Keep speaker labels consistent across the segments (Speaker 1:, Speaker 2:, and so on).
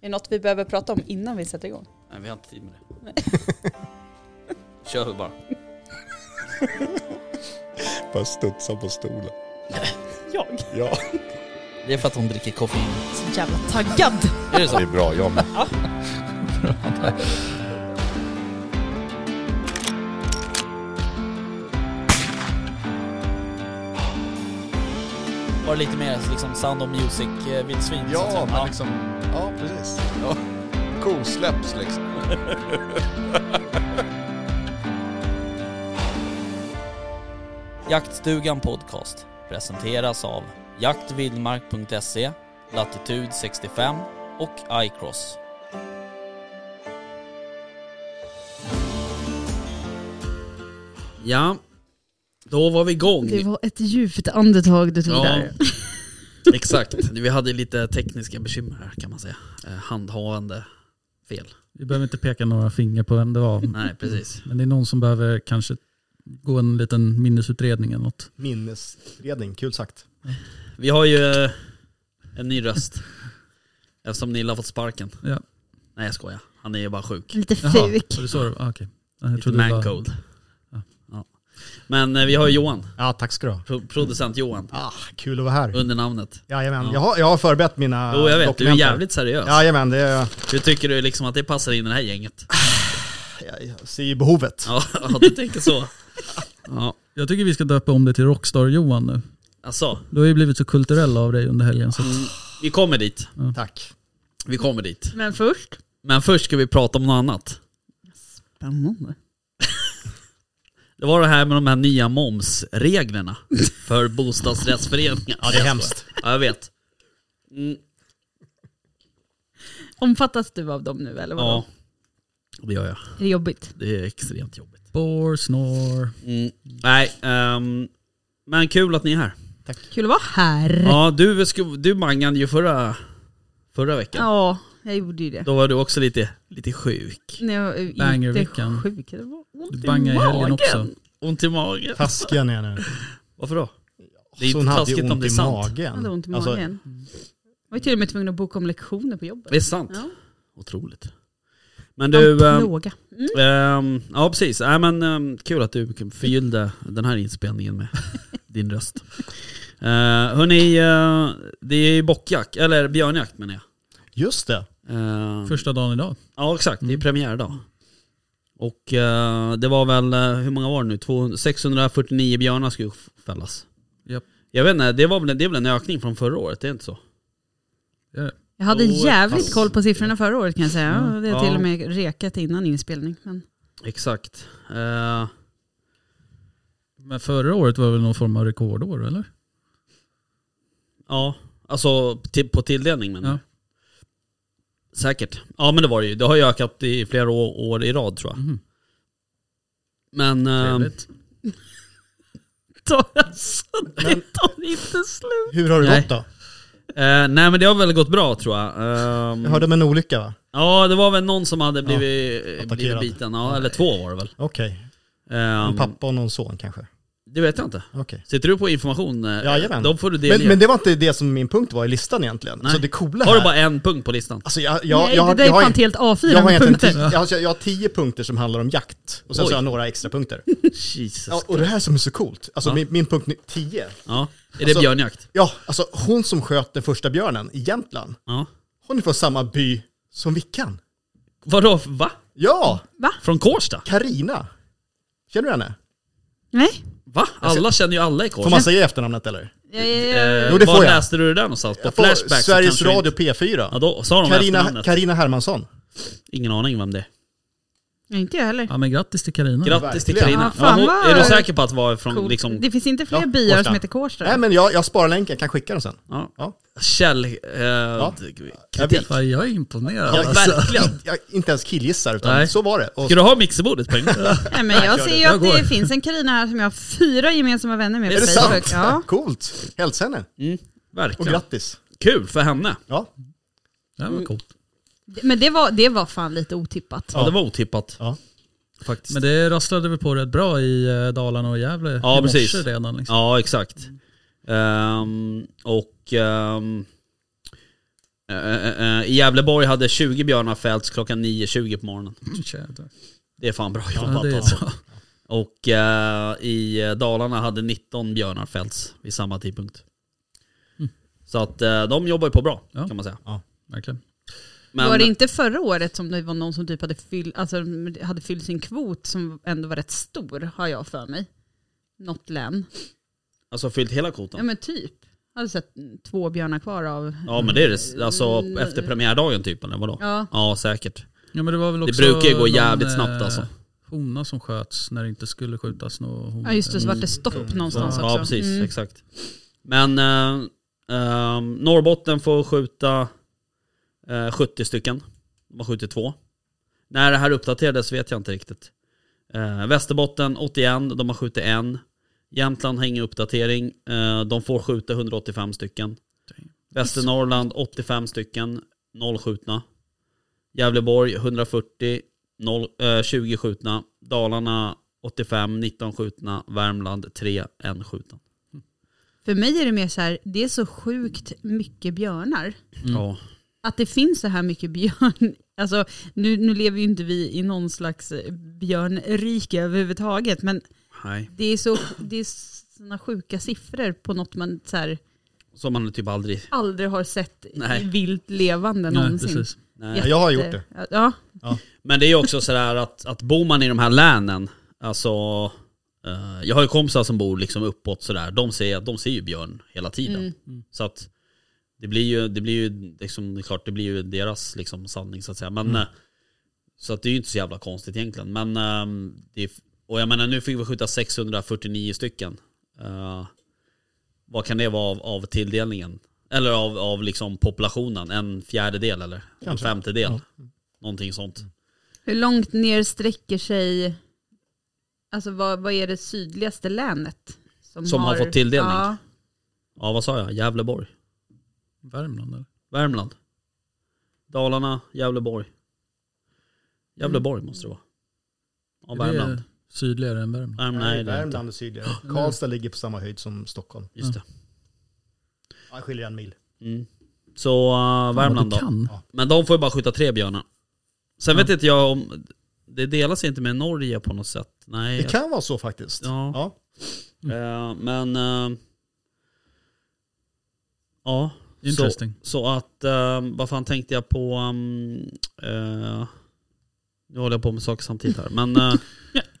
Speaker 1: det något vi behöver prata om innan vi sätter igång?
Speaker 2: Nej, vi har inte tid med det.
Speaker 1: Nej.
Speaker 2: Kör vi bara.
Speaker 3: Bara studsa på stolen.
Speaker 1: Jag?
Speaker 3: Ja.
Speaker 2: Det är för att hon dricker koffein.
Speaker 1: Så jävla taggad!
Speaker 2: Är det
Speaker 3: Det
Speaker 2: så?
Speaker 3: är bra, jag med.
Speaker 2: Var det lite mer liksom Sound of eh, Music-vildsvin?
Speaker 3: Ja, men liksom... Ja, precis.
Speaker 2: Ja.
Speaker 3: Kosläpps liksom.
Speaker 2: Jaktstugan Podcast presenteras av jaktvildmark.se, Latitude 65 och iCross. Ja, då var vi igång.
Speaker 4: Det var ett djupt andetag du tog
Speaker 2: Ja,
Speaker 4: där.
Speaker 2: exakt. Vi hade lite tekniska bekymmer här kan man säga. Eh, Handhavande fel.
Speaker 5: Vi behöver inte peka några finger på vem det var.
Speaker 2: Nej, precis.
Speaker 5: Men det är någon som behöver kanske gå en liten minnesutredning eller något.
Speaker 6: Minnesutredning, kul sagt.
Speaker 2: Vi har ju eh, en ny röst. Eftersom Nilla har fått sparken.
Speaker 5: Ja.
Speaker 2: Nej jag skojar. Han är ju bara sjuk.
Speaker 4: Lite
Speaker 5: Jaha,
Speaker 4: fuk.
Speaker 5: var det så det var? Ah, okej. Jag
Speaker 2: Lite
Speaker 5: trodde det var-
Speaker 2: mancode.
Speaker 5: Ja.
Speaker 2: Ja. Men eh, vi har ju Johan.
Speaker 6: Ja, tack ska du ha.
Speaker 2: Pro producent Johan.
Speaker 6: Ah, kul att vara här.
Speaker 2: Under namnet.
Speaker 6: Jajamän,
Speaker 2: Ja.
Speaker 6: jag har, jag har förberett mina
Speaker 2: Jo jag vet, du är
Speaker 6: dokument här.
Speaker 2: jävligt seriös.
Speaker 6: Jajamän, det är,
Speaker 2: Hur tycker du liksom att det passar in i det här gänget?
Speaker 6: jag, jag ser ju behovet.
Speaker 2: Ja, du tänker så. Ja,
Speaker 5: Jag tycker vi ska döpa om det till Rockstar-Johan nu.
Speaker 2: alltså.
Speaker 5: Du har ju blivit så kulturell av dig under helgen. Så att,
Speaker 2: Vi kommer dit.
Speaker 6: Tack.
Speaker 2: Vi kommer dit.
Speaker 4: Men först.
Speaker 2: Men först ska vi prata om något annat.
Speaker 4: Spännande.
Speaker 2: Det var det här med de här nya momsreglerna för bostadsrättsföreningar.
Speaker 6: Ja, det är hemskt.
Speaker 2: Ja, jag vet. Mm,
Speaker 4: Omfattas du av dem nu eller vadå?
Speaker 2: ja, det gör jag.
Speaker 4: Är det jobbigt?
Speaker 2: Det är extremt jobbigt.
Speaker 5: bore, snore.
Speaker 2: Mm. Nej, ehm, men kul att ni är här.
Speaker 4: Mm. Kul att vara här.
Speaker 2: Ja, du, sku- du mangade ju förra, förra veckan.
Speaker 4: Ja, jag gjorde ju det.
Speaker 2: Då var du också lite, lite sjuk.
Speaker 4: När jag är
Speaker 5: Bangerveckan.
Speaker 4: inte sjuk. Det var ont
Speaker 5: Du bangade i helgen också.
Speaker 2: Ont i magen.
Speaker 6: Taskiga ni är nu.
Speaker 2: Varför då? Det är inte
Speaker 6: Så hon hade
Speaker 2: taskigt
Speaker 6: ju
Speaker 2: om
Speaker 6: ont
Speaker 2: det är
Speaker 6: i
Speaker 2: sant.
Speaker 4: Jag hade ont i
Speaker 6: magen.
Speaker 4: magen.
Speaker 6: Alltså,
Speaker 4: jag var ju till och med tvungen att boka om lektioner på jobbet.
Speaker 2: Det är sant.
Speaker 4: Ja,
Speaker 2: Otroligt. Men
Speaker 4: du,
Speaker 2: du, ehm,
Speaker 4: plåga. Mm.
Speaker 2: Ehm, ja precis, Nej, men, ehm, kul att du förgyllde den här inspelningen med din röst. Uh, hörni, eh, det är ju bockjakt, eller björnjakt menar jag.
Speaker 6: just det.
Speaker 2: Ehm,
Speaker 5: Första dagen idag.
Speaker 2: Ja exakt, det är
Speaker 5: Mm.
Speaker 2: premiärdag. Och eh, det var väl, eh, hur många var det nu? 200, 649 björnar skulle f- fällas.
Speaker 5: Japp.
Speaker 2: Jag vet inte, det, var väl, det är väl en ökning från förra året, det är inte så?
Speaker 4: Jag hade
Speaker 2: Jo,
Speaker 4: jävligt
Speaker 2: pass.
Speaker 4: koll på siffrorna förra året kan jag säga.
Speaker 5: Mm.
Speaker 4: Ja, Det har
Speaker 2: Ja.
Speaker 4: till och med rekat innan inspelning. Men
Speaker 2: Exakt. Eh,
Speaker 5: Men förra året var väl någon form av rekordår eller?
Speaker 2: Ja, alltså till, på tilldelning men
Speaker 5: Ja.
Speaker 2: Säkert. Ja men det var det ju. Det har ju ökat i flera år, år i rad tror jag.
Speaker 5: Mhm.
Speaker 2: Men... ehm,
Speaker 5: Trevligt.
Speaker 4: ta alltså,
Speaker 6: Men-
Speaker 4: det tar inte slut.
Speaker 6: Hur har det
Speaker 2: Nej.
Speaker 6: gått då?
Speaker 2: eh, nej men det har väl gått bra tror jag. Ehm,
Speaker 6: Jag hörde om en olycka va?
Speaker 2: Ja det var väl någon som hade blivit, eh, blivit
Speaker 6: attackerad.
Speaker 2: biten. Ja, eller två var det väl.
Speaker 6: Okej. En
Speaker 2: Ehm,
Speaker 6: pappa och någon son kanske?
Speaker 2: det vet jag inte.
Speaker 6: Okej.
Speaker 2: Sitter du på information? eh,
Speaker 6: Jajamän.
Speaker 2: Då får du delge.
Speaker 6: Men, men det var inte det som min punkt var i listan egentligen.
Speaker 2: Nej.
Speaker 6: Så det coola
Speaker 2: Har du
Speaker 6: här-
Speaker 2: bara en punkt på listan?
Speaker 6: Alltså jag, jag,
Speaker 4: Nej,
Speaker 6: jag,
Speaker 4: det
Speaker 6: har-
Speaker 4: där är
Speaker 6: jag, har-
Speaker 4: fan ett helt A4
Speaker 6: jag har
Speaker 4: med
Speaker 6: egentligen
Speaker 4: punkter.
Speaker 6: tio, jag, har- jag har tio punkter som handlar om jakt. Och sen
Speaker 2: Oj.
Speaker 6: så har jag några extra punkter.
Speaker 2: Jesus.
Speaker 6: Ja,
Speaker 2: Ja.
Speaker 6: och det här som är så coolt, alltså
Speaker 2: Ja.
Speaker 6: min, min punkt nu- 10.
Speaker 2: Är det
Speaker 6: Alltså-
Speaker 2: björnjakt?
Speaker 6: Ja, alltså hon som sköt den första björnen i Jämtland,
Speaker 2: Ja.
Speaker 6: hon är från samma by som Vickan.
Speaker 2: Vadå? Va?
Speaker 6: Ja,
Speaker 2: Från Kårsta?
Speaker 6: Karina. Känner du henne?
Speaker 4: Nej.
Speaker 2: Va? Alla känner ju alla i
Speaker 6: Får
Speaker 2: Kårsta.
Speaker 6: man säga efternamnet eller?
Speaker 4: Jag,
Speaker 2: Eh,
Speaker 6: Jo, det
Speaker 2: var
Speaker 6: får jag.
Speaker 2: läste du det där någonstans? På
Speaker 6: På
Speaker 2: Flashback? så
Speaker 6: Sveriges
Speaker 2: kanske vi
Speaker 6: Radio
Speaker 2: Inte... Ja,
Speaker 6: P4.
Speaker 2: då sa de
Speaker 6: Karina,
Speaker 2: efternamnet.
Speaker 6: Karina Hermansson.
Speaker 2: Ingen aning vem det är.
Speaker 4: Nej, inte jag heller.
Speaker 5: Ja men grattis till Carina.
Speaker 2: Grattis till
Speaker 6: Verkligen.
Speaker 2: Karina.
Speaker 4: Ja, fan
Speaker 2: Ja, hon-
Speaker 4: vad-
Speaker 2: är du säker på att vara från
Speaker 4: Coolt.
Speaker 2: liksom...
Speaker 4: Det finns inte fler
Speaker 6: Ja,
Speaker 4: byar
Speaker 6: Kårsta.
Speaker 4: som heter Kårsta.
Speaker 6: Nej men jag, jag sparar länken, kan skicka den sen.
Speaker 2: Ja.
Speaker 6: Ja.
Speaker 2: Käll... Eh, d-
Speaker 6: Jag vet.
Speaker 2: kritik.
Speaker 5: Fan, jag är imponerad.
Speaker 2: Ja,
Speaker 5: alltså.
Speaker 2: verkligen.
Speaker 6: Jag inte ens killgissar utan
Speaker 2: Nej.
Speaker 6: så var det. Och,
Speaker 2: Ska du ha mixerbordet på en gång?
Speaker 4: Nej, men jag
Speaker 6: gör
Speaker 4: ser
Speaker 6: det.
Speaker 4: ju
Speaker 5: Jag
Speaker 4: att det
Speaker 5: går.
Speaker 4: finns en Karina här som jag har fyra gemensamma vänner med
Speaker 2: Är
Speaker 4: på
Speaker 2: det
Speaker 4: Facebook. Ja.
Speaker 6: Coolt! Hälsa henne.
Speaker 2: Mm,
Speaker 6: Och
Speaker 2: verkligen.
Speaker 6: grattis.
Speaker 2: Kul för henne.
Speaker 6: Ja.
Speaker 5: Det här var coolt.
Speaker 4: Men det var, det var fan lite otippat.
Speaker 2: Ja.
Speaker 6: Ja.
Speaker 2: det var otippat.
Speaker 6: Ja.
Speaker 2: Faktiskt.
Speaker 5: Men det rasslade vi på rätt bra i eh, Dalarna och Gävle
Speaker 2: Ja,
Speaker 5: i morse
Speaker 2: precis.
Speaker 5: redan. Liksom.
Speaker 2: Ja, exakt. Ehm, och... ehm, Eh, eh, eh, I Gävleborg hade 20 björnar fällts klockan 9.20 på morgonen.
Speaker 5: Jävlar.
Speaker 2: Det är fan bra
Speaker 5: Ja,
Speaker 2: jobbat
Speaker 5: det är
Speaker 2: alltså.
Speaker 5: så.
Speaker 2: Och eh, i Dalarna hade 19 björnar fällts vid samma tidpunkt. Så att eh, de jobbar ju på bra
Speaker 5: Mm. Ja.
Speaker 2: kan man säga.
Speaker 5: Verkligen.
Speaker 2: Men,
Speaker 4: Var det inte förra året som det var någon som typ hade, fyll, alltså, hade fyllt sin kvot som ändå var rätt stor, har jag för mig. Något län.
Speaker 2: Alltså fyllt hela kvoten?
Speaker 4: Ja men typ. Hade sett två björnar kvar av...
Speaker 2: Ja men det är det, alltså efter premiärdagen typ eller vadå?
Speaker 4: Mm. Ja.
Speaker 2: Ja säkert.
Speaker 5: Ja, men det, var väl
Speaker 2: Det
Speaker 5: också
Speaker 2: brukar ju gå
Speaker 5: någon,
Speaker 2: jävligt
Speaker 5: eh,
Speaker 2: snabbt, alltså.
Speaker 5: Hona som sköts när det inte skulle skjutas någon hona.
Speaker 4: Ja just det, så vart det stopp någonstans också.
Speaker 2: Ja precis,
Speaker 4: Mm.
Speaker 2: exakt. Men eh, eh, Norrbotten får skjuta eh, 70 stycken. De har skjutit två. När det här uppdaterades vet jag inte riktigt. Eh, Västerbotten 81, de har skjutit en. Jämtland har ingen uppdatering. Eh, de får skjuta 185 stycken. Västernorrland 85 stycken, noll skjutna. Gävleborg 140, noll, eh, 20 skjutna. Dalarna 85, 19 skjutna. Värmland 3, 1 skjuten.
Speaker 4: För mig är det mer så här, det är så sjukt mycket björnar.
Speaker 2: Ja.
Speaker 4: Att det finns så här mycket björn. Alltså, nu, nu lever ju inte vi i någon slags björnrike överhuvudtaget, men
Speaker 2: Nej.
Speaker 4: det är så det är såna sjuka siffror på något man så här,
Speaker 2: Som man typ aldrig...
Speaker 4: aldrig har sett
Speaker 2: Nej.
Speaker 4: i vilt levande
Speaker 5: Nej,
Speaker 4: någonsin. Eh,
Speaker 5: precis.
Speaker 2: Nej.
Speaker 6: Ja, jag har gjort det.
Speaker 4: Ja,
Speaker 2: Men det är ju också sådär att, att bor man i de här länen, alltså... eh, jag har ju kompisar som bor liksom uppåt sådär, de ser, de ser ju björn hela tiden. Så att det blir ju, det blir ju liksom, det är klart det blir ju deras liksom sanning så att säga. Men, eh, Så att det är ju inte så jävla konstigt egentligen. Men, ehm, det är, och jag menar nu fick vi skjuta 649 stycken. Eh, vad kan det vara av, av tilldelningen? Eller av, av liksom populationen? En fjärdedel eller?
Speaker 6: Kanske.
Speaker 2: En femtedel? Någonting sånt.
Speaker 4: hur långt ner sträcker sig, alltså vad, vad är det sydligaste länet?
Speaker 2: Som har fått tilldelning?
Speaker 4: Ja,
Speaker 2: Ja vad sa jag? Gävleborg.
Speaker 5: Värmland eller?
Speaker 2: Värmland. Dalarna, Gävleborg. Gävleborg måste det vara. Ja,
Speaker 5: Är det
Speaker 2: Värmland.
Speaker 5: Sydligare än Värmland.
Speaker 2: Värmland, nej, det är inte.
Speaker 6: Värmland är sydligare. Karlstad ligger på samma höjd som Stockholm.
Speaker 2: Just det.
Speaker 6: Ja, det skiljer en mil.
Speaker 2: Mm. Så eh, Värmland
Speaker 5: Ja,
Speaker 2: då.
Speaker 5: det kan.
Speaker 2: Men de får ju bara skjuta tre björnar. Sen vet inte jag om... Det delas inte med Norge på något sätt. Nej.
Speaker 6: Det kan vara så faktiskt.
Speaker 2: Ja.
Speaker 6: Ja.
Speaker 2: Eh, men... eh, ja. Så,
Speaker 5: Interesting.
Speaker 2: så att... eh, vad fan tänkte jag på... ehm, eh, nu håller jag på med saker samtidigt här. Men... eh,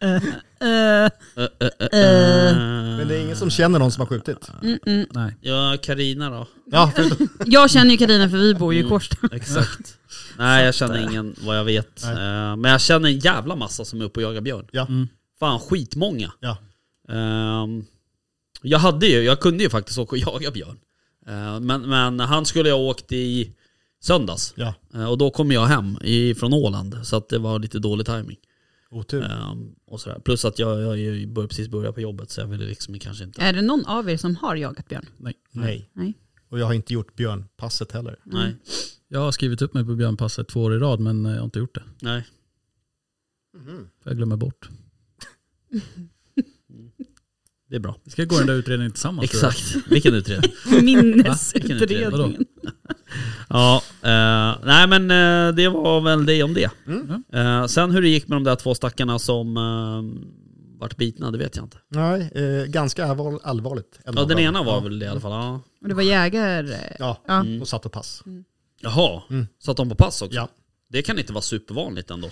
Speaker 2: eh, eh, eh, eh.
Speaker 6: Men det är ingen som känner någon som har skjutit.
Speaker 2: Ah.
Speaker 4: mm, mm.
Speaker 5: Nej.
Speaker 2: Ja, Karina då.
Speaker 6: Ja, förutom,
Speaker 4: Jag känner ju Karina för vi bor ju i
Speaker 2: Mm.
Speaker 4: Kårsta.
Speaker 2: Exakt. Nej, jag känner ingen vad jag vet.
Speaker 6: Nej.
Speaker 2: Eh, men jag känner en jävla massa som är uppe och jagar björn.
Speaker 6: Ja.
Speaker 5: Mm.
Speaker 2: Fan, skitmånga.
Speaker 6: ja.
Speaker 2: Ehm, jag hade ju, jag kunde ju faktiskt åka och jaga björn. Eh, men, men han skulle ha åkt i söndags.
Speaker 6: ja.
Speaker 2: Eh, och då kom jag hem i, från Åland, så att det var lite dålig timing.
Speaker 6: Otur.
Speaker 2: Ehm, och sådär. Plus att jag, jag, jag bör, precis började på jobbet så jag ville liksom kanske inte...
Speaker 4: Är det någon av er som har jagat björn?
Speaker 6: Nej.
Speaker 4: Nej.
Speaker 6: Och jag har inte gjort björnpasset heller.
Speaker 2: Nej,
Speaker 5: Jag har skrivit upp mig på björnpasset två år i rad men eh, jag har inte gjort det.
Speaker 2: nej.
Speaker 5: För jag glömmer bort.
Speaker 2: Det är bra.
Speaker 5: Vi ska gå den där utredningen tillsammans. tror jag.
Speaker 2: Exakt. Vilken utredning?
Speaker 4: Minnesutredningen.
Speaker 5: Vadå?
Speaker 2: Ja, eh, nej men eh, det var väl det om det. Eh, sen hur det gick med de där två stackarna som eh, vart bitna, det vet jag inte.
Speaker 6: Nej, eh, ganska allvar, allvarligt.
Speaker 2: Mm. Ja, den
Speaker 6: Elva.
Speaker 2: ena var Mm.
Speaker 6: Ja.
Speaker 2: väl det i alla fall. Ja.
Speaker 4: Och det var eh, jägare.
Speaker 6: Ja,
Speaker 4: Ja.
Speaker 6: och satt och pass.
Speaker 2: Jaha,
Speaker 6: Mm.
Speaker 2: satt de på pass också?
Speaker 6: Ja.
Speaker 2: Det kan inte vara supervanligt ändå.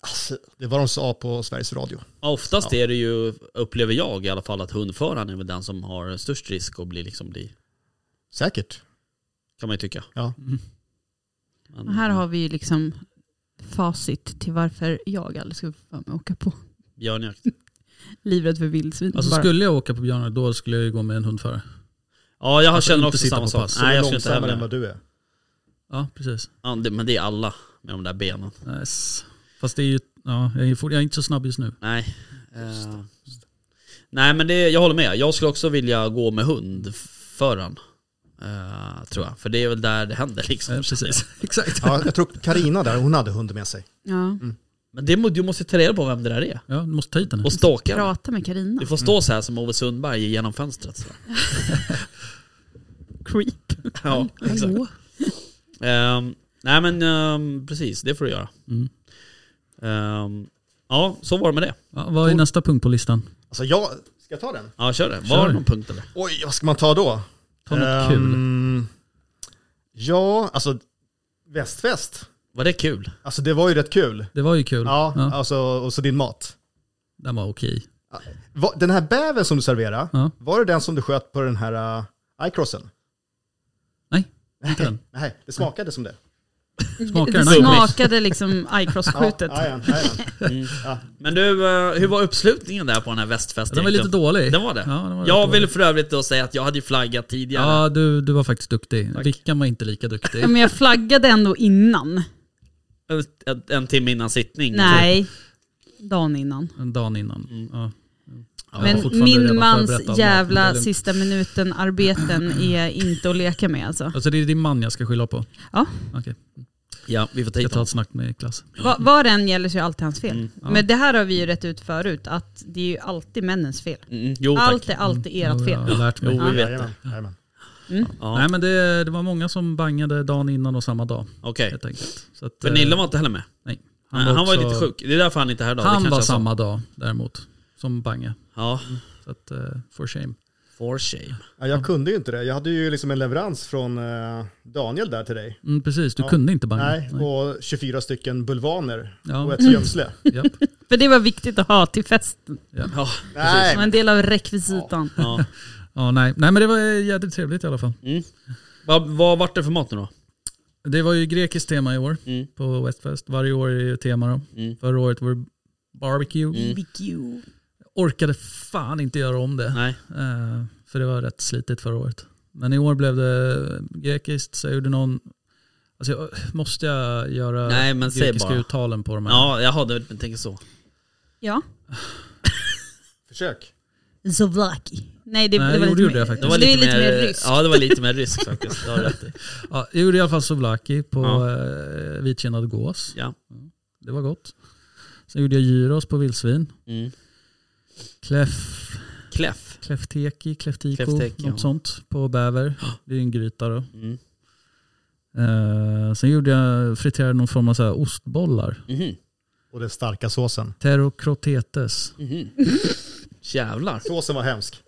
Speaker 6: Alltså, det var de sa på Sveriges Radio.
Speaker 2: Ja, Oftast är det ju, upplever jag i alla fall, att hundföraren är väl den som har störst risk att bli, liksom bli
Speaker 6: Säkert.
Speaker 2: kan man ju tycka.
Speaker 6: Ja.
Speaker 2: Men,
Speaker 4: Och här har vi ju liksom facit till varför jag aldrig skulle få mig åka på
Speaker 2: björnjakt.
Speaker 4: livrädd för vildsvin.
Speaker 5: Alltså
Speaker 4: bara.
Speaker 5: skulle jag åka på björnar då skulle jag ju gå med en hundförare.
Speaker 2: Ja, jag
Speaker 5: Alltså,
Speaker 2: känner
Speaker 5: inte
Speaker 2: också
Speaker 5: sitta
Speaker 2: samma
Speaker 5: på
Speaker 2: sak.
Speaker 5: pass.
Speaker 2: Nej, jag skulle inte
Speaker 6: Långsammare
Speaker 2: heller.
Speaker 6: än vad du är.
Speaker 5: Ja, precis.
Speaker 2: Ja, det- Men det är alla med de där benen.
Speaker 5: Nice. Fast det är ju, ja, jag är fort- jag är inte så snabb just nu.
Speaker 2: Nej. Eh, Nej men det, jag håller med. Jag skulle också vilja gå med hund föran. Eh, tror jag. För det är väl där det händer liksom.
Speaker 5: Eh, precis. Exakt.
Speaker 6: Ja, jag tror Karina där, hon hade hund med sig.
Speaker 4: ja.
Speaker 2: Men det, må- du måste ta reda på vem det där är.
Speaker 5: Ja, du måste ta hit den.
Speaker 2: Och stalka den.
Speaker 4: Prata med Karina.
Speaker 2: Du får stå så här som Ove Sundberg genom fönstret. Så.
Speaker 4: Creep.
Speaker 5: Mm.
Speaker 2: Ja,
Speaker 4: Hallå.
Speaker 2: Ehm, nej men ehm, precis, det får du göra.
Speaker 5: Mm.
Speaker 2: Ehm, ja, så var det med det.
Speaker 5: Ja, vad är nästa punkt på listan?
Speaker 6: Alltså jag, ska jag ta den?
Speaker 2: Ja, kör det. Var
Speaker 5: Kör.
Speaker 2: det någon punkt eller?
Speaker 6: Oj, vad ska man ta då?
Speaker 5: Ta något kul.
Speaker 6: Ehm, Ja, alltså västfest.
Speaker 2: Var det kul?
Speaker 6: Alltså det var ju rätt kul.
Speaker 5: Det var ju kul.
Speaker 6: Ja,
Speaker 5: Ja,
Speaker 6: alltså och så din mat.
Speaker 5: Den var okej.
Speaker 6: Va- Den här bäven som du serverade,
Speaker 5: Ja.
Speaker 6: var det den som du sköt på den här uh, iCrossen?
Speaker 5: Nej, inte den.
Speaker 6: Nej, det smakade som det.
Speaker 5: Smakar
Speaker 4: det
Speaker 5: den
Speaker 4: smakade liksom iCross-skjutet.
Speaker 6: Ja, ja, ja, ja.
Speaker 2: Men du, eh, hur var uppslutningen där på den här västfesten? Typ?
Speaker 5: Den var lite dålig.
Speaker 2: Den var det?
Speaker 5: Ja, den var
Speaker 2: jag
Speaker 5: rätt dålig.
Speaker 2: vill för övrigt då säga att jag hade ju flaggat tidigare.
Speaker 5: Ja, du, du var faktiskt duktig. Vickan var inte lika duktig.
Speaker 4: Ja, men jag flaggade ändå innan.
Speaker 2: En, en timme innan sittning.
Speaker 4: Nej, dagen innan.
Speaker 5: En dag innan.
Speaker 2: Mm.
Speaker 5: Ja. Jag var
Speaker 4: Men
Speaker 5: fortfarande
Speaker 4: min
Speaker 5: redan
Speaker 4: mans
Speaker 5: förberett av maten, det är
Speaker 4: jävla
Speaker 5: lugnt.
Speaker 4: sista minuten-arbeten är inte att leka med alltså.
Speaker 5: Alltså det är din man jag ska skylla på?
Speaker 4: Ja.
Speaker 5: Okej,
Speaker 2: Ja, vi får ta
Speaker 5: jag
Speaker 2: hit
Speaker 5: tar
Speaker 2: honom.
Speaker 5: ett snack med Niklas.
Speaker 4: Va- Vad det än gäller så är alltid hans
Speaker 5: Mm,
Speaker 4: fel. Men det här har vi ju rätt ut förut, att det är ju alltid männens fel.
Speaker 2: Mm, jo tack.
Speaker 4: Allt är alltid ert
Speaker 5: Jag
Speaker 4: fel.
Speaker 5: har lärt mig.
Speaker 2: Jo, vi vet det.
Speaker 6: Jajamän, jajamän.
Speaker 2: Ja,
Speaker 5: Nej men det, det var många som bangade dagen innan och samma dag.
Speaker 2: Okej.
Speaker 5: Helt enkelt. Så att,
Speaker 2: För
Speaker 5: eh,
Speaker 2: Nille var inte heller med.
Speaker 5: nej.
Speaker 2: Han, Nej, han var ju
Speaker 5: också-
Speaker 2: lite sjuk. Det är därför han inte är här idag. Det
Speaker 5: Han
Speaker 2: kanske
Speaker 5: var
Speaker 2: jag sa.
Speaker 5: samma dag däremot som bange.
Speaker 2: Ja,
Speaker 5: Så att, eh, for shame.
Speaker 2: for shame.
Speaker 6: Ja, jag kunde ju inte det. Jag hade ju liksom en leverans från eh, Daniel där till dig.
Speaker 5: Mm, precis, du
Speaker 6: Ja.
Speaker 5: kunde inte bange.
Speaker 6: Nej, och 24 stycken bulvaner
Speaker 5: Ja.
Speaker 6: och ett gömsle.
Speaker 5: Japp.
Speaker 4: För det var viktigt att ha till festen.
Speaker 2: Ja,
Speaker 4: Det
Speaker 6: Nej,
Speaker 4: var en del av rekvisitan.
Speaker 2: ja.
Speaker 5: Ja, nej. nej men det var jävligt trevligt i alla fall.
Speaker 2: Vad, vad vart det för mat nu då?
Speaker 5: Det var ju grekiskt tema i år
Speaker 2: Mm.
Speaker 5: på Westfest. Varje år är ju tema då.
Speaker 2: Mm.
Speaker 5: Förra året var det barbecue.
Speaker 4: BBQ.
Speaker 5: Orkade fan inte göra om det.
Speaker 2: Nej.
Speaker 5: Eh, för det var rätt slitigt förra året. Men i år blev det grekiskt, så jag gjorde någon... Alltså jag, måste jag göra
Speaker 2: Nej, men säg
Speaker 5: grekiska
Speaker 2: bara.
Speaker 5: uttalen på de här?
Speaker 2: Ja, jaha, du tänker så.
Speaker 4: Ja.
Speaker 6: försök.
Speaker 4: Zovlaki. Nej, det,
Speaker 5: Nej,
Speaker 4: det var
Speaker 5: jo,
Speaker 4: lite
Speaker 5: det gjorde
Speaker 4: mer,
Speaker 5: jag faktiskt.
Speaker 2: Det var lite, mer,
Speaker 4: ryskt.
Speaker 2: Ja, det var lite mer rysk faktiskt. Det har du rätt i.
Speaker 5: Ja, jag gjorde i alla fall souvlaki på
Speaker 2: Ja.
Speaker 5: eh, vitkinnad gås.
Speaker 2: Ja.
Speaker 5: Det var gott. Sen gjorde jag gyros på vildsvin.
Speaker 2: Mm.
Speaker 5: Kläff,
Speaker 2: Kläff.
Speaker 5: kläffteki, kläftiko,
Speaker 2: Kläffteki,
Speaker 5: något
Speaker 2: ja.
Speaker 5: sånt på bäver. Det är en gryta då.
Speaker 2: Mm.
Speaker 5: Eh, sen gjorde jag, friterade någon form av så här ostbollar.
Speaker 2: Mhm.
Speaker 6: Och den starka såsen.
Speaker 5: Terro crotetes.
Speaker 2: Mhm. Jävlar.
Speaker 6: Såsen var hemsk.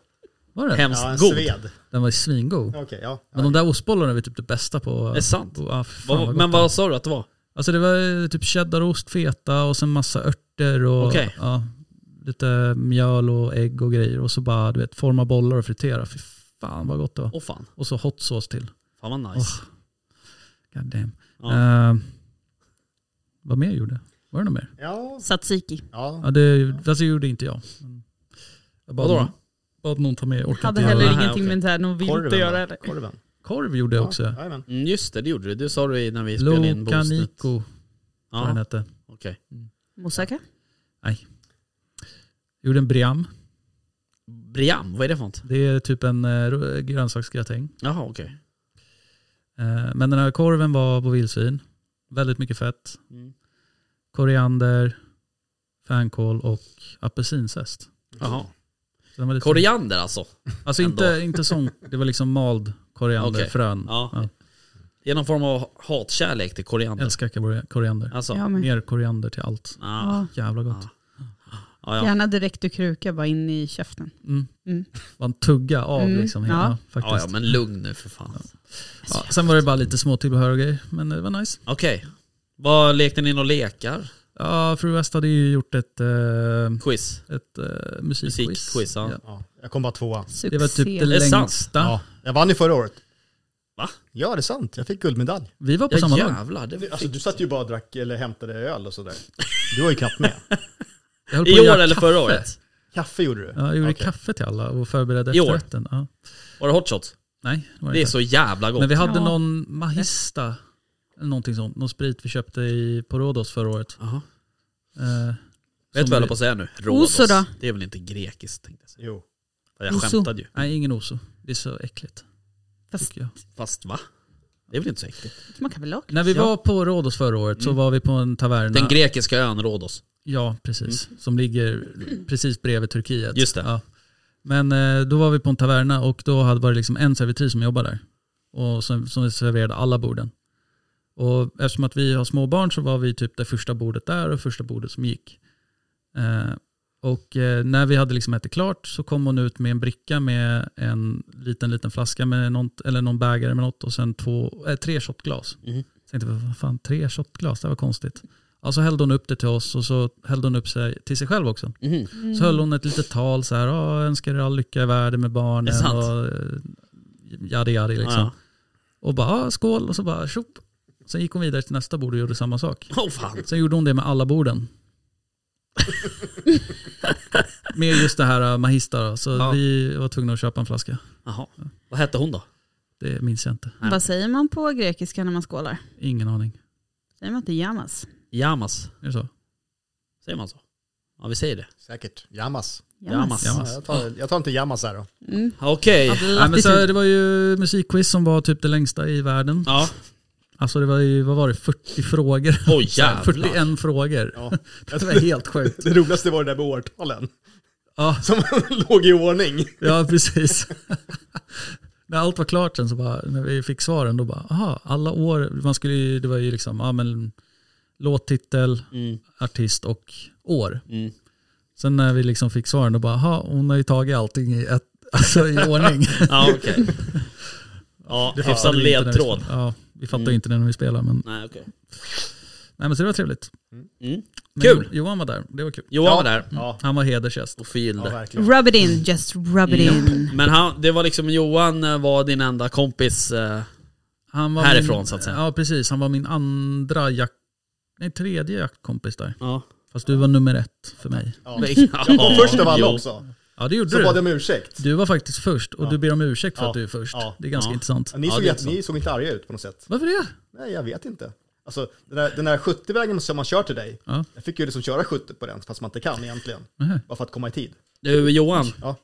Speaker 5: Var det?
Speaker 2: Hemskt
Speaker 6: Ja, en
Speaker 2: god.
Speaker 6: sved.
Speaker 5: Den var ju svingod.
Speaker 6: Okej, ja.
Speaker 5: Men de där ostbollarna var typ det bästa på...
Speaker 2: Det är sant.
Speaker 5: På, ah, fan,
Speaker 2: Vad-
Speaker 5: vad
Speaker 2: men
Speaker 5: gott det var.
Speaker 2: vad sa du att det var?
Speaker 5: Alltså det var eh, typ cheddarost, feta och sen massa örter och
Speaker 2: Okej.
Speaker 5: ja, lite mjöl och ägg och grejer. Och så bara du vet, forma bollar och fritera. Fy fan vad gott det var.
Speaker 2: Åh fan.
Speaker 5: Och så hot sauce till.
Speaker 2: Fan vad nice.
Speaker 5: Åh. God damn.
Speaker 2: Ja.
Speaker 5: Eh, vad mer gjorde jag? Var det något mer?
Speaker 6: Ja,
Speaker 4: Tzatziki.
Speaker 6: ja.
Speaker 5: Ja, det, alltså, det gjorde inte jag. jag bad,
Speaker 2: Vadå då?
Speaker 5: bad någon ta med. Jag orkade
Speaker 4: Hade
Speaker 5: inte
Speaker 4: heller
Speaker 5: göra det.
Speaker 2: här,
Speaker 4: ingenting
Speaker 2: okej.
Speaker 4: med det här de vill inte
Speaker 6: Korven.
Speaker 4: göra.
Speaker 6: va?
Speaker 4: eller?
Speaker 6: Korven.
Speaker 5: Korv gjorde jag också.
Speaker 6: Ja, jajamän.
Speaker 2: Mm, just det, det gjorde du. Det sa du när vi spelade in boostet.
Speaker 5: Lokaniko vad den
Speaker 2: Ja,
Speaker 5: hette.
Speaker 2: okej.
Speaker 4: Moussaka.
Speaker 5: Gjorde en briam.
Speaker 2: Briam, vad är det för något?
Speaker 5: Det är typ en eh, ro- grönsaksgratäng.
Speaker 2: Jaha,
Speaker 5: Mm.
Speaker 2: okej.
Speaker 5: Eh, Men den här korven var på vildsvin. Väldigt mycket fett.
Speaker 2: Mm.
Speaker 5: Koriander, fänkål och apelsinzest.
Speaker 2: Jaha.
Speaker 5: Så den var lite-
Speaker 2: Koriander alltså.
Speaker 5: Alltså inte, inte sån, det var liksom mald
Speaker 2: Okej.
Speaker 5: korianderfrön.
Speaker 2: Ja.
Speaker 5: Ja.
Speaker 2: Det är någon form av hatkärlek till koriander.
Speaker 5: Älskar kori- koriander.
Speaker 2: Alltså.
Speaker 4: Ja, men,
Speaker 5: Mer koriander till allt.
Speaker 2: Ah,
Speaker 4: ja.
Speaker 5: Jävla gott.
Speaker 2: ja, ja.
Speaker 4: Gärna direkt ur kruka, bara in i käften.
Speaker 5: Mm.
Speaker 4: Mm.
Speaker 5: Man tugga av
Speaker 4: Mm,
Speaker 5: liksom.
Speaker 4: ja.
Speaker 5: Hela, faktiskt.
Speaker 2: Ja, ja, men lugn nu för fan.
Speaker 5: Ja, sen var det bara lite små tillbehör och grejer, men det var nice.
Speaker 2: Okej. Vad lekte ni några lekar?
Speaker 5: Ja, Fru West hade ju gjort ett, eh,
Speaker 2: Quiz?
Speaker 5: ett eh, musikquiz.
Speaker 2: Musikquiz, ja.
Speaker 6: Ja, jag kom bara tvåa.
Speaker 4: Succé.
Speaker 5: Det var typ det
Speaker 2: Det är sant.
Speaker 5: längsta.
Speaker 6: Ja, jag vann ju förra året.
Speaker 2: Va?
Speaker 6: Ja, det är sant. Jag fick guldmedalj.
Speaker 5: Vi var på
Speaker 2: Ja
Speaker 5: samma lag.
Speaker 2: jävlar. Det
Speaker 6: Alltså, du satt ju bara och drack, eller hämtade öl och sådär. Du var ju knappt med.
Speaker 5: Jag höll på
Speaker 2: I
Speaker 5: att
Speaker 2: år
Speaker 5: göra
Speaker 2: eller
Speaker 5: kaffe.
Speaker 2: förra året?
Speaker 6: Kaffe gjorde du.
Speaker 5: Ja, jag gjorde
Speaker 6: Okej.
Speaker 5: kaffe till alla och förberedde
Speaker 2: I år?
Speaker 5: efterrätten. Ja.
Speaker 2: Var det hot shots?
Speaker 5: Nej, det var
Speaker 2: Det är
Speaker 5: inte.
Speaker 2: så jävla gott.
Speaker 5: Men vi hade
Speaker 4: Ja.
Speaker 5: någon Mahista, eller någonting sånt. Någon sprit vi köpte i, på Rhodos förra året.
Speaker 2: Jaha.
Speaker 5: Eh,
Speaker 2: Vet du vad
Speaker 5: som
Speaker 2: jag höll
Speaker 5: vi-
Speaker 2: på att säga nu? Rhodos.
Speaker 4: Oso då?
Speaker 2: Det är väl inte grekiskt? Tänkte jag, säga.
Speaker 6: Jo.
Speaker 2: jag
Speaker 4: Oso.
Speaker 2: skämtade ju.
Speaker 5: Nej, ingen oso. Det är så äckligt.
Speaker 4: Fast-
Speaker 5: tycker jag.
Speaker 2: Fast va? Det är väl inte så äckligt?
Speaker 4: Man kan väl ha
Speaker 5: När vi
Speaker 2: Ja. Mm.
Speaker 5: var på Rhodos förra året så var vi på en taverna.
Speaker 2: Den grekiska ön Rhodos.
Speaker 5: Ja, precis. Som ligger precis bredvid Turkiet.
Speaker 2: Mm. Just det.
Speaker 5: Ja. Men eh, då var vi på en taverna och då hade var det liksom en servitris som jobbade där. Och som, som serverade alla borden. Och eftersom att vi har småbarn så var vi typ det första bordet där och första bordet som gick. Eh, och eh, när vi hade liksom ätit klart så kom hon ut med en bricka med en liten, liten flaska med något, eller någon bägare med något och sen två, eh, tre shotglas.
Speaker 2: Mhm.
Speaker 5: Tänkte vi, vad fan, tre shotglas, det var konstigt. Ja, så hällde hon upp det till oss och så hällde hon upp sig till sig själv också.
Speaker 2: Mhm.
Speaker 5: Så höll hon ett litet tal så här, "Ja, jag önskar er all lycka i världen med
Speaker 2: Det
Speaker 5: barnen
Speaker 2: är sant.
Speaker 5: och yadi yadi liksom.
Speaker 2: Ja.
Speaker 5: Och bara "Ja, skål och så bara tjopp. Sen gick hon vidare till nästa bord och gjorde samma sak.
Speaker 2: Åh fan.
Speaker 5: Sen gjorde hon det med alla borden. med just det här äh, Mahista då, så
Speaker 2: Ja.
Speaker 5: vi var tvungna att köpa en flaska.
Speaker 2: Jaha. Vad hette hon då?
Speaker 5: Det minns jag inte.
Speaker 2: Nej.
Speaker 4: Vad säger man på grekiska när man skålar?
Speaker 5: Ingen aning.
Speaker 4: Säger man inte jamas?
Speaker 2: Yamas.
Speaker 5: Är det så?
Speaker 2: Säger man så? Ja, vi säger det.
Speaker 6: Säkert. Jamas.
Speaker 2: Yamas.
Speaker 5: Jamas.
Speaker 6: Ja, jag, tar, jag tar inte jamas här då.
Speaker 1: Mm.
Speaker 2: Okej.
Speaker 5: Nej, men så,
Speaker 4: Attityd.
Speaker 5: det var ju musikquiz som var typ det längsta i världen.
Speaker 2: Ja.
Speaker 5: Alltså det var ju, vad var det, 40 frågor?
Speaker 2: Oj
Speaker 5: Så här,
Speaker 2: jävlar.
Speaker 5: 41 frågor.
Speaker 6: Ja.
Speaker 5: Det var helt sjukt.
Speaker 6: Det roligaste var det där med årtalen.
Speaker 5: Ja,
Speaker 6: Som låg i ordning.
Speaker 5: ja precis. när allt var klart sen så bara, när vi fick svaren då bara, aha, alla år, man skulle ju, det var ju liksom, ja men låttitel,
Speaker 2: Mm.
Speaker 5: artist och år.
Speaker 2: Mm.
Speaker 5: Sen när vi liksom fick svaren då bara, aha, hon har ju tagit allting i, ett, alltså, i ordning.
Speaker 2: Ja, okej. Ja,
Speaker 5: fattade
Speaker 2: hyfsad
Speaker 5: vi inte när vi
Speaker 2: ledtråd.
Speaker 5: spelade. Ja, vi fattade
Speaker 2: Mm.
Speaker 5: inte det när vi spelade men,
Speaker 2: Nej, okej.
Speaker 5: nej men så det var trevligt.
Speaker 2: Mm.
Speaker 5: Men
Speaker 2: Kul.
Speaker 5: Johan var där, det var kul.
Speaker 2: Johan var där
Speaker 6: Ja,
Speaker 5: Han var hedersgäst.
Speaker 2: och förgyllde.
Speaker 6: ja verkligen.
Speaker 4: Rub it in, just rub it
Speaker 2: Mm.
Speaker 4: in.
Speaker 2: Men han, det var liksom Johan eh, var din enda kompis. eh,
Speaker 5: Han var
Speaker 2: Härifrån,
Speaker 5: min,
Speaker 2: så att säga.
Speaker 5: Ja precis, han var min andra jack, nej tredje jaktkompis där.
Speaker 2: Ja.
Speaker 5: Fast du var nummer ett för mig.
Speaker 6: Ja.
Speaker 2: Jag
Speaker 6: Och först av alla
Speaker 2: jo.
Speaker 6: också.
Speaker 5: Ja det gjorde
Speaker 6: Så
Speaker 5: du.
Speaker 6: bad jag om ursäkt.
Speaker 5: Du var faktiskt först och
Speaker 6: Ja.
Speaker 5: du ber om ursäkt för
Speaker 6: Ja.
Speaker 5: att du är först.
Speaker 6: Ja.
Speaker 5: Det är ganska
Speaker 2: Ja.
Speaker 5: intressant.
Speaker 6: Ni,
Speaker 5: Ja,
Speaker 6: såg,
Speaker 5: det är
Speaker 6: jätte- ni såg inte arga ut på något sätt.
Speaker 5: Varför det?
Speaker 6: Nej, jag vet inte. Alltså, den där, den där 70-vägen som man kör till dig,
Speaker 5: Ja.
Speaker 6: jag fick ju liksom köra 70 på den fast man inte kan egentligen.
Speaker 5: Nähä.
Speaker 6: Bara för att komma i tid.
Speaker 2: Du Johan,
Speaker 6: Ja,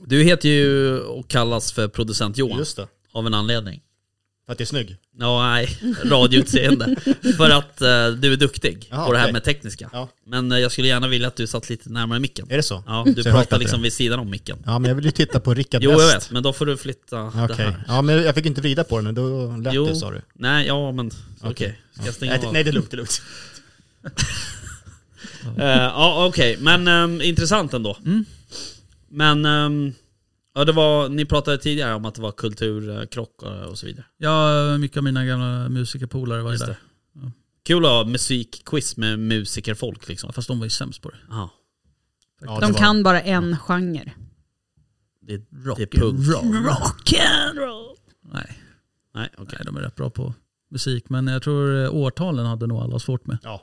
Speaker 2: du heter ju och kallas för producent Johan
Speaker 6: just det.
Speaker 2: av en anledning.
Speaker 6: För att det är snygg.
Speaker 2: Ja, nej, radioutseende. för att eh, du är duktig
Speaker 6: Jaha,
Speaker 2: på det här
Speaker 6: okej.
Speaker 2: med tekniska.
Speaker 6: Ja.
Speaker 2: Men eh, jag skulle gärna vilja att du satt lite närmare micken.
Speaker 6: Är det så?
Speaker 2: Ja, du
Speaker 6: Så jag
Speaker 2: pratar
Speaker 6: fattar
Speaker 2: liksom
Speaker 6: det.
Speaker 2: vid sidan om micken.
Speaker 6: Ja, men jag vill ju titta på Rickard
Speaker 2: Jo, jag vet, men då får du flytta det
Speaker 6: Okej.
Speaker 2: här.
Speaker 6: Ja, men jag fick inte vrida på den, men då lät
Speaker 2: Jo.
Speaker 6: det sa du.
Speaker 2: Nej, ja men okej. Ska jag stänga
Speaker 6: Nej, det-
Speaker 2: av?
Speaker 6: nej, det är lugnt, det är lugnt.
Speaker 2: Eh, Ja, okej. Men ehm, intressant ändå.
Speaker 5: Mm.
Speaker 2: Men ehm, ja, det var, ni pratade tidigare om att det var kulturkrock och och så vidare.
Speaker 5: Ja, mycket av mina gamla musikerpolare var ju
Speaker 2: Just
Speaker 5: där.
Speaker 2: det. Kul att ha musikquiz med musikerfolk liksom.
Speaker 5: Ja, fast de var ju sämst på det.
Speaker 2: Ja,
Speaker 6: Ja, det
Speaker 4: De
Speaker 6: var-
Speaker 4: kan bara en genre.
Speaker 2: det,
Speaker 5: Rock
Speaker 2: det är punk.
Speaker 5: and roll.
Speaker 4: Rock'n'roll.
Speaker 5: Nej,
Speaker 2: Nej, okej.
Speaker 5: nej, de är rätt bra på musik. Men jag tror eh, årtalen hade nog alla svårt med
Speaker 6: Ja,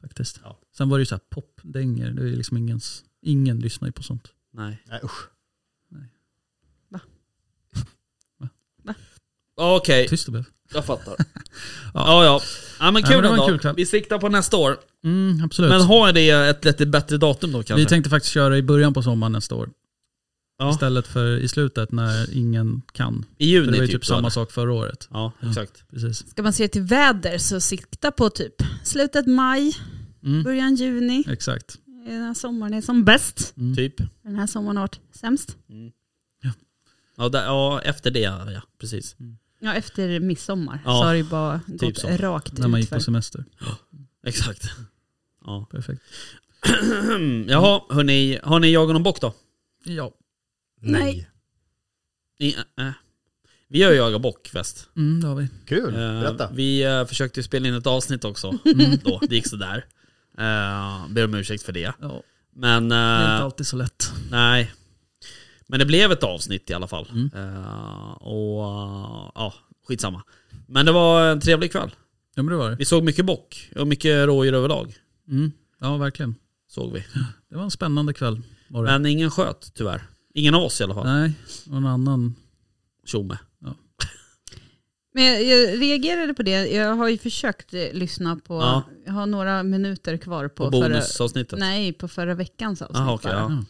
Speaker 5: faktiskt.
Speaker 6: Ja.
Speaker 5: Sen var det ju så här popdänger. Det är ju liksom ingens, ingen lyssnar ju på sånt.
Speaker 2: Nej.
Speaker 6: nej usch.
Speaker 2: Ja, Okej,
Speaker 5: Tyst det blev.
Speaker 2: jag fattar. ja. ja,
Speaker 5: Ja.
Speaker 2: ja. men
Speaker 5: Ja, men
Speaker 2: kul
Speaker 5: det var en
Speaker 2: ändå.
Speaker 5: kul kväll.
Speaker 2: Vi siktar på nästa år.
Speaker 5: Mm, absolut.
Speaker 2: Men har det ett lite bättre datum då kanske?
Speaker 5: Vi tänkte faktiskt köra i början på sommaren nästa år.
Speaker 2: Ja.
Speaker 5: Istället för i slutet när ingen kan.
Speaker 2: I
Speaker 5: För
Speaker 2: juni
Speaker 5: det var ju
Speaker 2: typ.
Speaker 5: typ
Speaker 2: då,
Speaker 5: samma
Speaker 2: eller?
Speaker 5: sak förra året.
Speaker 2: Ja, exakt.
Speaker 5: Precis.
Speaker 4: Ska man se till väder så sikta på typ slutet maj,
Speaker 5: Mm,
Speaker 4: början juni.
Speaker 5: exakt.
Speaker 4: Den här sommaren är som bäst.
Speaker 5: Mm.
Speaker 2: Typ.
Speaker 4: Den här sommaren har varit sämst.
Speaker 2: Ja, där, ja, efter det ja, precis.
Speaker 5: Mm.
Speaker 4: Ja, efter midsommar
Speaker 2: Ja,
Speaker 4: så har det ju bara gått
Speaker 2: så.
Speaker 4: rakt
Speaker 5: När man gick
Speaker 4: utför.
Speaker 5: på semester.
Speaker 2: Exakt.
Speaker 5: Mm.
Speaker 2: Ja.
Speaker 5: Perfekt.
Speaker 2: Jaha, hörni, har ni jagat någon bock då?
Speaker 5: Ja.
Speaker 4: Nej.
Speaker 2: Ni, äh, äh. Vi har ju jagat bock fest.
Speaker 5: Mm, det har vi.
Speaker 6: Kul,
Speaker 2: Eh,
Speaker 6: berätta.
Speaker 2: vi eh, försökte ju spela in ett avsnitt också
Speaker 5: Mm.
Speaker 2: då, det gick sådär. Uh, ber om ursäkt för det.
Speaker 5: Ja,
Speaker 2: Men
Speaker 5: det är inte
Speaker 2: eh,
Speaker 5: alltid så lätt.
Speaker 2: nej. Men det blev ett avsnitt i alla fall.
Speaker 5: Mm.
Speaker 2: Eh, och eh, ja, skitsamma. Men det var en trevlig kväll.
Speaker 5: Ja men det var det.
Speaker 2: Vi såg mycket bock och mycket rådjur överlag.
Speaker 5: Mm. Ja verkligen.
Speaker 2: Såg vi.
Speaker 5: Det var en spännande kväll. Var det.
Speaker 2: Men ingen sköt tyvärr. Ingen av oss i alla fall.
Speaker 5: Nej, det var en annan.
Speaker 2: Tjomme.
Speaker 4: Men jag, jag reagerade på det. Jag har ju försökt eh, lyssna på,
Speaker 2: Ja.
Speaker 4: jag har några minuter kvar på,
Speaker 2: På
Speaker 4: förra,
Speaker 2: bonusavsnittet.
Speaker 4: nej, på förra veckans avsnitt.
Speaker 2: Jaha, okej.
Speaker 4: bara.
Speaker 2: ja.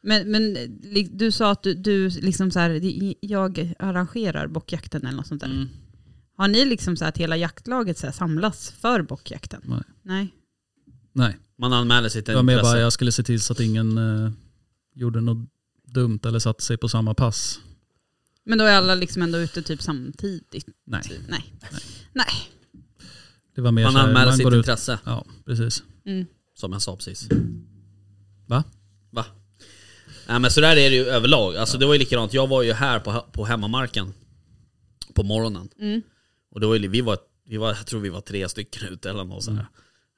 Speaker 4: Men, men li- du sa att du, du liksom så här, det- jag arrangerar bockjakten eller något sånt där.
Speaker 2: Mm.
Speaker 4: Har ni liksom så här att hela jaktlaget så här samlas för bockjakten?
Speaker 5: Nej.
Speaker 4: Nej.
Speaker 5: Nej,
Speaker 2: Man anmäler sitt
Speaker 5: det var mer
Speaker 2: intresse.
Speaker 5: bara jag skulle se till så att ingen eh, gjorde något dumt eller satte sig på samma pass.
Speaker 4: Men då är alla liksom ändå ute typ samtidigt.
Speaker 5: Nej,
Speaker 4: Typ. Nej.
Speaker 5: Nej.
Speaker 4: Nej.
Speaker 5: det var mer
Speaker 2: Man
Speaker 5: så här,
Speaker 2: anmäler sitt
Speaker 5: går ut.
Speaker 2: intresse,
Speaker 5: Ja, precis.
Speaker 4: Mm.
Speaker 2: som jag sa precis.
Speaker 5: Va?
Speaker 2: Va? Nej men så där är det ju överlag. Alltså det var ju likadant, jag var ju här på, på hemmamarken på morgonen.
Speaker 4: Mm.
Speaker 2: Och det var ju, vi var, vi var, jag tror vi var tre stycken ute eller något sådär.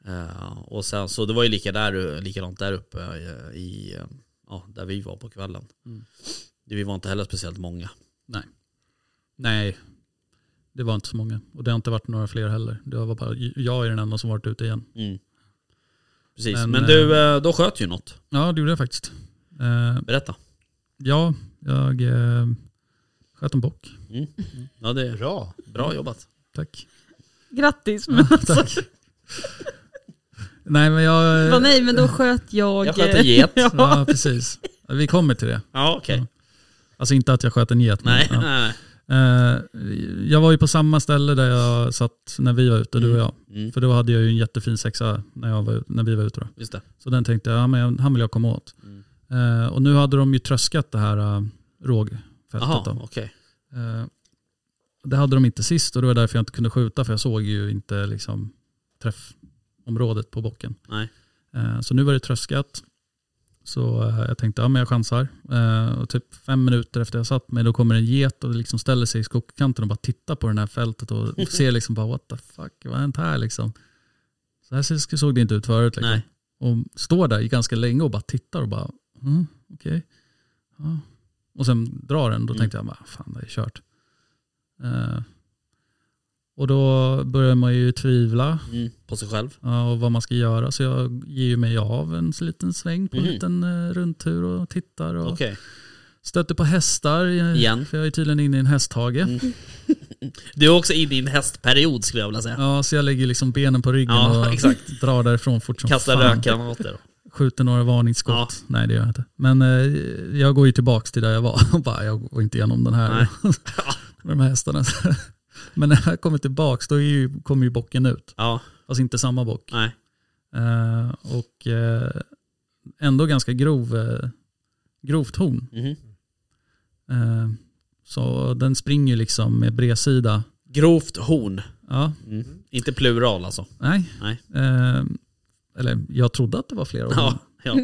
Speaker 2: Eh, och sen så det var ju lika där, likadant där uppe eh, i, eh, ja där vi var på kvällen. Vi var inte heller speciellt många.
Speaker 5: Nej, det var inte så många. Och det har inte varit några fler heller. Det var bara, jag är den enda som varit ute igen.
Speaker 2: Mm. Precis, men,
Speaker 5: Men,
Speaker 2: du, eh, då sköt ju något.
Speaker 5: Ja, det gjorde jag faktiskt. Eh,
Speaker 2: Berätta.
Speaker 5: ja, jag eh, sköt en bock.
Speaker 2: Ja det är
Speaker 6: Bra.
Speaker 2: bra jobbat.
Speaker 5: Tack.
Speaker 4: Grattis. Men alltså,
Speaker 5: Tack. Nej, men jag... eh,
Speaker 4: vad nej, men då sköt jag...
Speaker 2: Jag sköt en get.
Speaker 5: Ja, precis. Vi kommer till det.
Speaker 2: Ja okej.
Speaker 5: Alltså inte att jag sköt en get. men-
Speaker 2: Nej,
Speaker 5: ja.
Speaker 2: nej.
Speaker 5: Eh, jag var ju på samma ställe där jag satt när vi var ute, du och jag.
Speaker 2: Mm,
Speaker 5: För då hade jag ju en jättefin sexa när, jag var, när vi var ute. Då.
Speaker 2: just det.
Speaker 5: Så den tänkte jag, ja, men han vill jag komma åt.
Speaker 2: Mm.
Speaker 5: Eh, och nu hade de ju tröskat det här uh, rågfältet.
Speaker 2: Jaha,
Speaker 5: då.
Speaker 2: okej.
Speaker 5: Eh, det hade de inte sist och det var därför jag inte kunde skjuta för jag såg ju inte liksom, träffområdet på bocken.
Speaker 2: Nej.
Speaker 5: Eh, så nu var det tröskat. Så eh, jag tänkte, ja men jag chansar. Eh, och typ fem minuter efter jag satt mig då kommer en get och liksom ställer sig i skogskanten och bara tittar på det här fältet och ser liksom bara what the fuck, vad har hänt här liksom? Så här ser- såg det inte ut förut. Liksom.
Speaker 2: Nej.
Speaker 5: Och står där i ganska länge och bara tittar och bara, mm, okej. Ja. Och sen drar den, då
Speaker 2: Mm.
Speaker 5: tänkte jag bara, fan det är kört. Eh, och då börjar man ju tvivla
Speaker 2: Mm, på sig själv.
Speaker 5: ja, och vad man ska göra. Så jag ger ju mig av en så liten sväng på en
Speaker 2: Mhm.
Speaker 5: liten eh, rundtur och tittar. Och
Speaker 2: Okej.
Speaker 5: Stöter på hästar, eh,
Speaker 2: Igen. Mm.
Speaker 5: för jag är tydligen inne i en hästhage.
Speaker 2: Du är också inne i en hästperiod skulle jag vilja säga.
Speaker 5: Ja, så jag lägger liksom benen på ryggen
Speaker 2: Ja,
Speaker 5: och
Speaker 2: exakt.
Speaker 5: drar därifrån fort som
Speaker 2: Kasta
Speaker 5: fan.
Speaker 2: rökgranater.
Speaker 5: Skjuter några varningsskott.
Speaker 2: Ja.
Speaker 5: Nej, det gör jag inte. Men eh, jag går ju tillbaka till där jag var och bara, jag går inte igenom den här. med de här hästarna. Men när jag kommer tillbaka då är ju, kommer ju bocken ut.
Speaker 2: Ja,
Speaker 5: Alltså inte samma bock.
Speaker 2: nej.
Speaker 5: Eh, och eh, ändå ganska grov, eh, grovt horn.
Speaker 2: Mhm.
Speaker 5: Eh, så den springer ju liksom med bredsida.
Speaker 2: Grovt horn.
Speaker 5: Ja,
Speaker 2: Mm. Inte plural alltså.
Speaker 5: nej.
Speaker 2: Nej.
Speaker 5: Eh, eller jag trodde att det var flera horn.
Speaker 2: Ja, ja.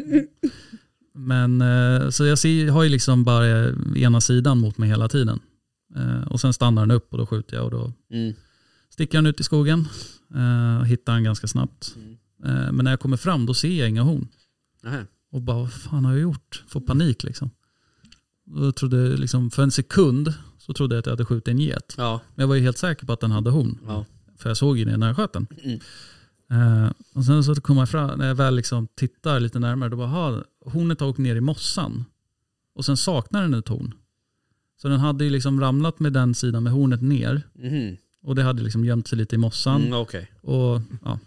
Speaker 5: Men eh, så jag ser, har ju liksom bara eh, ena sidan mot mig hela tiden. Eh, och sen stannar den upp och då skjuter jag och då
Speaker 2: Mm.
Speaker 5: sticker han ut i skogen. Eh, och hittar han ganska snabbt.
Speaker 2: Mm.
Speaker 5: Eh, men när jag kommer fram då ser jag inga horn.
Speaker 2: Nähä.
Speaker 5: Och bara vad fan har jag gjort? Får panik liksom. Och jag trodde, liksom. För en sekund så trodde jag att jag hade skjutit en get.
Speaker 2: Ja,
Speaker 5: Men jag var ju helt säker på att den hade horn.
Speaker 2: ja.
Speaker 5: För jag såg ju det när jag sköt den.
Speaker 2: Mm.
Speaker 5: Eh, och sen så kommer jag fram, när jag väl liksom tittar lite närmare, då bara, aha, hornet har åkt ner i mossan. Och sen saknar den ett horn. Så den hade ju liksom ramlat med den sidan med hornet ner.
Speaker 2: Mhm.
Speaker 5: Och det hade liksom gömt sig lite i mossan.
Speaker 2: Mm, Okej.
Speaker 5: Och, ja.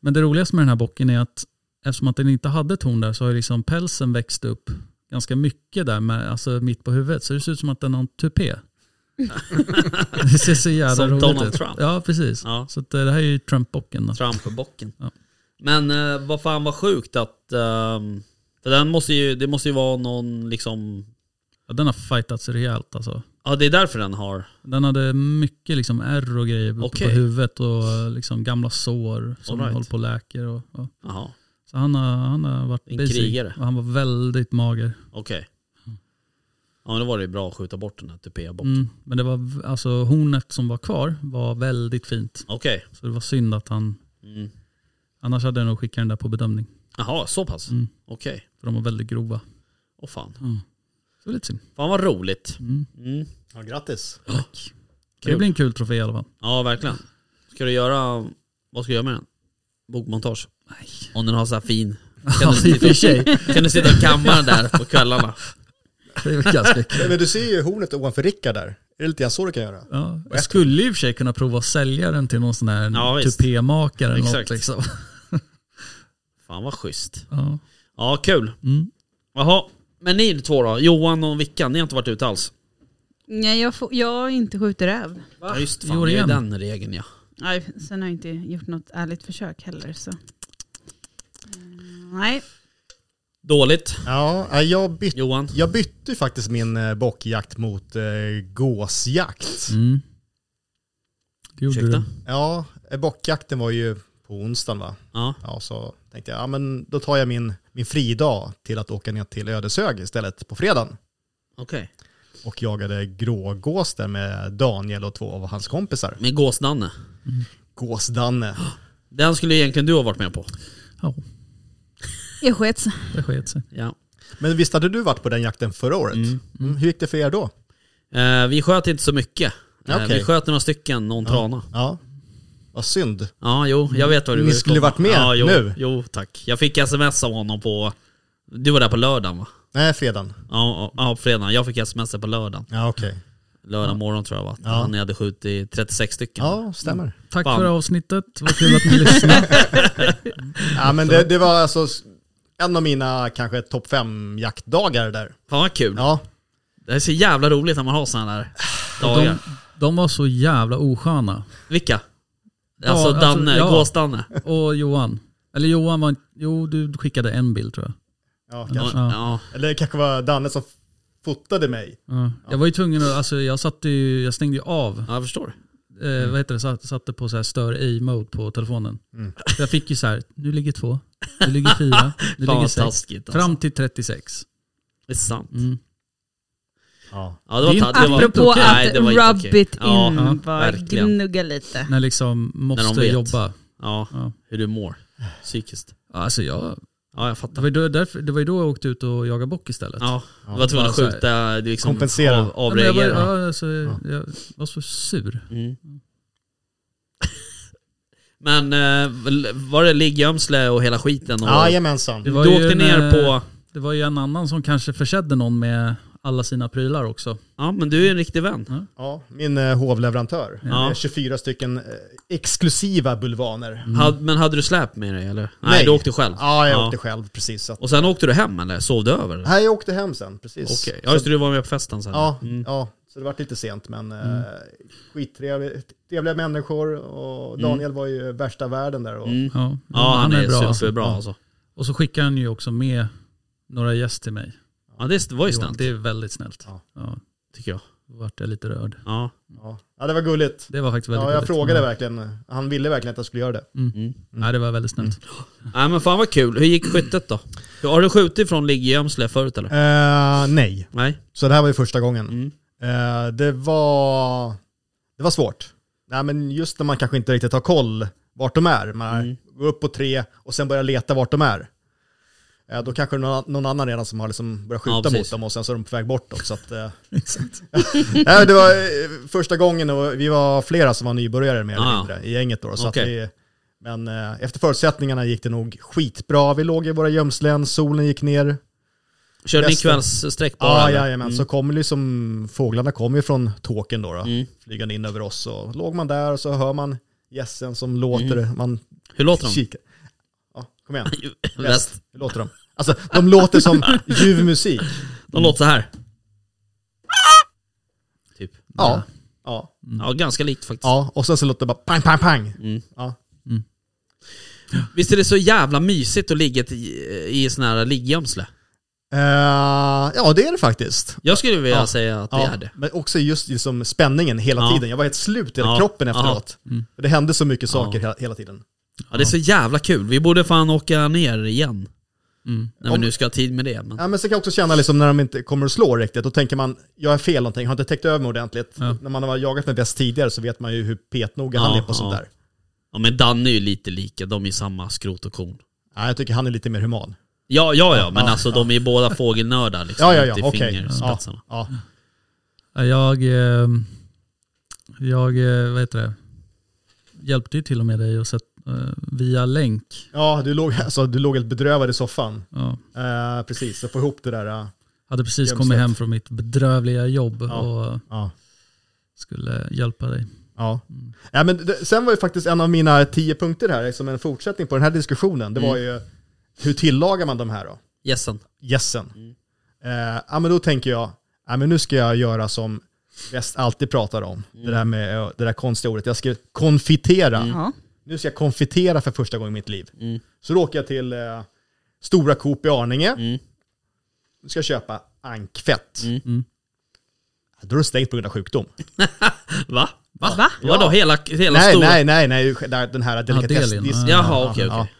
Speaker 5: Men det roligaste med den här bocken är att eftersom att den inte hade ett horn där så har ju liksom pälsen växt upp ganska mycket där, med, alltså mitt på huvudet. Så det ser ut som att den har en tupé. det ser så jävla
Speaker 2: Som
Speaker 5: roligt
Speaker 2: Donald
Speaker 5: ut.
Speaker 2: Trump.
Speaker 5: Ja, precis.
Speaker 2: Ja.
Speaker 5: Så att, eh, det här är ju Trump-bocken. då.
Speaker 2: Trampbocken.
Speaker 5: Ja.
Speaker 2: Men eh, vad fan vad sjukt att... ehm, för den måste ju, det måste ju vara någon liksom...
Speaker 5: Ja, den har fightats rejält alltså.
Speaker 2: Ja det är därför den har...
Speaker 5: Den hade mycket liksom ärr och grejer uppe
Speaker 2: Okej.
Speaker 5: på huvudet och eh, liksom gamla sår
Speaker 2: All
Speaker 5: som
Speaker 2: right.
Speaker 5: håller på och läker. Och, ja.
Speaker 2: Jaha,
Speaker 5: Så han har, han har varit
Speaker 2: En
Speaker 5: busy.
Speaker 2: krigare.
Speaker 5: Och han var väldigt mager.
Speaker 2: okej. Ja men då var det ju bra att skjuta bort den här typ tupébocken.
Speaker 5: Mm, men det var, v- alltså hornet som var kvar var väldigt fint.
Speaker 2: Okej.
Speaker 5: Så det var synd att han,
Speaker 2: Mm.
Speaker 5: annars hade jag nog skickat den där på bedömning.
Speaker 2: Jaha, så pass?
Speaker 5: Mm.
Speaker 2: Okej.
Speaker 5: För de var väldigt grova.
Speaker 2: Åh fan.
Speaker 5: Så det var lite synd.
Speaker 2: Fan vad roligt.
Speaker 5: Mm.
Speaker 2: Mm.
Speaker 6: Ja, grattis.
Speaker 5: Men Det blir en kul trofé i alla fall.
Speaker 2: Ja, verkligen. Ska du göra, vad ska du göra med den? Bokmontage?
Speaker 5: Nej.
Speaker 2: Om den har så här fin.
Speaker 5: Ja,
Speaker 2: Kan
Speaker 5: i
Speaker 2: du,
Speaker 5: och för sig.
Speaker 2: kan du sitta i kammaren där på kvällarna?
Speaker 5: Det är väl ganska kul.
Speaker 6: Men du ser ju hornet ovanför Rickard där. Är det lite grann så du kan göra?
Speaker 5: Ja, jag skulle i och för sig kunna prova att sälja den till någon sån här
Speaker 2: Ja, visst.
Speaker 5: tupémakare eller något
Speaker 2: Exakt.
Speaker 5: liksom.
Speaker 2: Fan vad schysst.
Speaker 5: Ja.
Speaker 2: Ja, kul.
Speaker 5: Mm.
Speaker 2: Jaha, men ni två då? Johan och Vickan, ni har inte varit ute alls?
Speaker 4: Nej, jag, får, jag har inte skjutit räv.
Speaker 2: Ja, just
Speaker 5: Jo,
Speaker 2: fan, det är ju
Speaker 5: igen.
Speaker 2: den regeln ja.
Speaker 4: Nej, sen har jag inte gjort något ärligt försök heller. Så. Eh, Nej,
Speaker 2: Dåligt,
Speaker 6: Ja, nej, jag bytte,
Speaker 2: Johan.
Speaker 6: jag bytte ju faktiskt min eh, bockjakt mot eh, gåsjakt.
Speaker 5: Mm. Det gjorde
Speaker 2: Ursäkta?
Speaker 5: du.
Speaker 6: Ja, eh, bockjakten var ju på onsdagen va?
Speaker 2: Ja.
Speaker 6: Ja, så tänkte jag, ja men då tar jag min, min fridag till att åka ner till Ödeshög istället på fredagen.
Speaker 2: Okej.
Speaker 6: Och jagade grågås där med Daniel och två av hans kompisar.
Speaker 2: Med Gåsnanne.
Speaker 6: Gåsdanne.
Speaker 2: Den skulle egentligen du ha varit med på.
Speaker 5: Ja,
Speaker 4: Jag sket sig.
Speaker 5: det sket sig.
Speaker 2: Ja.
Speaker 6: Men visst hade du varit på den jakten förra året? Mm, hur gick det för er då?
Speaker 2: Eh, vi sköt inte så mycket. Eh,
Speaker 6: Okej.
Speaker 2: Vi sköt några stycken, någon trana.
Speaker 6: Ja, vad synd.
Speaker 2: Ja, jo, jag vet vad du
Speaker 6: Ni
Speaker 2: vill
Speaker 6: skulle
Speaker 2: komma.
Speaker 6: varit med
Speaker 2: ja, jo,
Speaker 6: nu.
Speaker 2: Jo, tack. Jag fick sms av honom på... Du var där på lördagen va?
Speaker 6: Nej, fredagen.
Speaker 2: Ja, ja, ja, på fredagen. Jag fick sms på lördagen.
Speaker 6: Ja, okej.
Speaker 2: Lördag morgon tror jag va? Ja. Han hade skjutit 36 stycken.
Speaker 6: Ja, stämmer.
Speaker 5: Tack
Speaker 2: Fan.
Speaker 5: för avsnittet, vad kul att ni lyssnade.
Speaker 6: Ja, men det, det var alltså s- en av mina kanske topp fem jaktdagar där.
Speaker 2: Fan vad kul.
Speaker 6: Ja,
Speaker 2: Det är så jävla roligt när man har sådana där dagar.
Speaker 5: De, de var så jävla osköna.
Speaker 2: Vilka? Alltså
Speaker 5: alltså,
Speaker 2: Danne,
Speaker 5: ja.
Speaker 2: Gås-Danne.
Speaker 5: Och Johan. Eller Johan var inte- Jo, du skickade en bild tror jag.
Speaker 6: ja
Speaker 2: Ja.
Speaker 6: kanske.
Speaker 2: Ja.
Speaker 6: Eller det kanske var Danne som fotade mig.
Speaker 5: Ja. Mm. Jag var ju tvungen att, alltså jag satte ju, jag stängde ju av,
Speaker 2: jag förstår. Mm.
Speaker 5: eh, vad heter det, satt, satte på så här stör ej mode på telefonen.
Speaker 6: Mm.
Speaker 5: Så jag fick ju så här, nu ligger två, nu ligger fyra, nu
Speaker 2: Fan
Speaker 5: ligger
Speaker 2: vad
Speaker 5: sex.
Speaker 2: taskigt alltså.
Speaker 5: Fram till 36.
Speaker 2: Det är sant.
Speaker 5: Mm.
Speaker 6: Ja.
Speaker 2: Ja, det var,
Speaker 5: Det är
Speaker 2: ta-
Speaker 5: inte-
Speaker 2: det var
Speaker 5: inte
Speaker 4: Apropå
Speaker 5: okej.
Speaker 4: att
Speaker 2: Nej, det var inte
Speaker 4: rub
Speaker 2: okej.
Speaker 4: it in,
Speaker 2: Ja,
Speaker 5: ja,
Speaker 4: bara
Speaker 2: verkligen. Mm.
Speaker 4: gnugga lite.
Speaker 5: När liksom måste
Speaker 2: vet.
Speaker 5: jobba.
Speaker 2: Ja,
Speaker 5: Ja.
Speaker 2: hur du mår psykiskt.
Speaker 5: Alltså jag,
Speaker 2: Ja, jag
Speaker 5: det
Speaker 2: fattar.
Speaker 5: var ju då, därför, det var ju då jag åkte ut och jagade bock istället.
Speaker 6: Typ.
Speaker 2: Ja, du var tvungen att
Speaker 5: Bara så här-
Speaker 2: skjuta, du liksom
Speaker 6: Kompensera.
Speaker 2: Av,
Speaker 5: Ja, men jag, var,
Speaker 2: avreagera.
Speaker 5: ja, alltså, jag var så sur.
Speaker 2: Mm. Men eh, l- var det liggömsle och hela skiten? Och,
Speaker 6: Jajamensan.
Speaker 5: Det
Speaker 2: du
Speaker 5: var ju
Speaker 2: åkte
Speaker 5: en,
Speaker 2: ner
Speaker 5: eh,
Speaker 2: på...
Speaker 5: Det var ju en annan som kanske försedde någon med alla sina prylar också.
Speaker 2: Ja, men du är en riktig vän.
Speaker 6: Ja, min eh, hovleverantör.
Speaker 2: Ja.
Speaker 6: Det är 24 stycken eh, exklusiva bulvaner.
Speaker 2: Had, men hade du släp med dig eller? Nej,
Speaker 6: Mm. Nej.
Speaker 2: du åkte själv.
Speaker 6: Ja, jag åkte själv precis. Så att,
Speaker 2: Och sen åkte du hem eller? Sov du över? eller?
Speaker 6: nej, jag åkte hem sen, precis.
Speaker 2: Okej, ja just
Speaker 6: så,
Speaker 2: det, du var med på festen sen.
Speaker 6: ja,
Speaker 2: Mm.
Speaker 6: ja, så det var lite sent, men mm. skittrevliga människor. Och Daniel var ju värsta världen där. Och,
Speaker 2: Mm.
Speaker 5: Ja,
Speaker 2: ja han, är,
Speaker 5: bra.
Speaker 2: superbra
Speaker 5: Ja.
Speaker 2: alltså.
Speaker 5: Och så skickar han ju också med några gäst till mig.
Speaker 2: Ja, det var ju snällt
Speaker 5: Det är väldigt snällt.
Speaker 6: Ja.
Speaker 5: Ja.
Speaker 2: tycker jag.
Speaker 5: då vart jag lite rörd.
Speaker 2: Ja.
Speaker 6: Ja. ja, det var gulligt.
Speaker 5: Det var faktiskt väldigt
Speaker 6: Ja, jag
Speaker 5: gulligt.
Speaker 6: frågade
Speaker 5: Ja.
Speaker 6: verkligen. Han ville verkligen att jag skulle göra det.
Speaker 2: Mm.
Speaker 5: Nej, det var väldigt snällt.
Speaker 2: Nej men fan vad kul. Hur gick skyttet då? Har du skjutit från liggömsle förut eller?
Speaker 6: Eh, nej,
Speaker 2: Nej?
Speaker 6: så det här var ju första gången.
Speaker 2: Mm.
Speaker 6: Eh, det, var, det var svårt. Nej, men just när man kanske inte riktigt har koll vart de är. Man
Speaker 2: Mm.
Speaker 6: går upp på tre och sen börjar leta vart de är. Eh, då kanske det är någon, någon annan redan som har liksom börjat
Speaker 2: Ja,
Speaker 6: skjuta
Speaker 2: precis.
Speaker 6: mot dem och sen så är de på väg bortåt. Så att, eh, nej, det var eh, första gången och vi var flera som var nybörjare mer eller
Speaker 2: Ah.
Speaker 6: mindre i gänget. Då, så
Speaker 2: Okej.
Speaker 6: att vi, men eh, efter förutsättningarna gick det nog skitbra. Vi låg i våra gömslen, solen gick ner.
Speaker 2: Körde ni
Speaker 6: Bästa.
Speaker 2: kvällssträck bara?
Speaker 6: Ja,
Speaker 2: eller?
Speaker 6: jajamän. Så kommer liksom, fåglarna kommer ju från tåken då, då
Speaker 2: Mm.
Speaker 6: flygande in över oss. Och låg man där och så hör man gässen som låter,
Speaker 2: Mm.
Speaker 6: man
Speaker 2: Hur låter de?
Speaker 6: kikar. Ja, kom igen.
Speaker 2: Väst.
Speaker 6: Hur låter de? Alltså, de låter som ljuv musik.
Speaker 2: De låter så här. Typ.
Speaker 6: Ja. Ja.
Speaker 2: Ja, ganska likt faktiskt.
Speaker 6: ja, och sen så låter det bara pang, pang, pang.
Speaker 2: Mm.
Speaker 6: Ja.
Speaker 2: Visst är det så jävla mysigt att ligga i, i sån här liggömsle?
Speaker 6: Eh, ja, det är det faktiskt.
Speaker 2: Jag skulle vilja
Speaker 6: Ja.
Speaker 2: säga att det
Speaker 6: Ja,
Speaker 2: är det.
Speaker 6: men också just liksom spänningen hela
Speaker 2: Ja.
Speaker 6: tiden. Jag var helt slut i hela
Speaker 2: Ja.
Speaker 6: kroppen efteråt.
Speaker 5: Mm.
Speaker 6: Det hände så mycket
Speaker 2: Ja.
Speaker 6: saker hela, hela tiden.
Speaker 2: Ja, det är så jävla kul. Vi borde fan åka ner igen.
Speaker 5: Mm.
Speaker 2: När vi
Speaker 6: Om-
Speaker 2: nu ska ha tid med det. Men...
Speaker 6: Ja, men sen kan jag också känna liksom när de inte kommer att slå riktigt, då tänker man, jag är fel någonting, jag har inte täckt över mig ordentligt.
Speaker 5: Ja.
Speaker 6: När man har jagat med väst tidigare så vet man ju hur petnoga han
Speaker 2: Ja,
Speaker 6: är på sånt
Speaker 2: ja.
Speaker 6: där.
Speaker 2: Ja men Danne är ju lite lika, de är ju samma skrot och korn.
Speaker 6: Ja, jag tycker han är lite mer human.
Speaker 2: Ja, ja, ja, men
Speaker 6: Ja,
Speaker 2: alltså
Speaker 6: ja.
Speaker 2: de är ju båda fågelnördar liksom.
Speaker 6: Ja, ja,
Speaker 2: ut i
Speaker 6: ja, okej. Ja,
Speaker 2: fingerspetsarna.
Speaker 6: ja.
Speaker 5: Ja, Jag, eh, jag, eh, vad heter det, hjälpte ju till och med dig och sett, eh, via länk.
Speaker 6: ja du, låg, alltså, du låg helt bedrövad i soffan.
Speaker 5: Ja.
Speaker 6: Eh, precis, så få ihop det där. eh,
Speaker 5: Hade precis
Speaker 6: Jämställt.
Speaker 5: kommit hem från mitt bedrövliga jobb
Speaker 6: Ja.
Speaker 5: och
Speaker 6: Ja.
Speaker 5: skulle hjälpa dig.
Speaker 6: Ja. ja men det, sen var ju faktiskt en av mina tio punkter här, som en fortsättning på den här diskussionen, det
Speaker 2: Mm.
Speaker 6: var ju hur tillagar man de här då?
Speaker 2: Gässen.
Speaker 6: gässen.
Speaker 2: Mm.
Speaker 6: Eh, ja, men då tänker jag, ja, men nu ska jag göra som väst alltid pratar om.
Speaker 2: Mm.
Speaker 6: Det, där med, eh, det där konstiga ordet. Jag skrev konfitera.
Speaker 4: Ja.
Speaker 6: Nu ska jag konfitera för första gången i mitt liv. Så då åker jag till eh, Stora Coop i Arninge.
Speaker 2: Mm.
Speaker 6: Du ska köpa ankfett.
Speaker 2: Mm.
Speaker 5: Mm.
Speaker 6: Då är det stängt på grund av sjukdom.
Speaker 2: Va? Va?
Speaker 4: Va?
Speaker 2: Vadå, hela, hela
Speaker 6: Nej,
Speaker 2: stora?
Speaker 6: nej, nej, nej, där- den här
Speaker 5: ja.
Speaker 6: delikatessdisken.
Speaker 2: Jaha, okej, okej.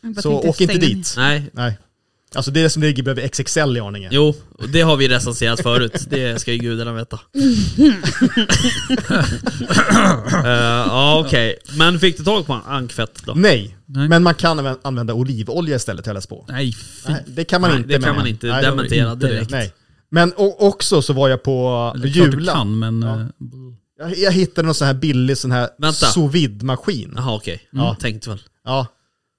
Speaker 4: Jag bara
Speaker 6: Så
Speaker 4: tänkte
Speaker 6: åk inte
Speaker 4: stänga
Speaker 6: dit.
Speaker 2: Nej,
Speaker 6: Nej. Alltså det är som ligger bredvid XXL i Arninge.
Speaker 2: jo, det har vi recenserat förut. Det ska ju gudarna veta. Eh, Ja, okej. Men fick du tag på ankfett då?
Speaker 6: Nej,
Speaker 5: Nej.
Speaker 6: men man kan anvä- använda olivolja istället har jag läst på.
Speaker 5: Nej, fy.
Speaker 6: Nej, det kan man
Speaker 2: Nej,
Speaker 6: inte.
Speaker 2: det kan
Speaker 6: med-
Speaker 2: man inte
Speaker 6: Nej,
Speaker 2: dementera
Speaker 5: inte det.
Speaker 2: direkt.
Speaker 6: Nej. Men o- också så var jag på
Speaker 5: Eller klart du
Speaker 6: Jula.
Speaker 5: kan, men...
Speaker 6: Ja.
Speaker 5: eh,
Speaker 6: Jag, jag hittade någon sån här billig sån här
Speaker 2: Vänta.
Speaker 6: sous vide maskin
Speaker 2: Jaha, okej.
Speaker 6: Ja.
Speaker 2: Tänkte väl.
Speaker 6: Ja.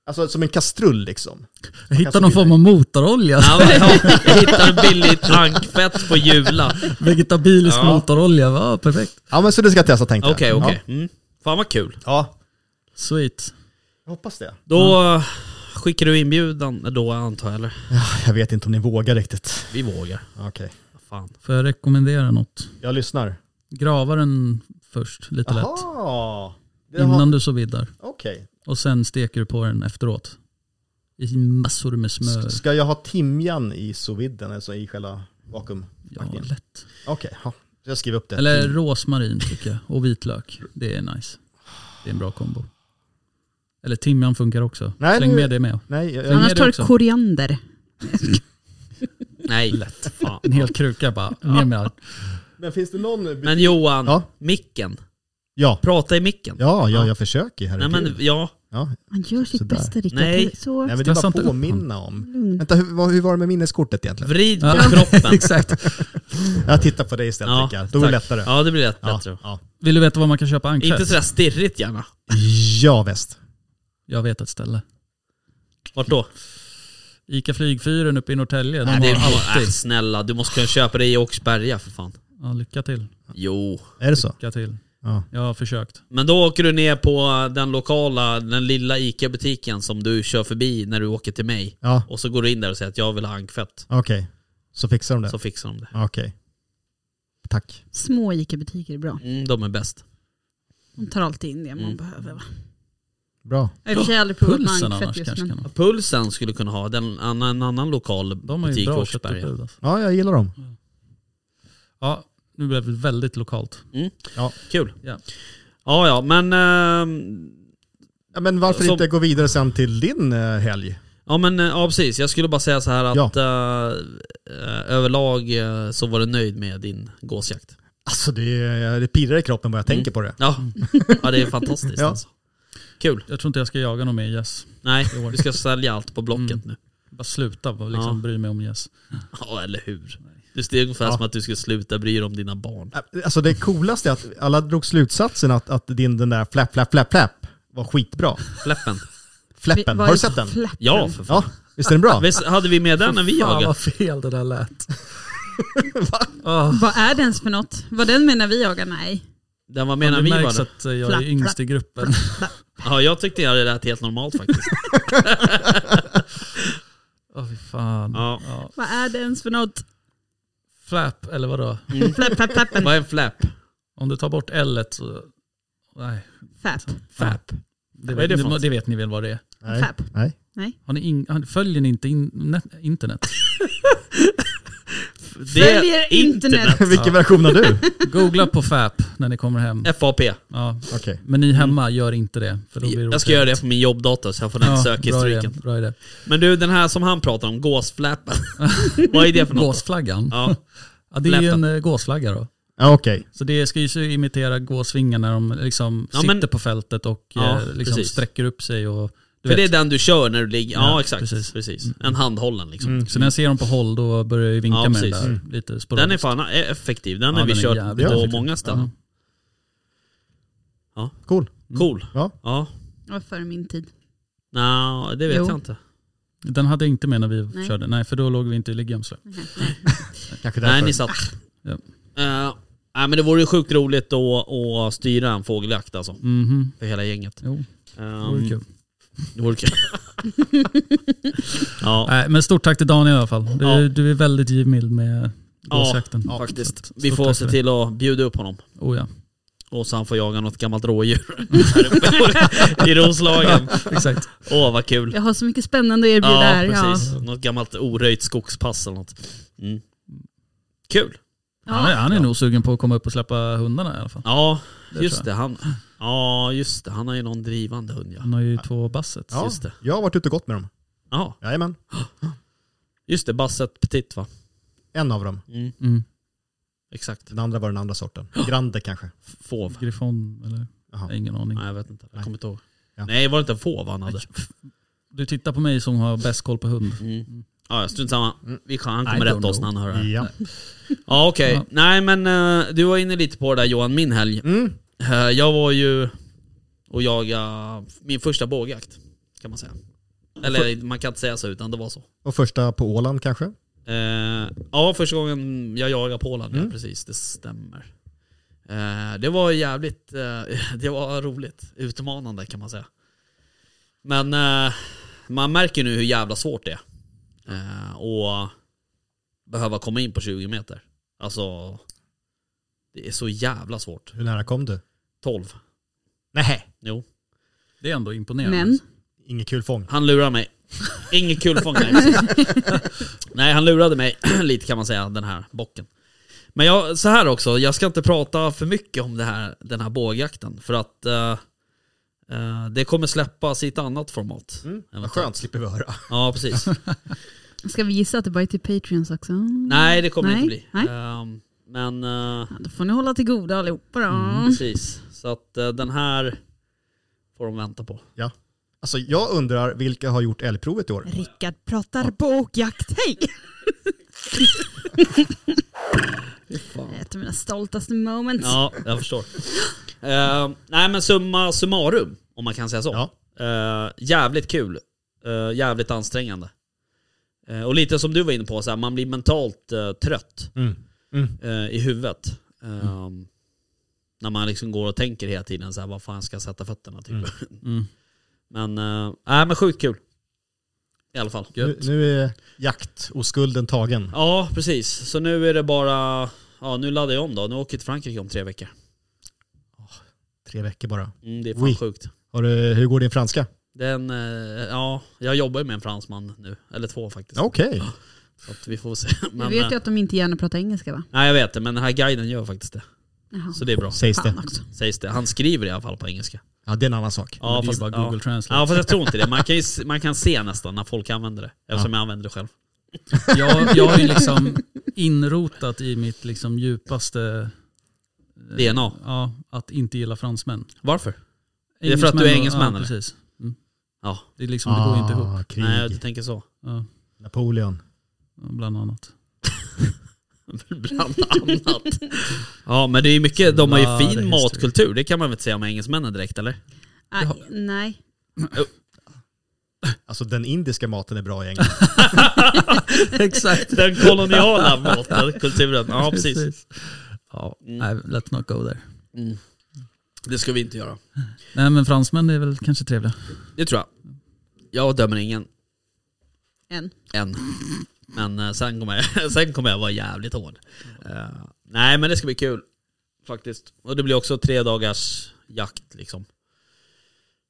Speaker 6: Alltså som en kastrull liksom.
Speaker 5: Jag hittade någon form av motorolja.
Speaker 2: Ja, men jag jag hittar billigt ankfett på Jula.
Speaker 5: Vegetabilisk
Speaker 2: Ja.
Speaker 5: motorolja, va? Perfekt.
Speaker 6: Ja men så det ska jag testa tänkte
Speaker 2: Okej,
Speaker 6: jag.
Speaker 2: okej. Mm. Fan vad kul.
Speaker 6: Ja. ja,
Speaker 5: Sweet.
Speaker 6: jag hoppas det.
Speaker 2: Då eh, skickar du inbjudan då antar jag, eller?
Speaker 6: Jag vet inte om ni vågar riktigt.
Speaker 2: Vi vågar.
Speaker 6: Okej.
Speaker 2: Fan.
Speaker 5: Får jag rekommendera något?
Speaker 6: Jag lyssnar.
Speaker 5: Grava den först, lite lätt.
Speaker 6: Jaha. Det har-
Speaker 5: Innan du så vidare.
Speaker 6: Okej.
Speaker 5: Och sen steker du på den efteråt. I massor med smör.
Speaker 6: S- Ska jag ha timjan i sous viden, alltså i själva
Speaker 5: Ja,
Speaker 6: vakuumpackningen?
Speaker 5: lätt.
Speaker 6: Okej, ja. jag skriver upp det.
Speaker 5: Eller rosmarin tycker jag. Och vitlök. Det är nice. Det är en bra kombo. Eller timjan funkar också.
Speaker 6: Nej,
Speaker 5: Släng
Speaker 6: det-
Speaker 5: med det med.
Speaker 6: Nej, jag,
Speaker 5: Sen
Speaker 6: jag,
Speaker 5: ger
Speaker 4: Annars
Speaker 5: det
Speaker 4: tar du
Speaker 5: också.
Speaker 4: koriander.
Speaker 2: Nej. Lätt. Fan.
Speaker 5: En hel kruka bara. Ner med allt.
Speaker 6: men finns det någon...
Speaker 2: Men Johan,
Speaker 6: Ja.
Speaker 2: micken.
Speaker 6: Ja,
Speaker 2: Prata i micken.
Speaker 6: ja, ja jag försöker.
Speaker 2: Nej
Speaker 6: Herregud.
Speaker 2: men ja,
Speaker 6: ja.
Speaker 4: Man gör sitt
Speaker 6: Sådär.
Speaker 4: bästa Rickard.
Speaker 2: Nej.
Speaker 4: Det är Så
Speaker 6: Nej, men det
Speaker 5: Stressa
Speaker 6: är
Speaker 5: inte
Speaker 6: bara
Speaker 5: upp honom.
Speaker 6: påminna om.
Speaker 4: lugn.
Speaker 6: Vänta, hur, vad- hur var det med minneskortet egentligen?
Speaker 2: vrid på
Speaker 5: Ja.
Speaker 2: kroppen.
Speaker 5: Exakt.
Speaker 6: Jag tittar på dig istället
Speaker 2: Ja,
Speaker 6: Rickard. Då är det
Speaker 2: tack.
Speaker 6: lättare.
Speaker 2: Ja, det blir lätt
Speaker 6: ja,
Speaker 2: bättre.
Speaker 6: ja.
Speaker 5: Vill du veta var man kan köpa
Speaker 2: Inte
Speaker 5: ankfett?
Speaker 2: sådär stirrigt gärna.
Speaker 6: ja väst.
Speaker 5: Jag vet ett ställe.
Speaker 2: Vart då?
Speaker 5: Ica Flygfyren uppe i Norrtälje.
Speaker 2: Nej,
Speaker 5: De
Speaker 2: det är,
Speaker 5: har
Speaker 2: äh,
Speaker 5: alltid.
Speaker 2: snälla, du måste kunna köpa det i Åkersberga för fan.
Speaker 5: Ja, lycka till.
Speaker 2: Jo.
Speaker 6: Är det så?
Speaker 5: Lycka till.
Speaker 6: Ja.
Speaker 5: Jag har försökt.
Speaker 2: Men då åker du ner på den lokala, den lilla ICA-butiken som du kör förbi när du åker till mig.
Speaker 6: Ja,
Speaker 2: Och så går du in där och säger att jag vill ha ankfett.
Speaker 6: okej. Så fixar de det?
Speaker 2: Så fixar de det.
Speaker 6: Okej. Tack.
Speaker 4: Små ICA-butiker är bra.
Speaker 2: Mm, de är bäst.
Speaker 4: De tar alltid in det man
Speaker 2: Mm.
Speaker 4: behöver. Va?
Speaker 6: Bra.
Speaker 4: Jag har i och för sig aldrig provat
Speaker 5: Pulsen
Speaker 4: mankfett
Speaker 5: annars
Speaker 4: just
Speaker 5: kanske
Speaker 4: men
Speaker 5: kan ha.
Speaker 2: Pulsen skulle kunna ha den, en, en annan lokal
Speaker 5: De har ju
Speaker 2: butik i
Speaker 5: bra
Speaker 2: Åkersberga.
Speaker 5: köttutbud. Alltså.
Speaker 6: Ja, jag gillar dem.
Speaker 5: Ja, nu blev det väldigt lokalt.
Speaker 2: Kul.
Speaker 5: Ja.
Speaker 2: Ja, ja, men... ehm,
Speaker 6: Ja, men varför
Speaker 2: Som-
Speaker 6: inte gå vidare sen till din eh, helg?
Speaker 2: Ja men eh, ja, precis, jag skulle bara säga så här att eh, eh, överlag eh, så var du nöjd med din gåsjakt.
Speaker 6: Alltså det, är- det pirrar i kroppen bara jag tänker på det.
Speaker 5: Mm.
Speaker 2: Ja, ja det är fantastiskt
Speaker 6: Ja.
Speaker 2: alltså. Kul.
Speaker 5: Jag tror inte jag ska jaga någon mer gäss.
Speaker 2: Nej,
Speaker 5: I år.
Speaker 2: vi ska sälja allt på Blocket
Speaker 5: Mm.
Speaker 2: nu.
Speaker 5: Bara sluta och liksom
Speaker 2: Ja.
Speaker 5: bry mig om gäss.
Speaker 2: Ja, eller hur? Det är ungefär
Speaker 6: Ja.
Speaker 2: som att du ska sluta bry dig om dina barn.
Speaker 6: Äh, Alltså det coolaste är att alla drog slutsatsen att, att din den där flapp, flapp, flapp, flapp var skitbra.
Speaker 2: Fläppen.
Speaker 4: Vi-
Speaker 6: Flappen,
Speaker 4: var
Speaker 6: har
Speaker 4: är
Speaker 6: du sett den?
Speaker 4: flappen?
Speaker 2: Ja, för fan.
Speaker 6: Ja, visst är den bra?
Speaker 2: Visst hade vi med den när vi
Speaker 5: Fan
Speaker 2: jagade?
Speaker 5: vad fel det där lät.
Speaker 4: Vad är det ens för något? Vad den menar vi jagar? Nej.
Speaker 2: Den var med
Speaker 5: Men
Speaker 2: när
Speaker 5: det
Speaker 2: vi
Speaker 5: märks
Speaker 2: var där.
Speaker 5: att eh, jag
Speaker 4: Flapp,
Speaker 5: är yngst i gruppen.
Speaker 2: Ja, jag tyckte jag hade lät helt normalt faktiskt.
Speaker 5: Åh fy fan.
Speaker 2: Ja.
Speaker 5: Ja.
Speaker 4: Vad är det ens för något?
Speaker 5: Flap, eller vadå?
Speaker 4: Flapp, flapp, flappen.
Speaker 2: Vad är en flap?
Speaker 5: Om du tar bort l så... Nej.
Speaker 4: Flapp.
Speaker 2: Flap.
Speaker 5: Det,
Speaker 2: Vad är det för
Speaker 5: vet,
Speaker 2: något?
Speaker 5: det vet ni väl vad det är?
Speaker 6: Nej.
Speaker 4: Flapp.
Speaker 6: Nej.
Speaker 5: Har ni in, har, följer ni inte in, net, internet?
Speaker 2: Det är
Speaker 4: Följer
Speaker 2: internet.
Speaker 6: Vilken version har du?
Speaker 5: Googla på FAP när ni kommer hem.
Speaker 2: FAP.
Speaker 5: Ja.
Speaker 6: Okej.
Speaker 5: Men ni hemma, gör inte det. För då blir det
Speaker 2: Mm. Jag ska göra det på min jobbdator så jag får den
Speaker 5: Ja,
Speaker 2: sökhistoriken.
Speaker 5: Bra idé. Bra idé.
Speaker 2: Men du, den här som han pratar om, gåsfläppen. Vad är det för något?
Speaker 5: Gåsflaggan.
Speaker 2: Ja.
Speaker 5: Ja, det är ju
Speaker 2: Fläppen.
Speaker 5: en eh, gåsflagga då.
Speaker 6: Ja, okej.
Speaker 5: Så det ska ju så imitera gåsvingar när de liksom
Speaker 2: Ja,
Speaker 5: sitter
Speaker 2: men-
Speaker 5: på fältet och
Speaker 2: Ja,
Speaker 5: eh, liksom
Speaker 2: precis.
Speaker 5: sträcker upp sig. Och, du
Speaker 2: För
Speaker 5: vet.
Speaker 2: det är den du kör när du ligger... Ja,
Speaker 5: Ja,
Speaker 2: exakt. Precis.
Speaker 5: precis. Mm.
Speaker 2: En handhållen liksom.
Speaker 5: Så när jag ser dem på håll då börjar jag ju vinka
Speaker 2: Ja,
Speaker 5: med den
Speaker 2: precis. Mm.
Speaker 5: där. Lite
Speaker 2: Den är
Speaker 5: sporadiskt.
Speaker 2: fan effektiv. Den
Speaker 5: Ja,
Speaker 2: har vi
Speaker 5: den är
Speaker 2: kört
Speaker 5: jävligt
Speaker 2: på
Speaker 5: effektiv.
Speaker 2: många ställen.
Speaker 6: Cool.
Speaker 5: Mm.
Speaker 2: Cool.
Speaker 6: Ja.
Speaker 2: Ja.
Speaker 4: Det var före min tid.
Speaker 2: Nja, det vet
Speaker 4: Jo.
Speaker 2: jag inte.
Speaker 5: Den hade jag inte med när vi
Speaker 4: Nej.
Speaker 5: körde. Nej, för då låg vi inte i liggömsle.
Speaker 6: Kanske därför.
Speaker 2: Nej, ni satt.
Speaker 5: Ja.
Speaker 2: Eh, nej, men det vore ju sjukt roligt då att styra en fågeljakt alltså.
Speaker 5: Mhm. Mm.
Speaker 2: För hela gänget.
Speaker 5: Jo, det
Speaker 2: Um,
Speaker 5: vore kul.
Speaker 2: Det vore kul. ja,
Speaker 5: Nej, men stort tack till Daniel i alla fall. Du,
Speaker 2: Ja.
Speaker 5: du är väldigt givmild med
Speaker 2: Ja,
Speaker 5: gåsjakten.
Speaker 2: faktiskt.
Speaker 5: Stort
Speaker 2: Vi får
Speaker 5: tack
Speaker 2: se
Speaker 5: för det.
Speaker 2: till att bjuda upp honom.
Speaker 5: Oh, ja.
Speaker 2: Och så han får jaga något gammalt rådjur i Roslagen.
Speaker 5: Exakt.
Speaker 2: Åh vad kul.
Speaker 4: Jag har så mycket spännande att erbjuda här.
Speaker 2: precis. Något gammalt oröjt skogspass eller något. Mm. Kul.
Speaker 5: Han är, han är nog sugen på att komma upp och släppa hundarna i alla fall.
Speaker 2: Ja,
Speaker 5: Det
Speaker 2: just
Speaker 5: tror
Speaker 2: det. Han, ja, just det. Han har ju någon drivande hund ja.
Speaker 5: Han har ju två basset.
Speaker 6: Ja,
Speaker 2: Just det.
Speaker 6: jag har varit ute och gått med dem.
Speaker 2: Ja,
Speaker 6: Jajamän.
Speaker 2: just det. Basset Petit va?
Speaker 6: En av dem.
Speaker 2: Mm.
Speaker 5: Mm.
Speaker 2: Exakt.
Speaker 6: Den andra var den andra sorten. Grande kanske.
Speaker 2: Fåv.
Speaker 5: Griffon eller?
Speaker 6: Jaha.
Speaker 5: Ingen aning.
Speaker 2: Nej jag vet inte. Jag
Speaker 6: Nej.
Speaker 2: kommer inte ihåg.
Speaker 6: Ja.
Speaker 2: Nej var det inte en fåv han hade?
Speaker 5: Du tittar på mig som har bäst koll på hund.
Speaker 2: Mm. Ja, ja, strunt samma. Vi kan, han
Speaker 5: Mm. I
Speaker 2: kommer
Speaker 5: don't
Speaker 2: rätta oss när
Speaker 5: know.
Speaker 2: han hör det här.
Speaker 6: Ja.
Speaker 2: Ja okej.
Speaker 5: Ja.
Speaker 2: Nej men eh, du var inne lite på det där Johan, min helg.
Speaker 6: Mm.
Speaker 2: Eh, jag var ju och jagade min första bågjakt kan man säga. Eller man kan inte säga så utan det var så.
Speaker 6: Och första på Åland kanske.
Speaker 2: Eh, ja, första gången jag jagade på Åland, ja,
Speaker 6: Mm.
Speaker 2: precis. Det stämmer. Eh, det var jävligt, eh, det var roligt. Utmanande kan man säga. Men eh, man märker nu hur jävla svårt det är. Eh, och behöva komma in på 20 meter. Alltså, det är så jävla svårt.
Speaker 6: Hur nära kom du?
Speaker 2: 12.
Speaker 6: Nej.
Speaker 2: Jo.
Speaker 5: Det är ändå imponerande.
Speaker 4: Men
Speaker 6: Inget kul fång.
Speaker 2: Han lurar mig. Ingen kul fång längre. Nej, han lurade mig lite kan man säga, den här bocken. Men jag, så här också, jag ska inte prata för mycket om det här, den här bågjakten. För att eh, eh, det kommer släppas i ett annat format. Än
Speaker 6: Mm, Vad
Speaker 2: vad-
Speaker 6: skönt, slipper vi höra.
Speaker 2: Ja, precis.
Speaker 4: ska vi gissa att det bara är till Patreons också?
Speaker 2: Nej, det kommer
Speaker 4: Nej,
Speaker 2: inte bli.
Speaker 4: nej.
Speaker 2: Ehm, men eh,
Speaker 4: Ja, Då får ni hålla till goda allihopa då.
Speaker 2: precis, så att eh, den här får de vänta på.
Speaker 6: Alltså jag undrar vilka har gjort älgprovet i år?
Speaker 4: Rickard pratar bågjakt. Hej! Ett av mina stoltaste moments.
Speaker 2: Ja, jag förstår. Eh, nej men summa summarum, om man kan säga så.
Speaker 6: Ja.
Speaker 2: Eh, jävligt kul. Eh, jävligt ansträngande. Eh, och lite som du var inne på, så här, man blir mentalt eh, trött
Speaker 6: Mm. Mm.
Speaker 2: eh, i huvudet.
Speaker 5: Mm.
Speaker 2: Eh, När man liksom går och tänker hela tiden, så här, vad fan ska jag sätta fötterna? Typ.
Speaker 5: Mm.
Speaker 2: Men, eh, nej, men sjukt kul. I alla fall.
Speaker 6: Nu, nu är jaktoskulden tagen.
Speaker 2: Ja, precis. Så nu är det bara, ja nu laddar jag om då. Nu åker jag till Frankrike om tre veckor.
Speaker 6: Tre veckor bara.
Speaker 2: Mm, det är fan
Speaker 6: Oui.
Speaker 2: sjukt.
Speaker 6: Har du, hur går din franska?
Speaker 2: Den, eh, ja, jag jobbar ju med en fransman nu. Eller två faktiskt.
Speaker 6: Okej.
Speaker 2: Så att vi får väl se.
Speaker 4: Du
Speaker 2: Men,
Speaker 4: vet ju
Speaker 2: eh,
Speaker 4: att de inte gärna pratar engelska va?
Speaker 2: Nej jag vet det, men den här guiden gör faktiskt det.
Speaker 4: Jaha.
Speaker 2: Så det är bra.
Speaker 6: Sägs det.
Speaker 4: Fan också.
Speaker 2: Sägs det. Han skriver i alla fall på engelska.
Speaker 6: Ja, det är en annan sak.
Speaker 5: Ja, det är ju bara Google Translate.
Speaker 2: ja, fast jag tror inte det. Man kan, ju, se- man kan se nästan när folk använder det. Eftersom jag använder det själv.
Speaker 5: Jag, jag är ju liksom inrotat i mitt liksom djupaste... eh,
Speaker 2: DNA.
Speaker 5: Ja, att inte gilla fransmän.
Speaker 2: Varför? Det är för att du är
Speaker 5: och-
Speaker 2: engelsman,
Speaker 5: Ja,
Speaker 2: eller? Ah.
Speaker 5: precis. Mm.
Speaker 2: Ja.
Speaker 5: Det, är liksom, det går ju inte ihop.
Speaker 6: Ah, Krig.
Speaker 2: Nej, du tänker så.
Speaker 5: Ja,
Speaker 6: Napoleon.
Speaker 5: bland annat.
Speaker 2: Bland annat. Ja, men det är ju mycket, de har
Speaker 5: Blood
Speaker 2: ju fin
Speaker 5: history.
Speaker 2: matkultur. Det kan man väl inte säga om engelsmännen direkt eller?
Speaker 4: Nej, nej.
Speaker 6: Alltså den indiska maten är bra i England.
Speaker 5: Exakt.
Speaker 2: Den koloniala matkulturen. Ja, precis. Mm.
Speaker 5: Ja, nej, let's not go there.
Speaker 2: Det ska vi inte göra.
Speaker 5: Nej men fransmän är väl kanske trevliga.
Speaker 2: Det tror jag. Jag dömer ingen
Speaker 4: En.
Speaker 2: än. Men eh, sen kommer jag, sen kommer jag vara jävligt hård. Eh, nej men det ska bli kul. Faktiskt. Och det blir också tre dagars jakt liksom.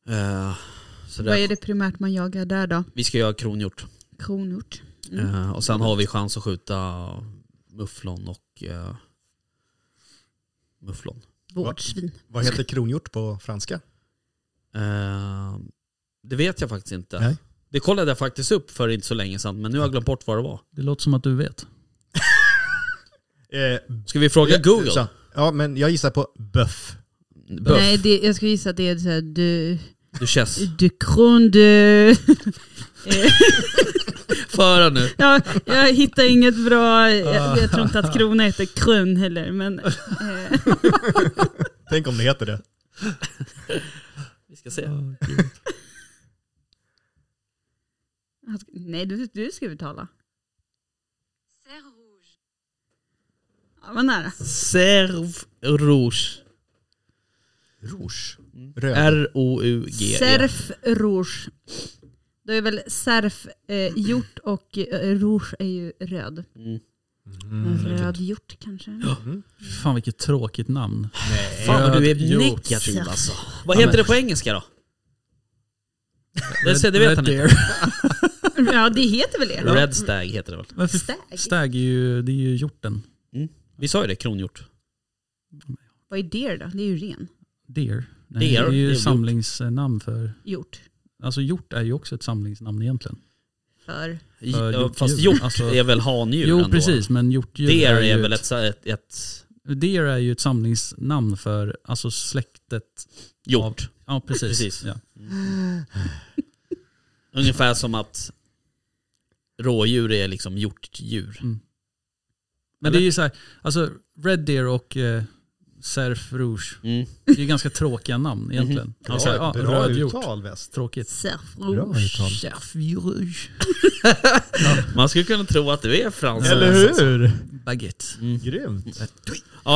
Speaker 2: Eh, så
Speaker 4: Vad är
Speaker 2: där,
Speaker 4: det primärt man jagar där då?
Speaker 2: vi ska göra kronhjort.
Speaker 4: Kronhjort.
Speaker 2: Eh, och sen har vi chans att skjuta mufflon och eh, mufflon.
Speaker 4: Vårdsvin.
Speaker 6: Vad heter kronhjort på franska?
Speaker 2: Eh, det vet jag faktiskt inte.
Speaker 6: Nej.
Speaker 2: Det kollade jag faktiskt upp för inte så länge sedan men nu har jag glömt bort vad det var.
Speaker 5: Det låter som att du vet.
Speaker 6: Eh,
Speaker 2: Ska vi fråga Google?
Speaker 6: så- Ja, men jag gissar på böff.
Speaker 2: Böff,
Speaker 4: Nej, det, jag skulle gissa att det är så här, du,
Speaker 2: duchess.
Speaker 4: du kron du.
Speaker 2: Föra nu.
Speaker 4: Ja, jag hittar inget bra,
Speaker 2: Ah.
Speaker 4: jag, jag tror inte att krona heter krön heller. Men, eh,
Speaker 6: Tänk om det heter det.
Speaker 2: Vi ska se.
Speaker 4: alltså, nej, du, du ska uttala. Ja, vad nära.
Speaker 2: Serv Rouge.
Speaker 6: Rouge. Röd.
Speaker 2: R-O-U-G-E.
Speaker 4: Serf rouge. Då är väl serf eh, gjort och eh, rouge är ju röd.
Speaker 2: Mm.
Speaker 4: En röd hjort kanske?
Speaker 5: Fan vilket tråkigt namn.
Speaker 2: Fan vad du är
Speaker 5: Röd hjort.
Speaker 2: negativ alltså. Vad heter det på engelska då? Det, ser- det vet han inte.
Speaker 5: deer.
Speaker 4: Ja, det heter väl det?
Speaker 2: Red stag heter det väl?
Speaker 5: Men för-
Speaker 4: Stag?
Speaker 5: Stag är ju, det är ju hjorten.
Speaker 2: Vi sa ju det, kronhjort.
Speaker 4: Vad är deer då? Det är ju ren.
Speaker 5: Deer. Nej,
Speaker 2: Deer,
Speaker 5: Det är
Speaker 2: det är
Speaker 5: ju
Speaker 2: hjort.
Speaker 5: samlingsnamn för...
Speaker 4: Hjort.
Speaker 5: Alltså hjort är ju också ett samlingsnamn egentligen.
Speaker 4: För
Speaker 2: Ja,
Speaker 5: Ja, hjortdjur.
Speaker 2: Fast hjort
Speaker 5: Alltså-
Speaker 2: är väl handjur
Speaker 5: Jo
Speaker 2: ändå?
Speaker 5: precis, men hjortdjur
Speaker 2: Deer är
Speaker 5: ju
Speaker 2: väl
Speaker 5: ett,
Speaker 2: ett, ett, ett
Speaker 5: Deer är ju ett samlingsnamn för alltså släktet.
Speaker 2: hjort.
Speaker 5: Av, ja precis.
Speaker 2: Precis.
Speaker 5: Ja.
Speaker 2: Ungefär som att rådjur är liksom hjortdjur.
Speaker 5: Men det är ju så här, alltså Red Deer och eh, Cerf Rouge,
Speaker 2: Mm.
Speaker 5: det är ju ganska tråkiga
Speaker 2: Mhm.
Speaker 5: namn egentligen. Det är
Speaker 6: Bra,
Speaker 5: så här, ja,
Speaker 6: bra
Speaker 5: röd hjort.
Speaker 6: uttal väst.
Speaker 5: Tråkigt.
Speaker 4: cerf
Speaker 6: Bra uttal.
Speaker 4: rouge.
Speaker 5: Cerf Rouge.
Speaker 2: Man skulle kunna tro att du är Mm. frans.
Speaker 6: Eller hur?
Speaker 5: Baguette.
Speaker 6: Grymt.
Speaker 2: Ja,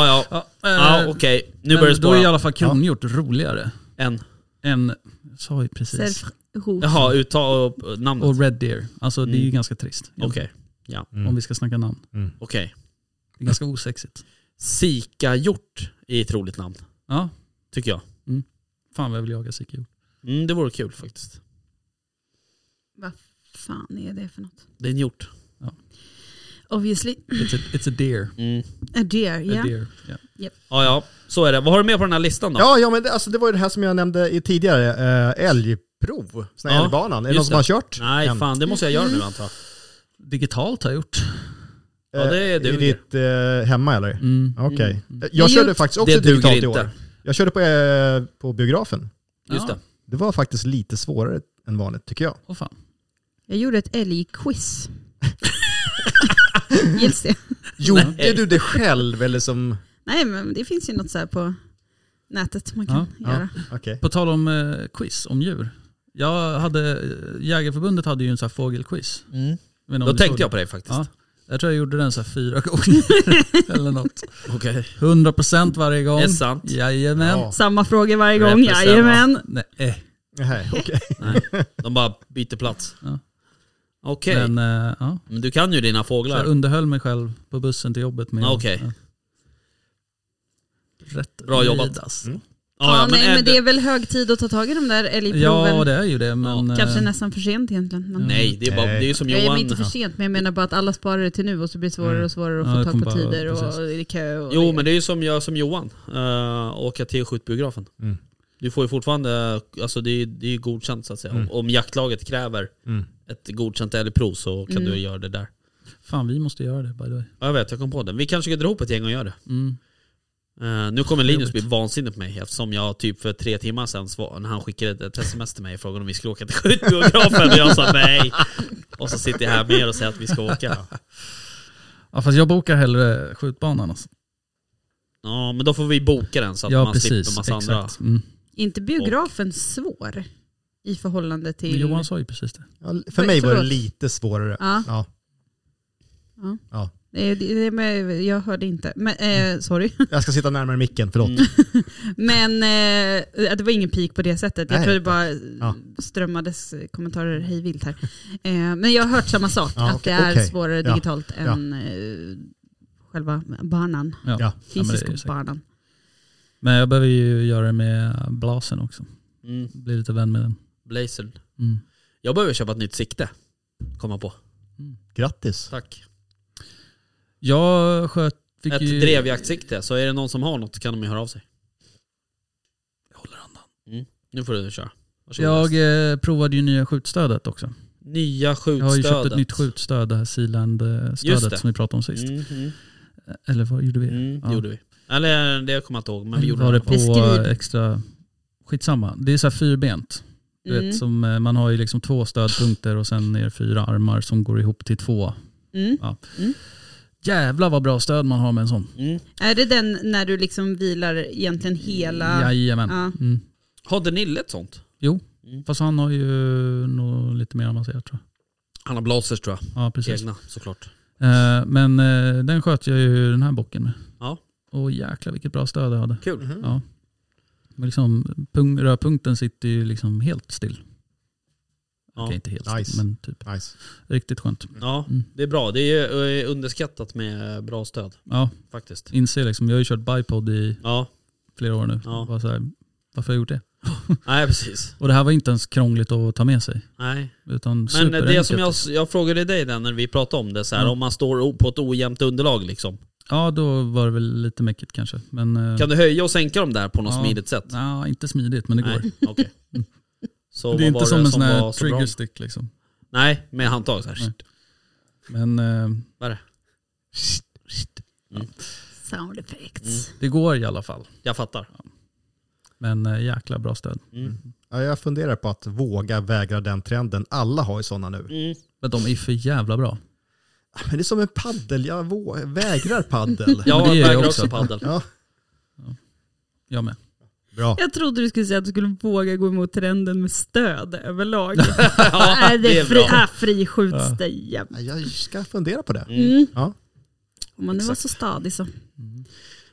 Speaker 2: ja. ja.
Speaker 5: Ja, eh,
Speaker 2: okej. Nu
Speaker 5: men
Speaker 2: börjar det
Speaker 5: då är i
Speaker 2: spåra.
Speaker 5: alla fall kronhjort roligare
Speaker 2: En.
Speaker 5: än, jag sa ju precis,
Speaker 4: Cerf rouge.
Speaker 2: Jaha, uttal och namnet.
Speaker 5: och Red Deer. Alltså det är ju ganska trist.
Speaker 2: Mm. Okej. Mm.
Speaker 5: Om vi ska snacka namn.
Speaker 2: Okej.
Speaker 5: Det är ganska osexigt.
Speaker 2: Sika-hjort är ett roligt namn,
Speaker 5: Ja,
Speaker 2: tycker jag.
Speaker 5: fan vad jag vill jaga sikhjort.
Speaker 2: Mm, det vore kul faktiskt.
Speaker 4: Vad fan är det för något?
Speaker 2: Det är en hjort.
Speaker 4: Obviously.
Speaker 5: It's a, it's a deer.
Speaker 2: Mm.
Speaker 4: A deer,
Speaker 5: A
Speaker 4: ja.
Speaker 5: deer. Ja.
Speaker 2: Ja, ja. Så är det. Vad har du med på den här listan då?
Speaker 6: Ja, ja men det, alltså, det var ju det här som jag nämnde i tidigare. Eh, älgprov. Sån här
Speaker 2: Ja,
Speaker 6: älgbanan. Är det någon
Speaker 2: just
Speaker 6: som har
Speaker 2: det.
Speaker 6: kört?
Speaker 2: Nej,
Speaker 6: än?
Speaker 2: fan det måste jag göra nu antar jag.
Speaker 5: Digitalt har jag gjort.
Speaker 2: Ja, det
Speaker 6: Eh, I
Speaker 2: duger.
Speaker 6: ditt eh, hemma eller?
Speaker 5: Mm.
Speaker 6: Okej. Eh, Jag
Speaker 4: Det
Speaker 6: körde
Speaker 4: ju-
Speaker 6: faktiskt
Speaker 2: det
Speaker 6: också
Speaker 2: duger
Speaker 6: digitalt i
Speaker 2: inte.
Speaker 6: år. Jag körde på, eh, på biografen.
Speaker 2: Just
Speaker 5: Ja.
Speaker 2: det.
Speaker 6: Det var faktiskt lite svårare än vanligt tycker jag.
Speaker 5: Åh fan.
Speaker 4: Jag gjorde ett älgquiz. Gills det?
Speaker 6: Gjorde du det själv eller som...
Speaker 4: Nej, men det finns ju något så här på nätet man kan
Speaker 5: Ja,
Speaker 4: göra.
Speaker 6: Okej.
Speaker 5: På tal om eh, quiz om djur. Jag hade, Jägarförbundet hade ju en sån här fågelquiz. Jag vet inte om
Speaker 2: Mm. Då
Speaker 5: du såg
Speaker 2: tänkte jag
Speaker 5: den.
Speaker 2: på dig faktiskt.
Speaker 5: Ja. Jag tror jag gjorde den så här fyra gånger eller något.
Speaker 2: Okej.
Speaker 5: 100% varje gång.
Speaker 2: Är det sant?
Speaker 5: Jajamän.
Speaker 6: Ja.
Speaker 4: Samma frågor varje gång,
Speaker 2: Represent,
Speaker 4: jajamän.
Speaker 5: Nej. eh,
Speaker 6: Nej, okej.
Speaker 2: De bara byter plats.
Speaker 5: Ja.
Speaker 2: Okej. Men,
Speaker 5: Men eh, ja.
Speaker 2: du kan ju dina
Speaker 5: Så jag
Speaker 2: fåglar.
Speaker 5: underhöll mig själv på bussen till jobbet med
Speaker 2: Ja, okej.
Speaker 5: ja. Rätt
Speaker 2: Bra jobbat. Mm.
Speaker 5: rid, alltså.
Speaker 4: Ja, nej,
Speaker 2: är
Speaker 4: men
Speaker 2: det-
Speaker 4: det är väl hög tid att ta tag i de där älgproven.
Speaker 5: Ja det är ju det men...
Speaker 4: Kanske
Speaker 5: eh,
Speaker 4: nästan för sent egentligen. Men
Speaker 2: Nej, det är, bara,
Speaker 6: Nej.
Speaker 2: det är ju som
Speaker 4: Jag är
Speaker 2: Johan.
Speaker 4: men inte för sent, men jag menar bara att alla sparar det till nu och så blir det svårare och svårare att
Speaker 5: Mm. Ja,
Speaker 4: få tag
Speaker 5: det kommer
Speaker 4: på
Speaker 5: bara-
Speaker 4: tider och
Speaker 5: precis.
Speaker 4: det är kö. Och
Speaker 2: Jo, men det är ju som, jag, som Johan. Uh, åka till skjutbiografen.
Speaker 6: Mm.
Speaker 2: Du får ju fortfarande, alltså det är, det är ju godkänt så att säga.
Speaker 5: Mm.
Speaker 2: Om, om jaktlaget kräver
Speaker 6: Mm.
Speaker 2: ett godkänt älgprov så kan du göra det där.
Speaker 5: Fan vi måste göra det by the way.
Speaker 2: Ja, jag vet, jag kom på det. Vi kanske kan dra ihop ett gäng och göra det.
Speaker 5: Mm.
Speaker 2: Eh, nu kommer Linus bli vansinnig på mig eftersom jag typ för tre timmar sedan svar, när han skickade ett sms till mig och frågade om vi skulle åka till skjutbiografen och jag sa nej. Och så sitter jag här med er och säger att vi ska åka.
Speaker 5: Ja fast jag bokar hellre skjutbanan alltså.
Speaker 2: Ja men då får vi boka den så att
Speaker 5: Ja
Speaker 2: man
Speaker 5: precis,
Speaker 2: slipper massa
Speaker 5: exakt.
Speaker 2: andra.
Speaker 5: Mm.
Speaker 4: inte biografen svår i förhållande
Speaker 5: Men
Speaker 4: till...
Speaker 5: Johan sa ju precis det.
Speaker 6: Ja, för mig var det
Speaker 4: Förlåt.
Speaker 6: lite svårare.
Speaker 4: Ja.
Speaker 6: Ja.
Speaker 4: Eh, det- det- men Jag hörde inte. Men, eh, sorry.
Speaker 6: Jag ska sitta närmare micken, förlåt.
Speaker 2: Mm.
Speaker 4: Men eh, det var ingen pik på det sättet. Jag
Speaker 6: Nej,
Speaker 4: tror det bara
Speaker 6: Ja.
Speaker 4: strömmades kommentarer hej vilt här. Eh, men jag har hört samma sak,
Speaker 6: Ja,
Speaker 4: att
Speaker 6: okej,
Speaker 4: det är
Speaker 6: okej.
Speaker 4: svårare
Speaker 6: Ja,
Speaker 4: digitalt
Speaker 6: ja.
Speaker 4: än eh, själva banan,
Speaker 5: Ja.
Speaker 6: Ja.
Speaker 5: men det är ju
Speaker 4: fysisk
Speaker 5: säkert.
Speaker 4: banan.
Speaker 5: Men jag behöver ju göra det med blasen också.
Speaker 2: Mm,
Speaker 5: Bli lite vän med den.
Speaker 2: blazern.
Speaker 5: Mm.
Speaker 2: Jag behöver köpa ett nytt sikte. Komma på.
Speaker 6: Grattis.
Speaker 2: Tack.
Speaker 5: Jag sköt, fick
Speaker 2: Ett
Speaker 5: ju...
Speaker 2: drevjaktsikte. Så är det någon som har något kan de ju höra av sig. Jag håller andan. Mm. Nu får du köra. Varsågod.
Speaker 5: Jag eh, provade ju nya skjutstödet också.
Speaker 2: Nya skjutstödet.
Speaker 5: Jag har ju köpt ett nytt skjutstöd, det här
Speaker 2: Just det.
Speaker 5: Sealand-stödet som vi pratade om sist.
Speaker 2: Mm, mm,
Speaker 5: Eller vad gjorde vi?
Speaker 2: mm, det
Speaker 5: Ja. Mm,
Speaker 2: gjorde vi. Eller det kommer jag inte ihåg men vi
Speaker 5: Eller
Speaker 2: gjorde
Speaker 5: var det på
Speaker 4: Beskriv.
Speaker 5: extra... Skitsamma. Det är så här fyrbent. Du
Speaker 4: Mm.
Speaker 5: vet, som, eh, man har ju liksom två stödpunkter och sen är det fyra armar som går ihop till två.
Speaker 4: Mm.
Speaker 5: Jävlar vad bra stöd man har med en sån.
Speaker 2: Mm.
Speaker 4: Är det den när du liksom vilar egentligen hela...
Speaker 5: Jajamän.
Speaker 4: Ja.
Speaker 5: Mm.
Speaker 2: Hade Nille ett sånt?
Speaker 5: Fast han har ju nog lite mer avancerat tror
Speaker 2: Han har blazers tror jag.
Speaker 5: jag. Ja, precis.
Speaker 2: Egna såklart.
Speaker 5: Eh, men eh, den sköt jag ju den här bocken med.
Speaker 2: Ja.
Speaker 5: Och jäklar vilket bra stöd jag hade.
Speaker 2: Kul.
Speaker 5: Ja. Men liksom, pung, rörpunkten sitter ju liksom helt still.
Speaker 2: Ja.
Speaker 5: Okej, inte helt.
Speaker 6: Nice.
Speaker 5: Men typ.
Speaker 6: Nice.
Speaker 5: Riktigt skönt.
Speaker 2: Ja,
Speaker 5: Mm.
Speaker 2: det är bra. Det är eh, underskattat med bra stöd
Speaker 5: Ja,
Speaker 2: faktiskt.
Speaker 5: inser liksom. Jag har ju kört bipod i
Speaker 2: Ja,
Speaker 5: flera år nu.
Speaker 2: Ja.
Speaker 5: Bara så här, varför har jag gjort det?
Speaker 2: nej precis.
Speaker 5: Och det här var inte ens krångligt att ta med sig.
Speaker 2: Nej.
Speaker 5: Utan
Speaker 2: Men eh, det
Speaker 5: superenkelt. liksom.
Speaker 2: som jag, jag frågade dig där när vi pratade om det, så här,
Speaker 5: Mm.
Speaker 2: om man står o- på ett ojämnt underlag liksom.
Speaker 5: Ja, då var det väl lite mäckigt kanske. Men eh,
Speaker 2: Kan du höja och sänka dem där på något
Speaker 5: Ja.
Speaker 2: smidigt sätt?
Speaker 5: nja, inte smidigt, men det går.
Speaker 2: Nej, okej. Så
Speaker 5: det är
Speaker 2: vad var
Speaker 5: inte som
Speaker 2: det
Speaker 5: en sån här
Speaker 2: var så
Speaker 5: trigger
Speaker 2: bra?
Speaker 5: stick liksom.
Speaker 2: Nej, med handtag så här.
Speaker 5: Nej. Men eh,
Speaker 2: Vad är det?
Speaker 4: Sound effects.
Speaker 5: det går i alla fall.
Speaker 2: Jag fattar.
Speaker 5: Men eh, jäkla bra stöd.
Speaker 2: Mm.
Speaker 6: Ja, jag funderar på att våga vägra den trenden. Alla har ju sådana nu.
Speaker 2: Mm.
Speaker 5: Men de är för jävla bra.
Speaker 6: Men det är som en paddel, jag vå- vägrar paddel.
Speaker 2: Jag
Speaker 5: det gör jag
Speaker 2: vägrar
Speaker 5: också.
Speaker 2: också paddel.
Speaker 6: Ja,
Speaker 5: Jag med.
Speaker 6: bra.
Speaker 4: Jag trodde du skulle säga att du skulle våga gå emot trenden med stöd överlag.
Speaker 2: Ja,
Speaker 4: Nej,
Speaker 2: det är
Speaker 4: fri,
Speaker 2: bra.
Speaker 4: ah, friskjuts
Speaker 5: Ja.
Speaker 4: det jämt.
Speaker 6: Ja, Jag ska fundera på det.
Speaker 2: Mm.
Speaker 6: Ja.
Speaker 4: Om man nu var så stadig så.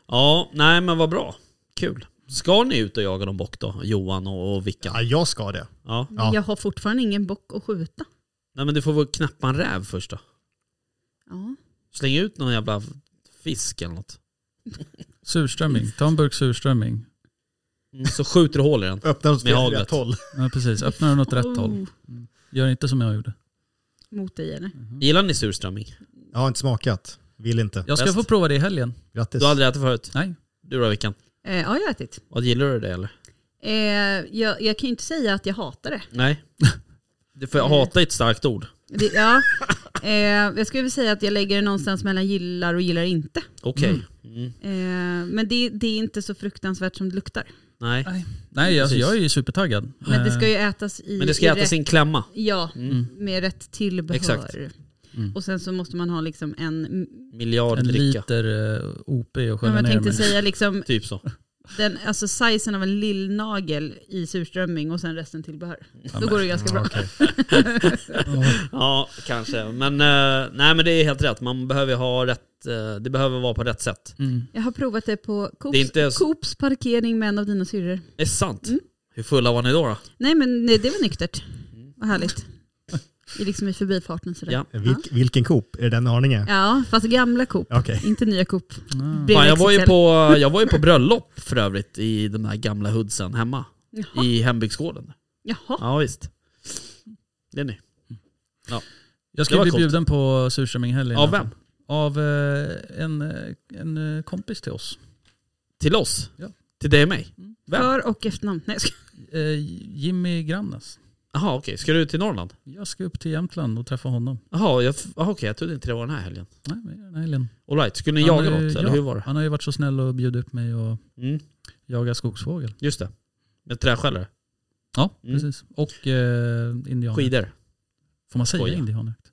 Speaker 2: Ja, nej men vad bra. Kul. Ska ni ut och jaga någon bock då? Johan och, och Vickan?
Speaker 6: Ja, jag ska det.
Speaker 2: Ja.
Speaker 4: Men
Speaker 6: Ja.
Speaker 4: Jag har fortfarande ingen bock att skjuta.
Speaker 2: Nej men du får väl knäppa en räv först då.
Speaker 4: Ja.
Speaker 2: Släng ut någon jävla fisk eller något.
Speaker 5: Surströmming. Ta en burk surströmming.
Speaker 2: Mm, Så skjuter du hål i den.
Speaker 6: Öppna åt
Speaker 2: Med
Speaker 6: fel
Speaker 2: haglet.
Speaker 6: rätt håll.
Speaker 5: Ja, precis. Öppna den åt rätt håll.
Speaker 4: Oh,
Speaker 5: Gör inte som jag gjorde.
Speaker 4: Mot dig eller?
Speaker 5: Mm.
Speaker 2: Gillar ni surströmming?
Speaker 6: Jag har inte smakat. Vill inte.
Speaker 5: Jag ska
Speaker 2: Bäst.
Speaker 5: få prova det i helgen.
Speaker 6: Grattis.
Speaker 2: Du har aldrig ätit förut?
Speaker 5: Nej.
Speaker 2: Du då Vickan?
Speaker 4: Eh, ja, jag har ätit.
Speaker 2: Vad gillar du det eller?
Speaker 4: Eh, jag, jag kan ju inte säga att jag hatar det.
Speaker 2: Nej. Det för hata är ett starkt ord.
Speaker 4: det ja. eh, jag skulle väl säga att jag lägger det någonstans mellan gillar och gillar inte.
Speaker 2: Okej. Mm.
Speaker 4: Eh, men det, det är inte så fruktansvärt som det luktar.
Speaker 2: Nej.
Speaker 5: Nej, alltså,
Speaker 2: Precis.
Speaker 5: jag är ju supertaggad.
Speaker 4: Men det ska
Speaker 5: Eh,
Speaker 4: ju ätas i...
Speaker 2: Men det ska
Speaker 4: i
Speaker 2: äta
Speaker 4: rätt-
Speaker 2: sin klämma.
Speaker 4: Ja, med rätt tillbehör.
Speaker 2: Exakt.
Speaker 4: Och sen så måste man ha liksom en...
Speaker 2: Miljard
Speaker 5: en
Speaker 2: dricka.
Speaker 5: liter eh, OP och
Speaker 4: Men
Speaker 5: skölja
Speaker 4: jag
Speaker 5: ner
Speaker 4: tänkte
Speaker 5: mig.
Speaker 4: säga liksom,
Speaker 2: Typ så.
Speaker 4: den, alltså sizen av en lillnagel i surströmming och sen resten tillbehör. Då går det ganska bra.
Speaker 2: Ja, kanske. Men, eh, nej, men det är helt rätt. Man behöver ju ha rätt, eh, det behöver vara på rätt sätt.
Speaker 4: Jag har provat det på Coops,
Speaker 2: Det är inte ens-
Speaker 4: Coops parkering med en av dina syrror.
Speaker 2: Det är sant. Hur fulla var ni då? då?
Speaker 4: Nej men nej, det var nyktert. Vad härligt. Det är liksom i förbifarten sådär.
Speaker 2: Ja.
Speaker 6: Eh, Vilk, vilken Coop? Är det den i Arninge?
Speaker 4: Ja, fast gamla Coop.
Speaker 6: Okej.
Speaker 4: Inte nya Coop.
Speaker 5: Ah.
Speaker 4: Mm.
Speaker 2: Fan, jag, var ju på, eh, jag var ju på bröllop för övrigt i de här gamla hoodsen hemma.
Speaker 4: Jaha.
Speaker 2: I hembygdsgården.
Speaker 4: Jaha.
Speaker 2: Ja, visst. Det är ni.
Speaker 5: Jag
Speaker 2: Det
Speaker 5: ska
Speaker 2: var
Speaker 5: bli
Speaker 2: coolt.
Speaker 5: bjuden på surströmming i helgen.
Speaker 2: Av vem?
Speaker 5: Av eh, en, eh, en eh, kompis till oss.
Speaker 2: Till oss?
Speaker 5: Ja.
Speaker 2: Till dig och mig? Vem?
Speaker 4: För och efternamn. Nej, jag skojar.
Speaker 5: Eh, Jimmy Grannes.
Speaker 2: Jaha, okej. Ska du till Norrland?
Speaker 5: Jag ska upp till Jämtland och träffa honom.
Speaker 2: Jaha, jag, aha, okej. Jag trodde inte det var den här helgen.
Speaker 5: Nej, men den här helgen.
Speaker 2: All right. skulle ni
Speaker 5: Han
Speaker 2: jaga
Speaker 5: har ju-
Speaker 2: något? Eller
Speaker 5: ja,
Speaker 2: hur var det?
Speaker 5: Han har ju varit så snäll och bjudit upp mig och
Speaker 2: Mm,
Speaker 5: jaga skogsfågel.
Speaker 2: just det. Med träskällare?
Speaker 5: Ja,
Speaker 2: Mm.
Speaker 5: precis. Och eh, indianer.
Speaker 2: Skidor?
Speaker 5: Får man säga
Speaker 2: Skoja.
Speaker 5: indianjakt?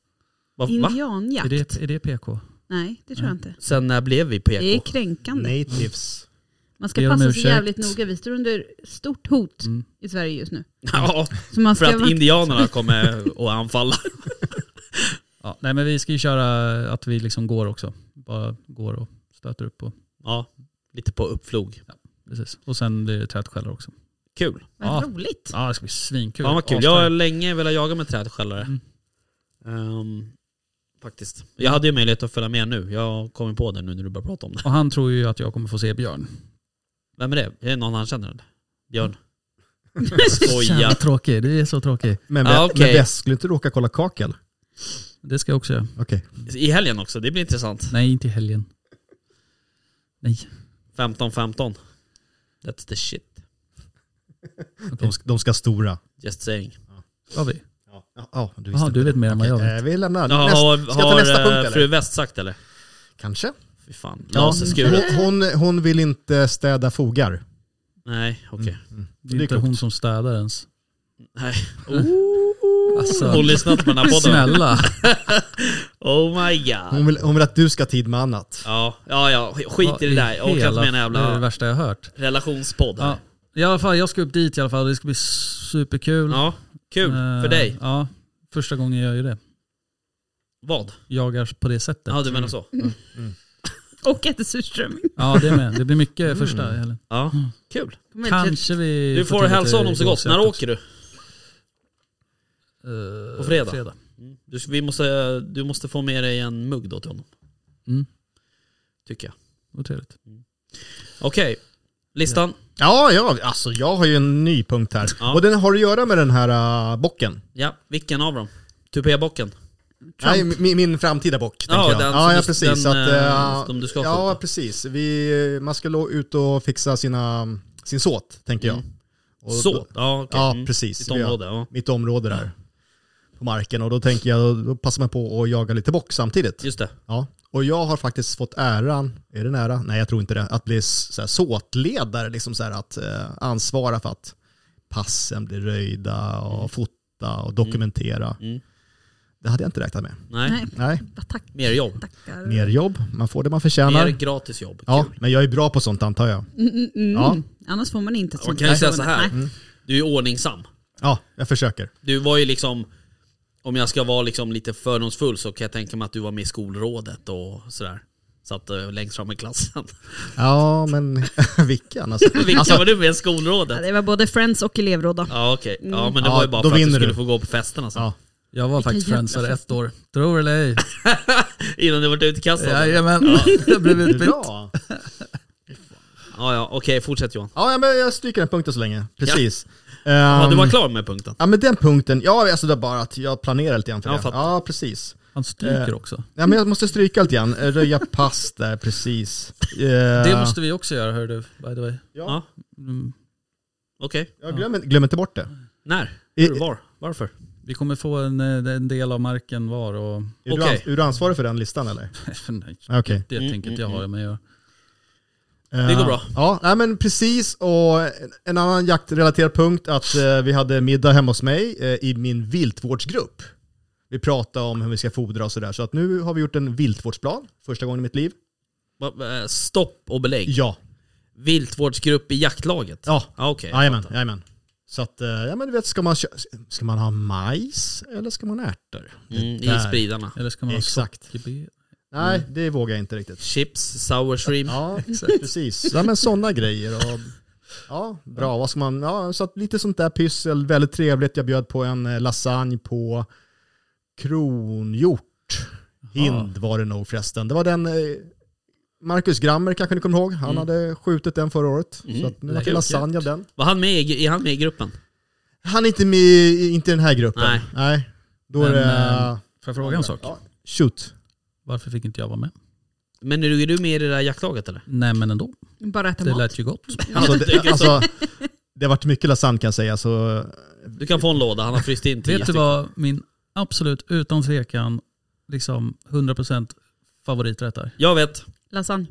Speaker 2: Va? Va?
Speaker 5: Är
Speaker 4: Indianjakt.
Speaker 5: det, är det PK?
Speaker 4: Nej, det tror jag inte.
Speaker 2: Sen när blev vi på
Speaker 4: Det är
Speaker 2: Eko?
Speaker 4: kränkande.
Speaker 6: Natives.
Speaker 4: Man ska
Speaker 5: Ber om
Speaker 4: passa sig
Speaker 5: ursäkt.
Speaker 4: jävligt noga. Vi står under stort hot
Speaker 5: Mm.
Speaker 4: i Sverige just nu.
Speaker 2: Ja,
Speaker 4: Så man
Speaker 2: För
Speaker 4: ska
Speaker 2: att
Speaker 4: vara...
Speaker 2: indianerna kommer att anfalla.
Speaker 5: Ja, nej, men vi ska ju köra att vi liksom går också. Bara går och stöter upp och
Speaker 2: Ja, lite på uppflog.
Speaker 5: precis. Och sen blir det trädskällor också.
Speaker 2: Kul.
Speaker 4: Vad
Speaker 5: Ja.
Speaker 4: roligt.
Speaker 5: Ja, det ska bli svinkul.
Speaker 2: Fan vad kul. Jag har
Speaker 5: Astaggad.
Speaker 2: länge velat jaga med trädskällare.
Speaker 5: Mm.
Speaker 2: Ehm, faktiskt. Jag hade ju möjlighet att följa med nu. Jag kommer på det nu när du börjar prata om det.
Speaker 5: Och han tror ju att jag kommer få se björn.
Speaker 2: Vem är det? Är det någon han känner? eller? Björn?
Speaker 5: Jävla
Speaker 2: Skoja.
Speaker 5: tråkig, du är så tråkig.
Speaker 6: Men,
Speaker 2: Ja,
Speaker 6: ah,
Speaker 2: okej.
Speaker 6: men väst, skulle inte du åka kolla kakel?
Speaker 5: Det ska jag också göra.
Speaker 6: Okej.
Speaker 2: I helgen också, det blir intressant.
Speaker 5: Nej, inte i helgen. Nej.
Speaker 2: 15-15. That's the shit.
Speaker 6: De, ska- de ska stora.
Speaker 2: Just saying.
Speaker 5: Har vi?
Speaker 6: Ja, ja, du visste
Speaker 5: Jaha,
Speaker 6: inte.
Speaker 5: du vet mer än vad jag
Speaker 6: Okej,
Speaker 5: vet.
Speaker 6: eh, vi lämnar.
Speaker 2: Ja,
Speaker 6: Näst,
Speaker 2: har
Speaker 6: ska jag ta nästa
Speaker 2: har
Speaker 6: punkt
Speaker 2: eh, fru
Speaker 6: eller?
Speaker 2: West sagt eller?
Speaker 6: Kanske.
Speaker 2: Fy fan.
Speaker 6: Ja.
Speaker 2: Laserskuret?
Speaker 6: Hon, hon, hon vill inte städa fogar.
Speaker 2: Nej, okej.
Speaker 6: Mm.
Speaker 5: Det är,
Speaker 6: Det är
Speaker 5: inte
Speaker 6: klokt.
Speaker 5: hon som städar ens.
Speaker 2: Nej.
Speaker 5: Alltså,
Speaker 2: Hon lyssnar inte på den här podden.
Speaker 5: snälla.
Speaker 2: Oh my god.
Speaker 6: Hon vill, hon vill att du ska ha tid med annat.
Speaker 2: Ja, ja, ja. skit i det där. Jag orkar inte med den här
Speaker 5: Det är det
Speaker 2: jävla
Speaker 5: värsta jag har hört.
Speaker 2: relationspodd.
Speaker 5: Ja.
Speaker 2: Ja.
Speaker 5: I alla fall, jag ska upp dit i alla fall. Det ska bli superkul.
Speaker 2: ja, kul
Speaker 5: Eh,
Speaker 6: Mm.
Speaker 2: för dig.
Speaker 5: Ja, första gången jag gör det.
Speaker 2: Vad?
Speaker 5: Jagar på det sättet.
Speaker 2: Ja, du menar så.
Speaker 6: Mm.
Speaker 4: Och äter surströmming.
Speaker 5: Ja, det med. Det blir mycket första helgen.
Speaker 2: Ja,
Speaker 6: Mm.
Speaker 2: kul.
Speaker 4: Kommer till-
Speaker 5: Kanske vi
Speaker 2: Mm. Du får
Speaker 5: till
Speaker 2: hälsa
Speaker 5: lite
Speaker 2: honom så gott.
Speaker 5: gåsjakt
Speaker 2: När
Speaker 5: också.
Speaker 2: åker du?
Speaker 5: eh,
Speaker 2: På fredag. Du, vi måste, du måste få med dig en mugg då till honom.
Speaker 5: Mm.
Speaker 2: Tycker jag.
Speaker 5: Vad trevligt.
Speaker 2: Okej, listan.
Speaker 6: Ja, ja, alltså jag har ju en ny punkt här.
Speaker 2: Ja.
Speaker 6: Och den har att göra med den här äh, bocken.
Speaker 2: Ja, vilken av dem? Tupébocken?
Speaker 6: Nej, min, min framtida bock,
Speaker 2: Ja,
Speaker 6: tänker jag.
Speaker 2: den som
Speaker 6: ja, ja,
Speaker 2: du-
Speaker 6: precis.
Speaker 2: den,
Speaker 6: att, eh,
Speaker 2: eh, som du ska
Speaker 6: Ja,
Speaker 2: skjuta.
Speaker 6: precis. Vi, man ska lo- ut och fixa sina, sin såt, tänker jag. Och
Speaker 2: Så, ja, okej.
Speaker 6: Ja,
Speaker 2: Mm.
Speaker 6: precis.
Speaker 2: Ditt
Speaker 6: Vi har-
Speaker 2: område, Mm. ja.
Speaker 6: mitt område där på marken och då tänker jag, då passar man på att jaga lite bock samtidigt.
Speaker 2: Just det.
Speaker 6: Ja. Och jag har faktiskt fått äran, är det nära? Nej jag tror inte det, att bli s- så här såtledare, liksom så här att eh, ansvara för att passen blir röjda och fota och dokumentera.
Speaker 2: Mm.
Speaker 6: Det hade jag inte räknat med.
Speaker 2: Nej,
Speaker 4: Nej,
Speaker 6: Nej,
Speaker 4: vad tack,
Speaker 2: mer jobb.
Speaker 4: tackar.
Speaker 6: mer jobb, man får det man förtjänar.
Speaker 2: Mer gratis jobb.
Speaker 6: ja,
Speaker 2: Kul.
Speaker 6: men jag är bra på sånt antar jag.
Speaker 4: Mm, mm, mm.
Speaker 6: Ja.
Speaker 4: Annars får man inte ett
Speaker 2: Man
Speaker 4: sånt
Speaker 2: kan ju säga så
Speaker 4: förtroende.
Speaker 2: här.
Speaker 4: Nej.
Speaker 2: Du är ordningsam.
Speaker 6: Ja, jag försöker.
Speaker 2: Du var ju liksom, om jag ska vara liksom lite fördomsfull så kan jag tänka mig att du var med i skolrådet och sådär. Satt eh, längst fram i klassen.
Speaker 6: Ja, men vilken alltså.
Speaker 2: Vilka
Speaker 6: alltså
Speaker 2: var du med i
Speaker 4: Ja,
Speaker 2: skolrådet?
Speaker 4: det Mm. var både Friends och elevråd då.
Speaker 2: Ja okej, ja men det
Speaker 6: Ja,
Speaker 2: var ju bara
Speaker 6: då
Speaker 2: för att du
Speaker 6: vinner
Speaker 2: skulle
Speaker 6: du.
Speaker 2: få gå på festerna sen.
Speaker 6: Ja.
Speaker 5: Jag var faktiskt
Speaker 4: jävla
Speaker 5: friendsare ett år. Tror eller ej.
Speaker 2: Innan du vart utkastad. Ja ja,
Speaker 5: Jajamän. Jag blev utbytt.
Speaker 6: bra.
Speaker 2: ja okej fortsätt Johan.
Speaker 6: Ja, ja, men jag stryker den punkten så länge. Precis. Ja,
Speaker 2: Ja, du var klar med punkten?
Speaker 6: Ja, men den punkten. Ja, alltså det är bara att jag planerar lite grann för
Speaker 2: Ja,
Speaker 6: det.
Speaker 2: fattar.
Speaker 6: Ja, precis.
Speaker 5: Han
Speaker 2: Eh,
Speaker 5: stryker också.
Speaker 6: Ja, men jag måste stryka lite grann. Röja pass där, precis. Eh,
Speaker 5: Det måste vi också göra hör du, by the way.
Speaker 2: Ja.
Speaker 5: Mm.
Speaker 2: Okej.
Speaker 6: Jag glömmer, glöm inte bort det.
Speaker 2: När?
Speaker 6: I-
Speaker 2: Hur? Var? Varför?
Speaker 5: Vi kommer få en, eh, en del av marken var och...
Speaker 6: Är, du
Speaker 2: Okej.
Speaker 6: ans- är du ansvarig för den listan eller?
Speaker 5: Nej,
Speaker 6: Okej.
Speaker 5: det tänker
Speaker 6: mm,
Speaker 5: inte jag ha med att göra.
Speaker 2: Det går
Speaker 6: Eh,
Speaker 2: bra.
Speaker 6: Ja, nej, men precis. Och en- en annan jaktrelaterad punkt att eh, vi hade middag hemma hos mig eh, i min viltvårdsgrupp. Vi pratade om hur vi ska fodra och sådär. Så att nu har vi gjort en viltvårdsplan, första gången i mitt liv.
Speaker 2: Va- eh, Stopp och belägg.
Speaker 6: Ja,
Speaker 2: Viltvårdsgrupp i jaktlaget?
Speaker 6: ja.
Speaker 2: Ja okej.
Speaker 6: Jajamän, jajamän. Så att, eh, ja men du vet, ska man, kö- ska man ha majs eller ska man ha ärtor?
Speaker 2: Mm, I
Speaker 6: Där.
Speaker 2: spridarna.
Speaker 5: Eller ska man
Speaker 6: Exakt.
Speaker 5: ha sockerbe-
Speaker 6: Nej,
Speaker 2: Mm.
Speaker 6: det vågar jag inte riktigt.
Speaker 2: Chips, sour cream.
Speaker 6: Ja, precis. Ja men sådana grejer. Och, ja, bra. Vad ska man, ja, så att lite sånt där pyssel, väldigt trevligt. Jag bjöd på en eh, lasagne på kronhjort. Hind var det nog förresten. Det var den eh, Marcus Grammer kanske ni kommer ihåg. Han hade skjutit den förra året. Så att nu vart Mm. det
Speaker 5: Kul,
Speaker 6: lasagne av den.
Speaker 2: Var han med, i- är han med i gruppen?
Speaker 6: Han är inte med i inte i den här gruppen.
Speaker 2: Nej.
Speaker 6: Då är
Speaker 5: Men,
Speaker 6: det...
Speaker 5: eh, Får jag fråga en sak?
Speaker 6: Ja, shoot.
Speaker 5: Varför fick inte jag vara med?
Speaker 2: Men är du, är du med i det där jaktlaget eller?
Speaker 5: Nej men ändå,
Speaker 4: Bara äta
Speaker 5: det
Speaker 4: mat.
Speaker 5: lät ju gott.
Speaker 6: Alltså, det, alltså, det har varit mycket lasagne kan jag säga. Så,
Speaker 2: Du kan få en låda, han har fryst in tio
Speaker 5: Vet du vad min absolut, utan tvekan, liksom 100% favoriträtt är?
Speaker 2: Jag vet.
Speaker 4: Lasagne.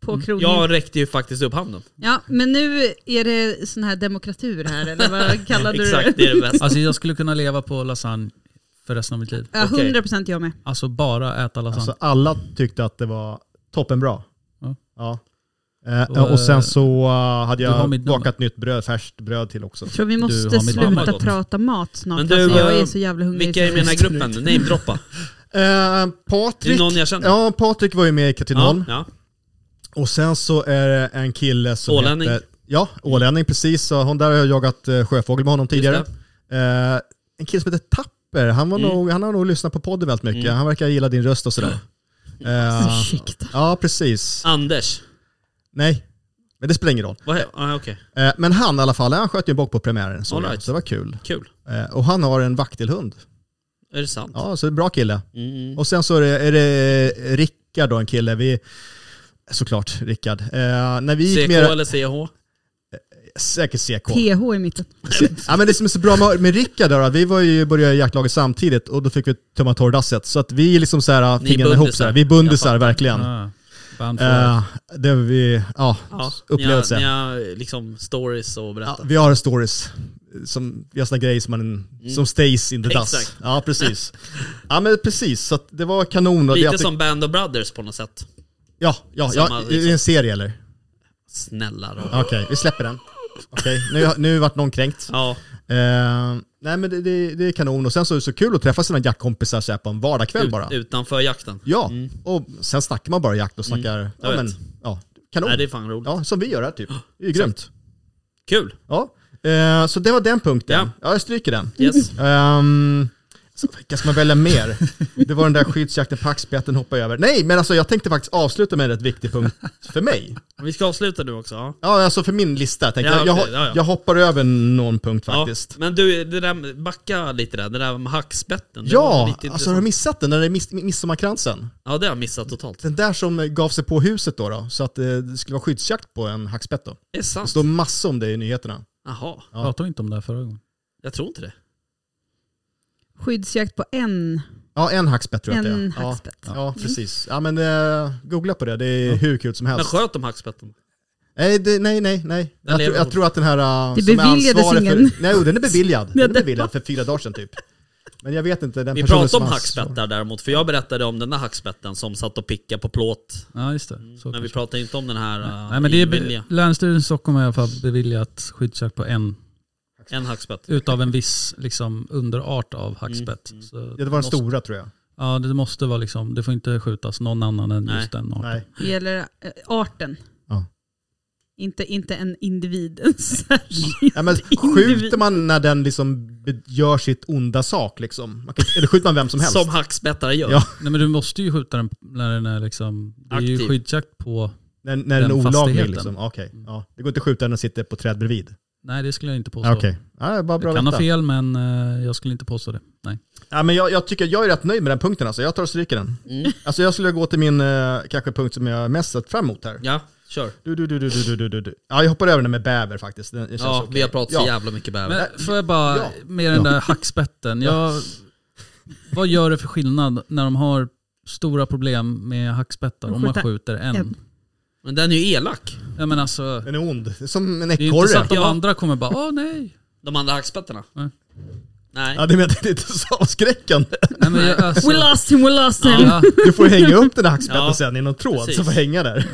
Speaker 4: På krogen. Ja.
Speaker 2: Jag räckte ju faktiskt upp handen.
Speaker 4: men nu är det sån här demokratur här, eller vad kallade du
Speaker 2: Exakt,
Speaker 4: det?
Speaker 2: det är det bästa.
Speaker 5: Alltså jag skulle kunna leva på lasagne för resten av mitt liv.
Speaker 4: Ja,
Speaker 2: Okej.
Speaker 4: 100 procent jag med.
Speaker 5: Alltså bara äta lasagne.
Speaker 6: alltså, alla tyckte att det var toppenbra.
Speaker 5: Ja.
Speaker 6: Ja. Eh,
Speaker 5: Och,
Speaker 6: och sen så eh, hade
Speaker 5: du har
Speaker 6: jag
Speaker 5: mitt nummer.
Speaker 6: bakat nytt bröd, färskt bröd till också.
Speaker 4: Jag tror vi
Speaker 5: har
Speaker 4: måste
Speaker 5: mitt
Speaker 2: mamma
Speaker 4: sluta
Speaker 2: gått.
Speaker 4: prata mat snart.
Speaker 2: Men
Speaker 4: Men
Speaker 2: du,
Speaker 4: jag
Speaker 2: eh,
Speaker 4: är så jävla hungrig.
Speaker 2: Vilka är med i den här gruppen? Namedroppa.
Speaker 6: Eh,
Speaker 2: Är det
Speaker 6: Patrik,
Speaker 2: någon jag känner?
Speaker 6: ja, Patrik var ju med i Katrineholm.
Speaker 2: Ja, ja.
Speaker 6: Och sen så är det en kille som
Speaker 2: Ålänning. Mm.
Speaker 6: heter... Ja, ålänning precis. Så hon där har jag jagat eh, sjöfågel med honom tidigare. Eh, en kille som heter Tapper, han, var
Speaker 2: Mm.
Speaker 6: nog, han har nog lyssnat på podden väldigt mycket. Han verkar gilla din röst och sådär. Eh,
Speaker 4: Ursäkta.
Speaker 6: ja, precis.
Speaker 2: Anders.
Speaker 6: Nej, men det spelar ingen roll.
Speaker 2: Vad är- ah, Okej,
Speaker 6: Eh, men han i alla fall, han sköt ju en bock på premiären. Så,
Speaker 2: All right.
Speaker 6: så det var kul.
Speaker 2: kul.
Speaker 6: Eh, och han har en vaktelhund.
Speaker 2: Är det sant?
Speaker 6: Ja, så det är en bra kille.
Speaker 2: Mm.
Speaker 6: Och sen så är det, är det Rickard då, en kille. Vi, såklart Rickard. Eh, när vi gick
Speaker 2: CK
Speaker 6: mer...
Speaker 2: eller CH?
Speaker 6: Säkert CK.
Speaker 4: PH i mitten.
Speaker 6: Ja, men det som är så bra med, med Rickard där, att vi var ju, började i jaktlaget samtidigt och då fick vi tömma torrdasset. Så att vi är liksom så här,
Speaker 2: Ni
Speaker 6: fingrarna ihop så här. Vi är
Speaker 2: Jag
Speaker 6: bundisar
Speaker 2: fattar.
Speaker 6: verkligen.
Speaker 5: Ah, band for life.
Speaker 6: mm. Eh, det är vi, ja,
Speaker 2: Ja,
Speaker 6: upplevelse.
Speaker 2: Ni har, ni har liksom stories och
Speaker 6: Ja,
Speaker 2: berätta.
Speaker 6: vi har stories. Som, vi har såna grejer som, man, som stays in the dust.
Speaker 2: Mm. Exakt.
Speaker 6: Ja, precis. ja, men precis. Så att det var kanon. Och det,
Speaker 2: Lite
Speaker 6: jag tyck-
Speaker 2: som Band of Brothers på något sätt.
Speaker 6: Ja, ja,
Speaker 2: samma, liksom.
Speaker 6: ja i- i en serie eller?
Speaker 2: Snälla då.
Speaker 6: Okej, vi släpper den. Okej, nu, nu vart någon kränkt.
Speaker 2: Ja,
Speaker 6: Eh, nej men det, det, det är kanon och sen så är det så kul att träffa sina jaktkompisar så här på en vardagskväll
Speaker 2: ut,
Speaker 6: bara.
Speaker 2: utanför jakten.
Speaker 6: Ja, och sen snackar man bara jakt och snackar, ja
Speaker 2: jag
Speaker 6: men,
Speaker 2: vet.
Speaker 6: ja, kanon.
Speaker 2: Nej, det är fan roligt.
Speaker 6: Ja, som vi gör här typ. Det är ju grymt.
Speaker 2: Kul!
Speaker 6: Ja. Eh, så det var den punkten.
Speaker 2: Ja.
Speaker 6: Ja, jag stryker den.
Speaker 2: Yes.
Speaker 6: Ehm, så vilka ska man välja mer? Det var den där skyddsjakten på hackspetten hoppar jag över. Nej, men alltså jag tänkte faktiskt avsluta med en rätt viktig punkt för mig.
Speaker 2: Vi ska avsluta nu också. Ja.
Speaker 6: Ja, alltså för min lista. Tänkte
Speaker 2: Ja,
Speaker 6: jag. Jag,
Speaker 2: okej,
Speaker 6: ho-
Speaker 2: ja, ja.
Speaker 6: jag hoppar över någon punkt faktiskt.
Speaker 2: Ja, men du, det där, backa lite där. Det där med hackspetten. det var
Speaker 6: Ja,
Speaker 2: lite
Speaker 6: alltså har du
Speaker 2: intressant.
Speaker 6: missat den? Den där miss- midsommarkransen.
Speaker 2: ja, det har jag missat totalt.
Speaker 6: Den där som gav sig på huset då, då så att eh, det skulle vara skyddsjakt på en hackspett då.
Speaker 2: Det är
Speaker 6: Det
Speaker 2: sant.
Speaker 6: står massor om det i nyheterna.
Speaker 2: Jaha,
Speaker 6: Ja.
Speaker 5: Pratade vi inte om det här förra gången?
Speaker 2: jag tror inte det.
Speaker 4: Skyddsjakt på en,
Speaker 6: Ja, en hackspett tror jag att det
Speaker 4: en
Speaker 6: är. Ja.
Speaker 4: hackspett. Mm.
Speaker 6: Ja, precis. Ja, men eh, googla på det. Det är hur kul som
Speaker 2: Men
Speaker 6: helst.
Speaker 2: sköt de hackspetten?
Speaker 6: Nej, det, nej, nej. nej. Jag,
Speaker 2: lever
Speaker 6: tror- jag
Speaker 2: hon.
Speaker 6: tror att den här... Uh,
Speaker 4: Det beviljades ingen.
Speaker 6: För, nej, jo, den är beviljad.
Speaker 4: Nej,
Speaker 6: Den är
Speaker 4: det-
Speaker 6: beviljad för fyra dagar sedan typ. Men jag vet inte. Den
Speaker 2: Vi
Speaker 6: personen
Speaker 2: pratade
Speaker 6: som
Speaker 2: om
Speaker 6: har-
Speaker 2: hackspettar däremot, för jag berättade om den där hackspetten som satt och pickade på plåt.
Speaker 5: Ja, just
Speaker 6: Mm.
Speaker 5: det. Så
Speaker 2: Men vi
Speaker 5: kanske.
Speaker 2: pratade inte om den här eh,
Speaker 5: Nej, men det är
Speaker 2: illvilliga.
Speaker 5: be- Länsstyrelsen i Stockholm har i alla fall beviljat skyddsjakt på en,
Speaker 2: En hackspett.
Speaker 5: utav en viss liksom, underart av hackspett.
Speaker 6: Mm,
Speaker 5: Så
Speaker 6: Ja, det var den
Speaker 5: måste,
Speaker 6: stora tror jag.
Speaker 5: Ja, det måste vara liksom, det får inte skjutas någon annan än
Speaker 2: Nej.
Speaker 5: just den arten.
Speaker 6: Nej.
Speaker 4: Det gäller eh, arten.
Speaker 6: Ja.
Speaker 4: Inte, inte en individ, en särskild
Speaker 6: Ja, men skjuter man när den liksom be- gör sitt onda sak liksom? Man kan, eller skjuter man vem som helst?
Speaker 2: Som hackspettare gör.
Speaker 6: Ja.
Speaker 5: Nej, men du måste ju skjuta den när den är liksom, det är ju
Speaker 2: Aktiv.
Speaker 5: skyddsjakt på,
Speaker 6: när när den är
Speaker 5: den
Speaker 6: olaglig
Speaker 5: fastigheten.
Speaker 6: liksom? Okej. Ja. Det går inte att skjuta när den sitter på träd bredvid?
Speaker 5: nej det skulle jag inte påstå.
Speaker 6: Ja, Okej. Ja, bara bra
Speaker 5: Jag
Speaker 6: att
Speaker 5: kan ha
Speaker 6: veta.
Speaker 5: fel men eh, jag skulle inte påstå det. Nej.
Speaker 6: Ja, men jag, jag tycker jag är rätt nöjd med den punkten alltså. Jag tar och stryker den.
Speaker 4: Mm.
Speaker 6: Alltså jag skulle gå till min eh, kanske punkt som jag mest sett fram emot här.
Speaker 2: Ja, kör.
Speaker 6: Du, du, du, du, du, du, du, du. Ja, jag hoppar över den med bäver faktiskt. Den, det känns
Speaker 2: Ja,
Speaker 6: okej.
Speaker 2: vi har pratat så
Speaker 6: Ja.
Speaker 2: jävla mycket bäver.
Speaker 5: Men får jag bara,
Speaker 6: Ja.
Speaker 5: med den där hackspetten. Jag, vad gör det för skillnad när de har stora problem med hackspettar om man
Speaker 4: Skjuta
Speaker 5: skjuter en?
Speaker 4: en.
Speaker 2: Men den är ju elak,
Speaker 5: Ja, men alltså,
Speaker 6: Den är ond. Det är Som en
Speaker 5: det är ju inte så
Speaker 6: ekorre.
Speaker 5: att de
Speaker 2: Ja.
Speaker 5: andra kommer bara, åh nej.
Speaker 2: de andra hackspettarna.
Speaker 5: Nej.
Speaker 2: Nej.
Speaker 6: Ja, det menar jag, det är inte så avskräckande.
Speaker 5: nej men jag, alltså,
Speaker 4: We lost him, we lost him.
Speaker 5: ja,
Speaker 6: Du får hänga upp den här hackspetten
Speaker 2: Ja,
Speaker 6: sen i någon tråd
Speaker 2: precis.
Speaker 6: som får hänga där.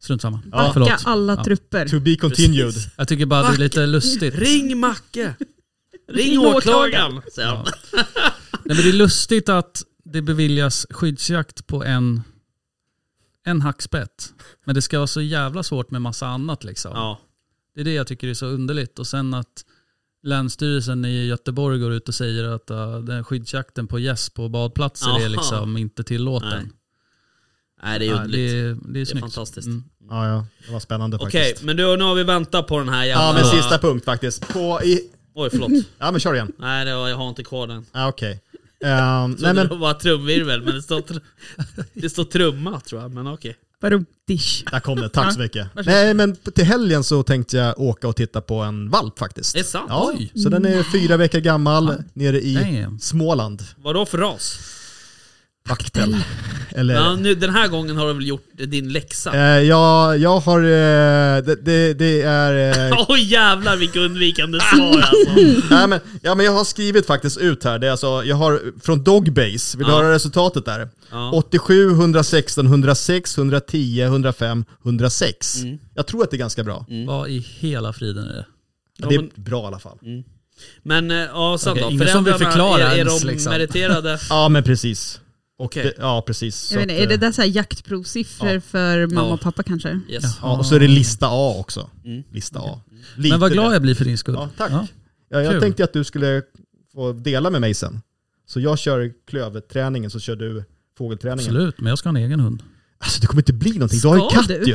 Speaker 5: strunt samma.
Speaker 6: Ja. Typ-
Speaker 5: Förlåt.
Speaker 4: Backa alla trupper.
Speaker 6: To be continued.
Speaker 2: Precis.
Speaker 5: Jag tycker bara det är lite lustigt.
Speaker 2: Ring Macke! Ring
Speaker 4: Ring åklagaren.
Speaker 2: åklagaren! säger han.
Speaker 5: Nej, men det är lustigt att det beviljas skyddsjakt på en, en hackspett. Men det ska vara så jävla svårt med massa annat liksom.
Speaker 2: Ja.
Speaker 5: Det är det jag tycker är så underligt. Och sen att Länsstyrelsen i Göteborg går ut och säger att uh, den skyddsjakten på gäss på badplatser
Speaker 2: Aha.
Speaker 5: är liksom inte tillåten.
Speaker 2: Nej, Nej, det är
Speaker 5: Ja, det,
Speaker 2: underligt.
Speaker 5: är, det är
Speaker 2: Det är
Speaker 5: snyggt.
Speaker 2: fantastiskt.
Speaker 5: Mm.
Speaker 6: Ja, ja. Det var spännande
Speaker 2: Okej,
Speaker 6: faktiskt.
Speaker 2: men du, nu har vi väntat på den här jävla...
Speaker 6: Ja, men sista punkt faktiskt. På i...
Speaker 2: Oj, förlåt.
Speaker 6: Ja, men kör igen.
Speaker 2: Nej, det var, jag har inte kvar den.
Speaker 6: Ja, okej. Ehm, nej,
Speaker 2: Nej, men...
Speaker 6: men...
Speaker 2: Det var trumvirvel, men det står, tr... det står trumma tror jag. Men okej.
Speaker 4: Vadå? Dish.
Speaker 6: Där kom det, tack så mycket. Nej men till helgen så tänkte jag åka och titta på en valp faktiskt.
Speaker 2: Det är sant. Mm. Ah.
Speaker 6: Ja, så den är fyra veckor gammal nere i
Speaker 5: Damn.
Speaker 6: Småland.
Speaker 2: Vadå för ras?
Speaker 6: Vaktel. Eller,
Speaker 2: Ja, nu, den här gången har du väl gjort din läxa?
Speaker 6: eh, jag, jag har, eh, det, det, det är... Eh,
Speaker 2: Åh jävlar vilket undvikande
Speaker 6: Ah!
Speaker 2: svar alltså.
Speaker 6: nej, men, ja, men jag har skrivit faktiskt ut här, det är alltså, jag har från Dogbase, vill du
Speaker 2: Ja.
Speaker 6: höra resultatet där?
Speaker 2: Ja.
Speaker 6: 87, 116, 106, 110, 105, 106.
Speaker 2: Mm.
Speaker 6: Jag tror att det är ganska bra.
Speaker 5: Vad i hela friden är det?
Speaker 6: Ja, det
Speaker 2: Ja, Mm.
Speaker 6: är bra i alla fall.
Speaker 2: Men eh, ja, sen
Speaker 5: Okej,
Speaker 2: då.
Speaker 5: ingen som vill
Speaker 2: Föräldrarna,
Speaker 5: förklara
Speaker 2: är, är
Speaker 5: ens,
Speaker 2: de
Speaker 5: liksom.
Speaker 2: meriterade?
Speaker 6: Ja men precis. Och
Speaker 2: Okej.
Speaker 6: det, ja precis. Så
Speaker 4: Jag vet inte,
Speaker 6: att,
Speaker 4: är det
Speaker 6: eh,
Speaker 4: där så här jaktprovsiffror
Speaker 6: Ja.
Speaker 4: för mamma
Speaker 2: Ja.
Speaker 4: och pappa kanske?
Speaker 2: Yes.
Speaker 6: Ja, och så är det lista A också.
Speaker 2: Mm.
Speaker 6: Lista A. Lite
Speaker 5: Men vad
Speaker 6: det.
Speaker 5: glad jag blir för din skull.
Speaker 6: Ja, tack.
Speaker 5: Ja.
Speaker 6: Ja, jag
Speaker 5: Kul.
Speaker 6: tänkte att du skulle få dela med mig sen. Så jag kör klövträningen så kör du fågelträningen.
Speaker 5: Absolut, men jag ska ha en egen hund.
Speaker 6: Alltså det kommer inte bli någonting. Du har ju
Speaker 4: Ska
Speaker 6: katt
Speaker 4: du?
Speaker 6: ju.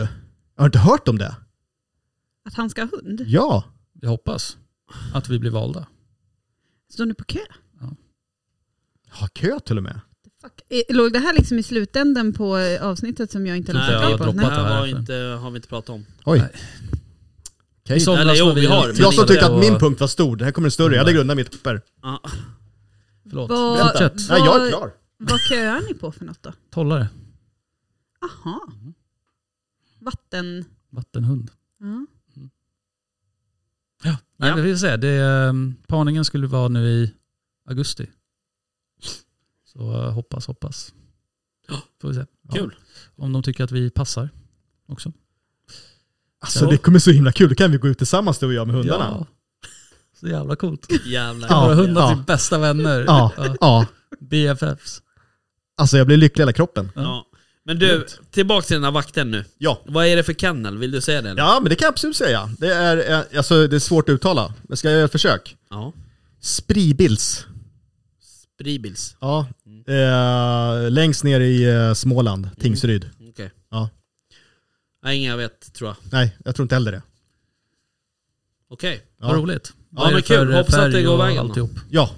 Speaker 6: Jag har inte hört om det.
Speaker 4: Att han ska ha hund?
Speaker 6: Ja.
Speaker 5: Jag hoppas att vi blir valda.
Speaker 4: Står nu på kö?
Speaker 6: Har kö till och med.
Speaker 4: Fuck. Eh, Låg det här liksom i slutänden på eh, avsnittet som jag inte
Speaker 2: Nej,
Speaker 4: har
Speaker 5: jag har
Speaker 4: koll på?
Speaker 5: droppat
Speaker 2: Det
Speaker 4: Nej.
Speaker 5: det
Speaker 2: här
Speaker 5: här
Speaker 2: var
Speaker 5: för-
Speaker 2: inte, har vi inte pratat om.
Speaker 6: Oj.
Speaker 5: Nej.
Speaker 6: Okej.
Speaker 5: I somras
Speaker 2: Eller jo,
Speaker 5: var
Speaker 2: vi har, men
Speaker 6: Jag som
Speaker 2: inte-
Speaker 6: tyckte att min
Speaker 5: och-
Speaker 6: punkt var stor. Det här kommer en större. Jag hade grundat mitt papper.
Speaker 2: Ja.
Speaker 5: Förlåt,
Speaker 4: Vad-
Speaker 5: fortsätt.
Speaker 4: vad-
Speaker 6: Nej, jag är klar.
Speaker 4: Vad köar ni på för något då?
Speaker 5: Tollare,
Speaker 4: Aha. Vatten...
Speaker 5: vattenhund. Mm.
Speaker 4: Ja.
Speaker 5: Ja, Nej,
Speaker 2: Ja.
Speaker 5: men vi får se. Det, eh, parningen skulle vara nu i augusti. Så eh, hoppas, hoppas. Får vi se.
Speaker 2: Kul.
Speaker 5: Om de tycker att vi passar också.
Speaker 6: Alltså det kommer så himla kul. Då kan vi gå ut tillsammans du och jag med hundarna.
Speaker 5: Ja. Så jävla coolt.
Speaker 2: Jävlar.
Speaker 6: Ja.
Speaker 5: Våra hundar
Speaker 6: ja.
Speaker 5: blir bästa vänner.
Speaker 6: Ja. ja.
Speaker 5: BFFs.
Speaker 6: Alltså jag blir lycklig i hela kroppen.
Speaker 2: Ja. Men du, tillbaka till den här vakten nu.
Speaker 6: Ja.
Speaker 2: Vad är det för kennel? Vill du säga det? eller?
Speaker 6: Ja, men det kan jag absolut säga. Det är, eh, alltså, det är svårt att uttala, men ska jag göra ett försök?
Speaker 2: ja.
Speaker 6: Spribils.
Speaker 2: Bribils.
Speaker 6: Ja. Eh, längst ner i eh,
Speaker 2: Mm.
Speaker 6: Småland, Tingsryd.
Speaker 2: Okej.
Speaker 6: Ja.
Speaker 2: Nej, ingen jag vet tror jag.
Speaker 6: Nej, jag tror inte heller det.
Speaker 2: Okej.
Speaker 5: Vad
Speaker 6: Ja.
Speaker 5: roligt.
Speaker 2: Ja, men kul.
Speaker 5: eh,
Speaker 2: Hoppas att det
Speaker 5: färg
Speaker 2: går
Speaker 5: och
Speaker 2: vägen då.
Speaker 5: alltihop?
Speaker 6: Ja.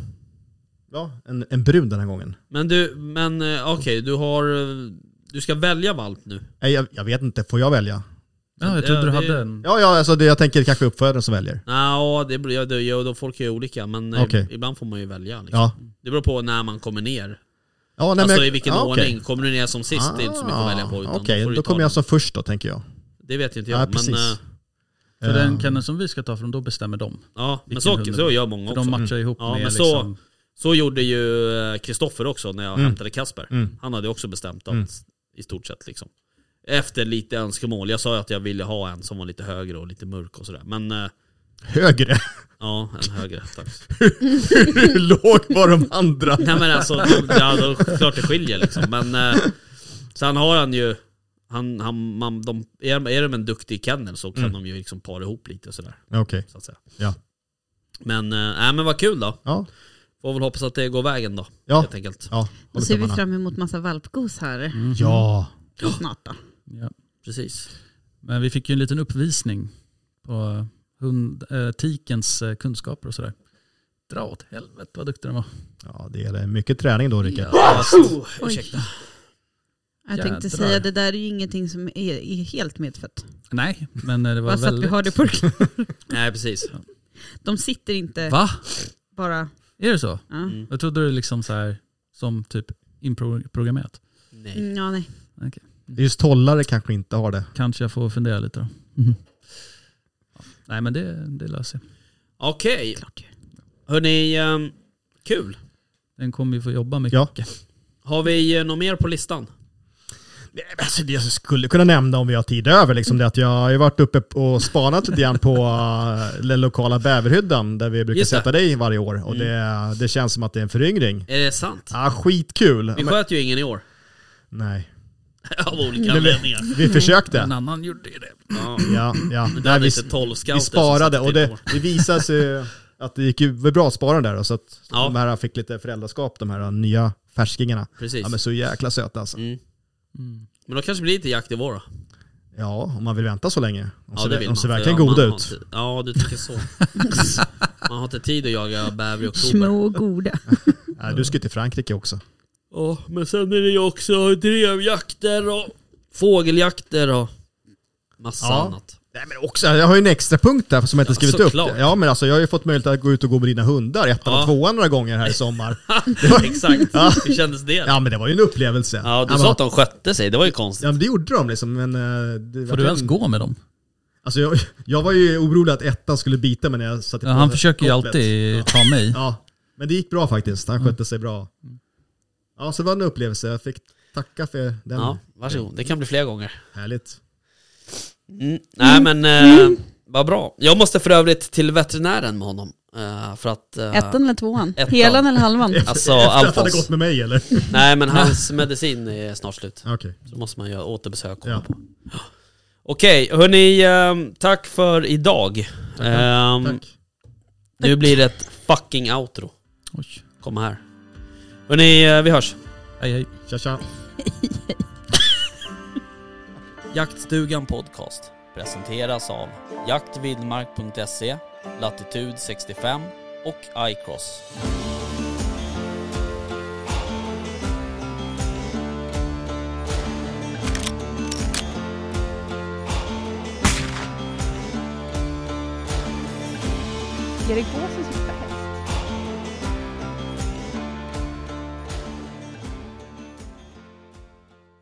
Speaker 6: Ja, en, en brun den här gången.
Speaker 2: Men du, men eh, okej, du har... eh, Du ska välja valp nu.
Speaker 6: Nej, jag, jag vet inte, får jag välja?
Speaker 5: Ja, jag trodde
Speaker 2: Ja,
Speaker 5: du
Speaker 2: det-
Speaker 5: hade en.
Speaker 6: Ja, ja alltså det, jag tänker kanske uppfödaren som väljer.
Speaker 2: Nja, det blir... Ja, det, ja, de folk är ju olika, men eh,
Speaker 6: Okej.
Speaker 2: ibland får man ju välja. Liksom.
Speaker 6: Ja.
Speaker 2: Det beror på när man kommer ner.
Speaker 6: ja nej,
Speaker 2: alltså
Speaker 6: jag-
Speaker 2: i vilken
Speaker 6: ja, okej.
Speaker 2: ordning. Kommer du ner som sist, det är inte så mycket att välja på. utan
Speaker 6: Ah,
Speaker 2: då
Speaker 6: Okej,
Speaker 2: får du
Speaker 6: då
Speaker 2: ta
Speaker 6: kommer jag
Speaker 2: den.
Speaker 6: som först då, tänker jag.
Speaker 2: Det vet inte jag.
Speaker 6: Ja,
Speaker 2: men,
Speaker 6: precis.
Speaker 2: eh,
Speaker 5: För
Speaker 6: Eh,
Speaker 5: den kenneln som vi ska ta från, då bestämmer de.
Speaker 2: ja, men
Speaker 5: Vilken
Speaker 2: så,
Speaker 5: hund?
Speaker 2: så gör många
Speaker 5: För
Speaker 2: också. Mm.
Speaker 5: de matchar ihop
Speaker 2: Ja, men
Speaker 5: med
Speaker 2: så-
Speaker 5: liksom,
Speaker 2: Så gjorde ju eh, Kristoffer också när jag hämtade Kasper.
Speaker 6: Mm.
Speaker 2: Han hade också bestämt att
Speaker 6: Mm.
Speaker 2: i stort sett liksom. Efter lite önskemål. Jag sa ju att jag ville ha en som var lite högre och lite mörk och sådär. Men eh,
Speaker 6: Högre?
Speaker 2: ja, en högre. Tack.
Speaker 6: Hur låg var de andra?
Speaker 2: Nej men alltså, ja, då, klart det skiljer liksom. Men eh, sen har han ju, han, han, man, de, är, är de en duktig kennel så
Speaker 5: Mm.
Speaker 2: kan de ju liksom para ihop lite och sådär.
Speaker 6: Okej,
Speaker 2: Så att säga.
Speaker 6: ja.
Speaker 2: Men, eh, nej, men vad kul då.
Speaker 6: Ja,
Speaker 2: Får väl hoppas att det går vägen då.
Speaker 6: Ja.
Speaker 2: Helt enkelt.
Speaker 6: ja.
Speaker 4: Då
Speaker 6: håller
Speaker 4: ser vi
Speaker 6: tummarna. Mm.
Speaker 4: fram emot massa valpgos här
Speaker 6: Ja.
Speaker 4: snart då.
Speaker 5: ja.
Speaker 2: Precis.
Speaker 5: Men vi fick ju en liten uppvisning på hund, eh, tikens eh, kunskaper och sådär. Dra åt helvete vad duktig den var.
Speaker 6: ja, det är mycket träning då, Rickard.
Speaker 2: Oh,
Speaker 4: Oj.
Speaker 2: ursäkta.
Speaker 4: Jag tänkte
Speaker 5: Jädrar.
Speaker 4: säga, det där är ju ingenting som är, är helt medfött.
Speaker 5: Nej, men eh, det var
Speaker 4: Bara så att vi
Speaker 5: väldigt...
Speaker 4: har det på
Speaker 2: Nej precis.
Speaker 4: De sitter inte
Speaker 5: Va?
Speaker 4: bara...
Speaker 5: Är det så?
Speaker 4: Ja,
Speaker 2: Mm.
Speaker 5: Jag trodde det liksom så här som typ inprogrammerat.
Speaker 2: Nej.
Speaker 4: Mm, ja nej.
Speaker 6: Just tollare kanske inte har det.
Speaker 5: Kanske jag får fundera lite då.
Speaker 6: Mm.
Speaker 5: Ja. Nej men det, det löser sig.
Speaker 2: Okej,
Speaker 4: Klart ju.
Speaker 2: hörni, ehm, kul.
Speaker 5: Den kommer ju få jobba mycket.
Speaker 6: Ja.
Speaker 2: Har vi eh, något mer på listan?
Speaker 6: Nej, men Alltså det jag skulle kunna nämna om vi har tid över, liksom det att jag har ju varit uppe och spanat lite grann på eh, den lokala bäverhyddan där vi brukar
Speaker 2: Just det. Mm.
Speaker 6: sätta dig varje år. Och det, det känns som att det är en föryngring.
Speaker 2: Är det sant?
Speaker 6: Ja, skitkul.
Speaker 2: Vi
Speaker 6: Men,
Speaker 2: sköt ju ingen i år.
Speaker 6: nej,
Speaker 2: Av olika anledningar.
Speaker 6: vi försökte.
Speaker 5: En annan gjorde ju det.
Speaker 2: Ja,
Speaker 6: Ja, ja.
Speaker 2: Mm. men det
Speaker 6: Nej,
Speaker 2: hade
Speaker 6: vi,
Speaker 2: inte 12 scouter
Speaker 6: vi
Speaker 2: som
Speaker 6: sparade
Speaker 2: satt
Speaker 6: och
Speaker 2: till i
Speaker 6: det,
Speaker 2: år.
Speaker 6: det visade sig att det gick ju var bra att spara den där då, så att
Speaker 2: Ja.
Speaker 6: de här fick lite föräldraskap, de här eh, nya färskingarna.
Speaker 2: Precis. Mm.
Speaker 6: Ja
Speaker 2: men...
Speaker 6: men så jäkla söta alltså. Mm.
Speaker 2: då kanske det blir lite jakt i vår då.
Speaker 6: Ja, om man vill vänta så länge. De
Speaker 2: Ja
Speaker 6: ser,
Speaker 2: det vill
Speaker 6: de
Speaker 2: man.
Speaker 6: ser
Speaker 2: för
Speaker 6: verkligen
Speaker 2: ja, man
Speaker 6: goda
Speaker 2: har
Speaker 6: ut.
Speaker 2: inte- Ja du tycker så. Man har inte tid att jaga bäver i oktober.
Speaker 4: Små och goda.
Speaker 6: Nej, du ska ju till Frankrike också.
Speaker 2: Ja, men sen är det ju också drevjakter och fågeljakter och massa
Speaker 6: Ja.
Speaker 2: annat.
Speaker 6: Nej men också, jag har ju en extra punkt där som jag inte
Speaker 2: Ja,
Speaker 6: skrivit upp.
Speaker 2: såklart.
Speaker 6: Ja men alltså jag har ju fått möjlighet att gå ut och gå med dina hundar, ettan
Speaker 2: Ja.
Speaker 6: och tvåan några gånger här i sommar.
Speaker 2: Exakt, hur kändes det? Ja,
Speaker 6: Ja men det var ju en upplevelse.
Speaker 2: du sa att de skötte sig, det var ju konstigt.
Speaker 6: Ja men det gjorde de liksom men... eh, Det
Speaker 5: Får du ens gå med dem?
Speaker 6: Alltså jag, jag var ju orolig att ettan skulle bita mig när jag satte
Speaker 5: Ja,
Speaker 6: på
Speaker 5: han försöker ju
Speaker 6: kopplet.
Speaker 5: alltid Mm. ta mig.
Speaker 6: Ja, men det gick bra faktiskt. Han skötte sig bra. Ja, så det var en upplevelse. Jag fick tacka för den.
Speaker 2: Ja, varsågod. Det kan bli fler gånger.
Speaker 6: Härligt.
Speaker 2: Mm. Nej men, eh,
Speaker 6: Mm.
Speaker 2: vad bra. Jag måste för övrigt till veterinären med honom. Eh, för att... Eh,
Speaker 4: Ettan eller tvåan?
Speaker 2: Ettan.
Speaker 4: Helan eller halvan?
Speaker 2: Alltså
Speaker 6: Efter att han hade
Speaker 2: Alfons.
Speaker 6: gått med mig eller?
Speaker 2: Nej men hans medicin är snart slut.
Speaker 6: Okej.
Speaker 2: Så måste man göra återbesök och
Speaker 6: Ja.
Speaker 2: hålla på. Okej, hörni. Eh, tack för idag. Ehm,
Speaker 6: Tack.
Speaker 2: Nu blir det ett fucking outro.
Speaker 5: Oj.
Speaker 2: Kom här. Hörni, eh, vi hörs.
Speaker 5: Hej, hej.
Speaker 6: Tja tja.
Speaker 2: Jaktstugan Podcast presenteras av jaktvildmark.se, Latitude 65 och iCross.
Speaker 1: Är det gåsen som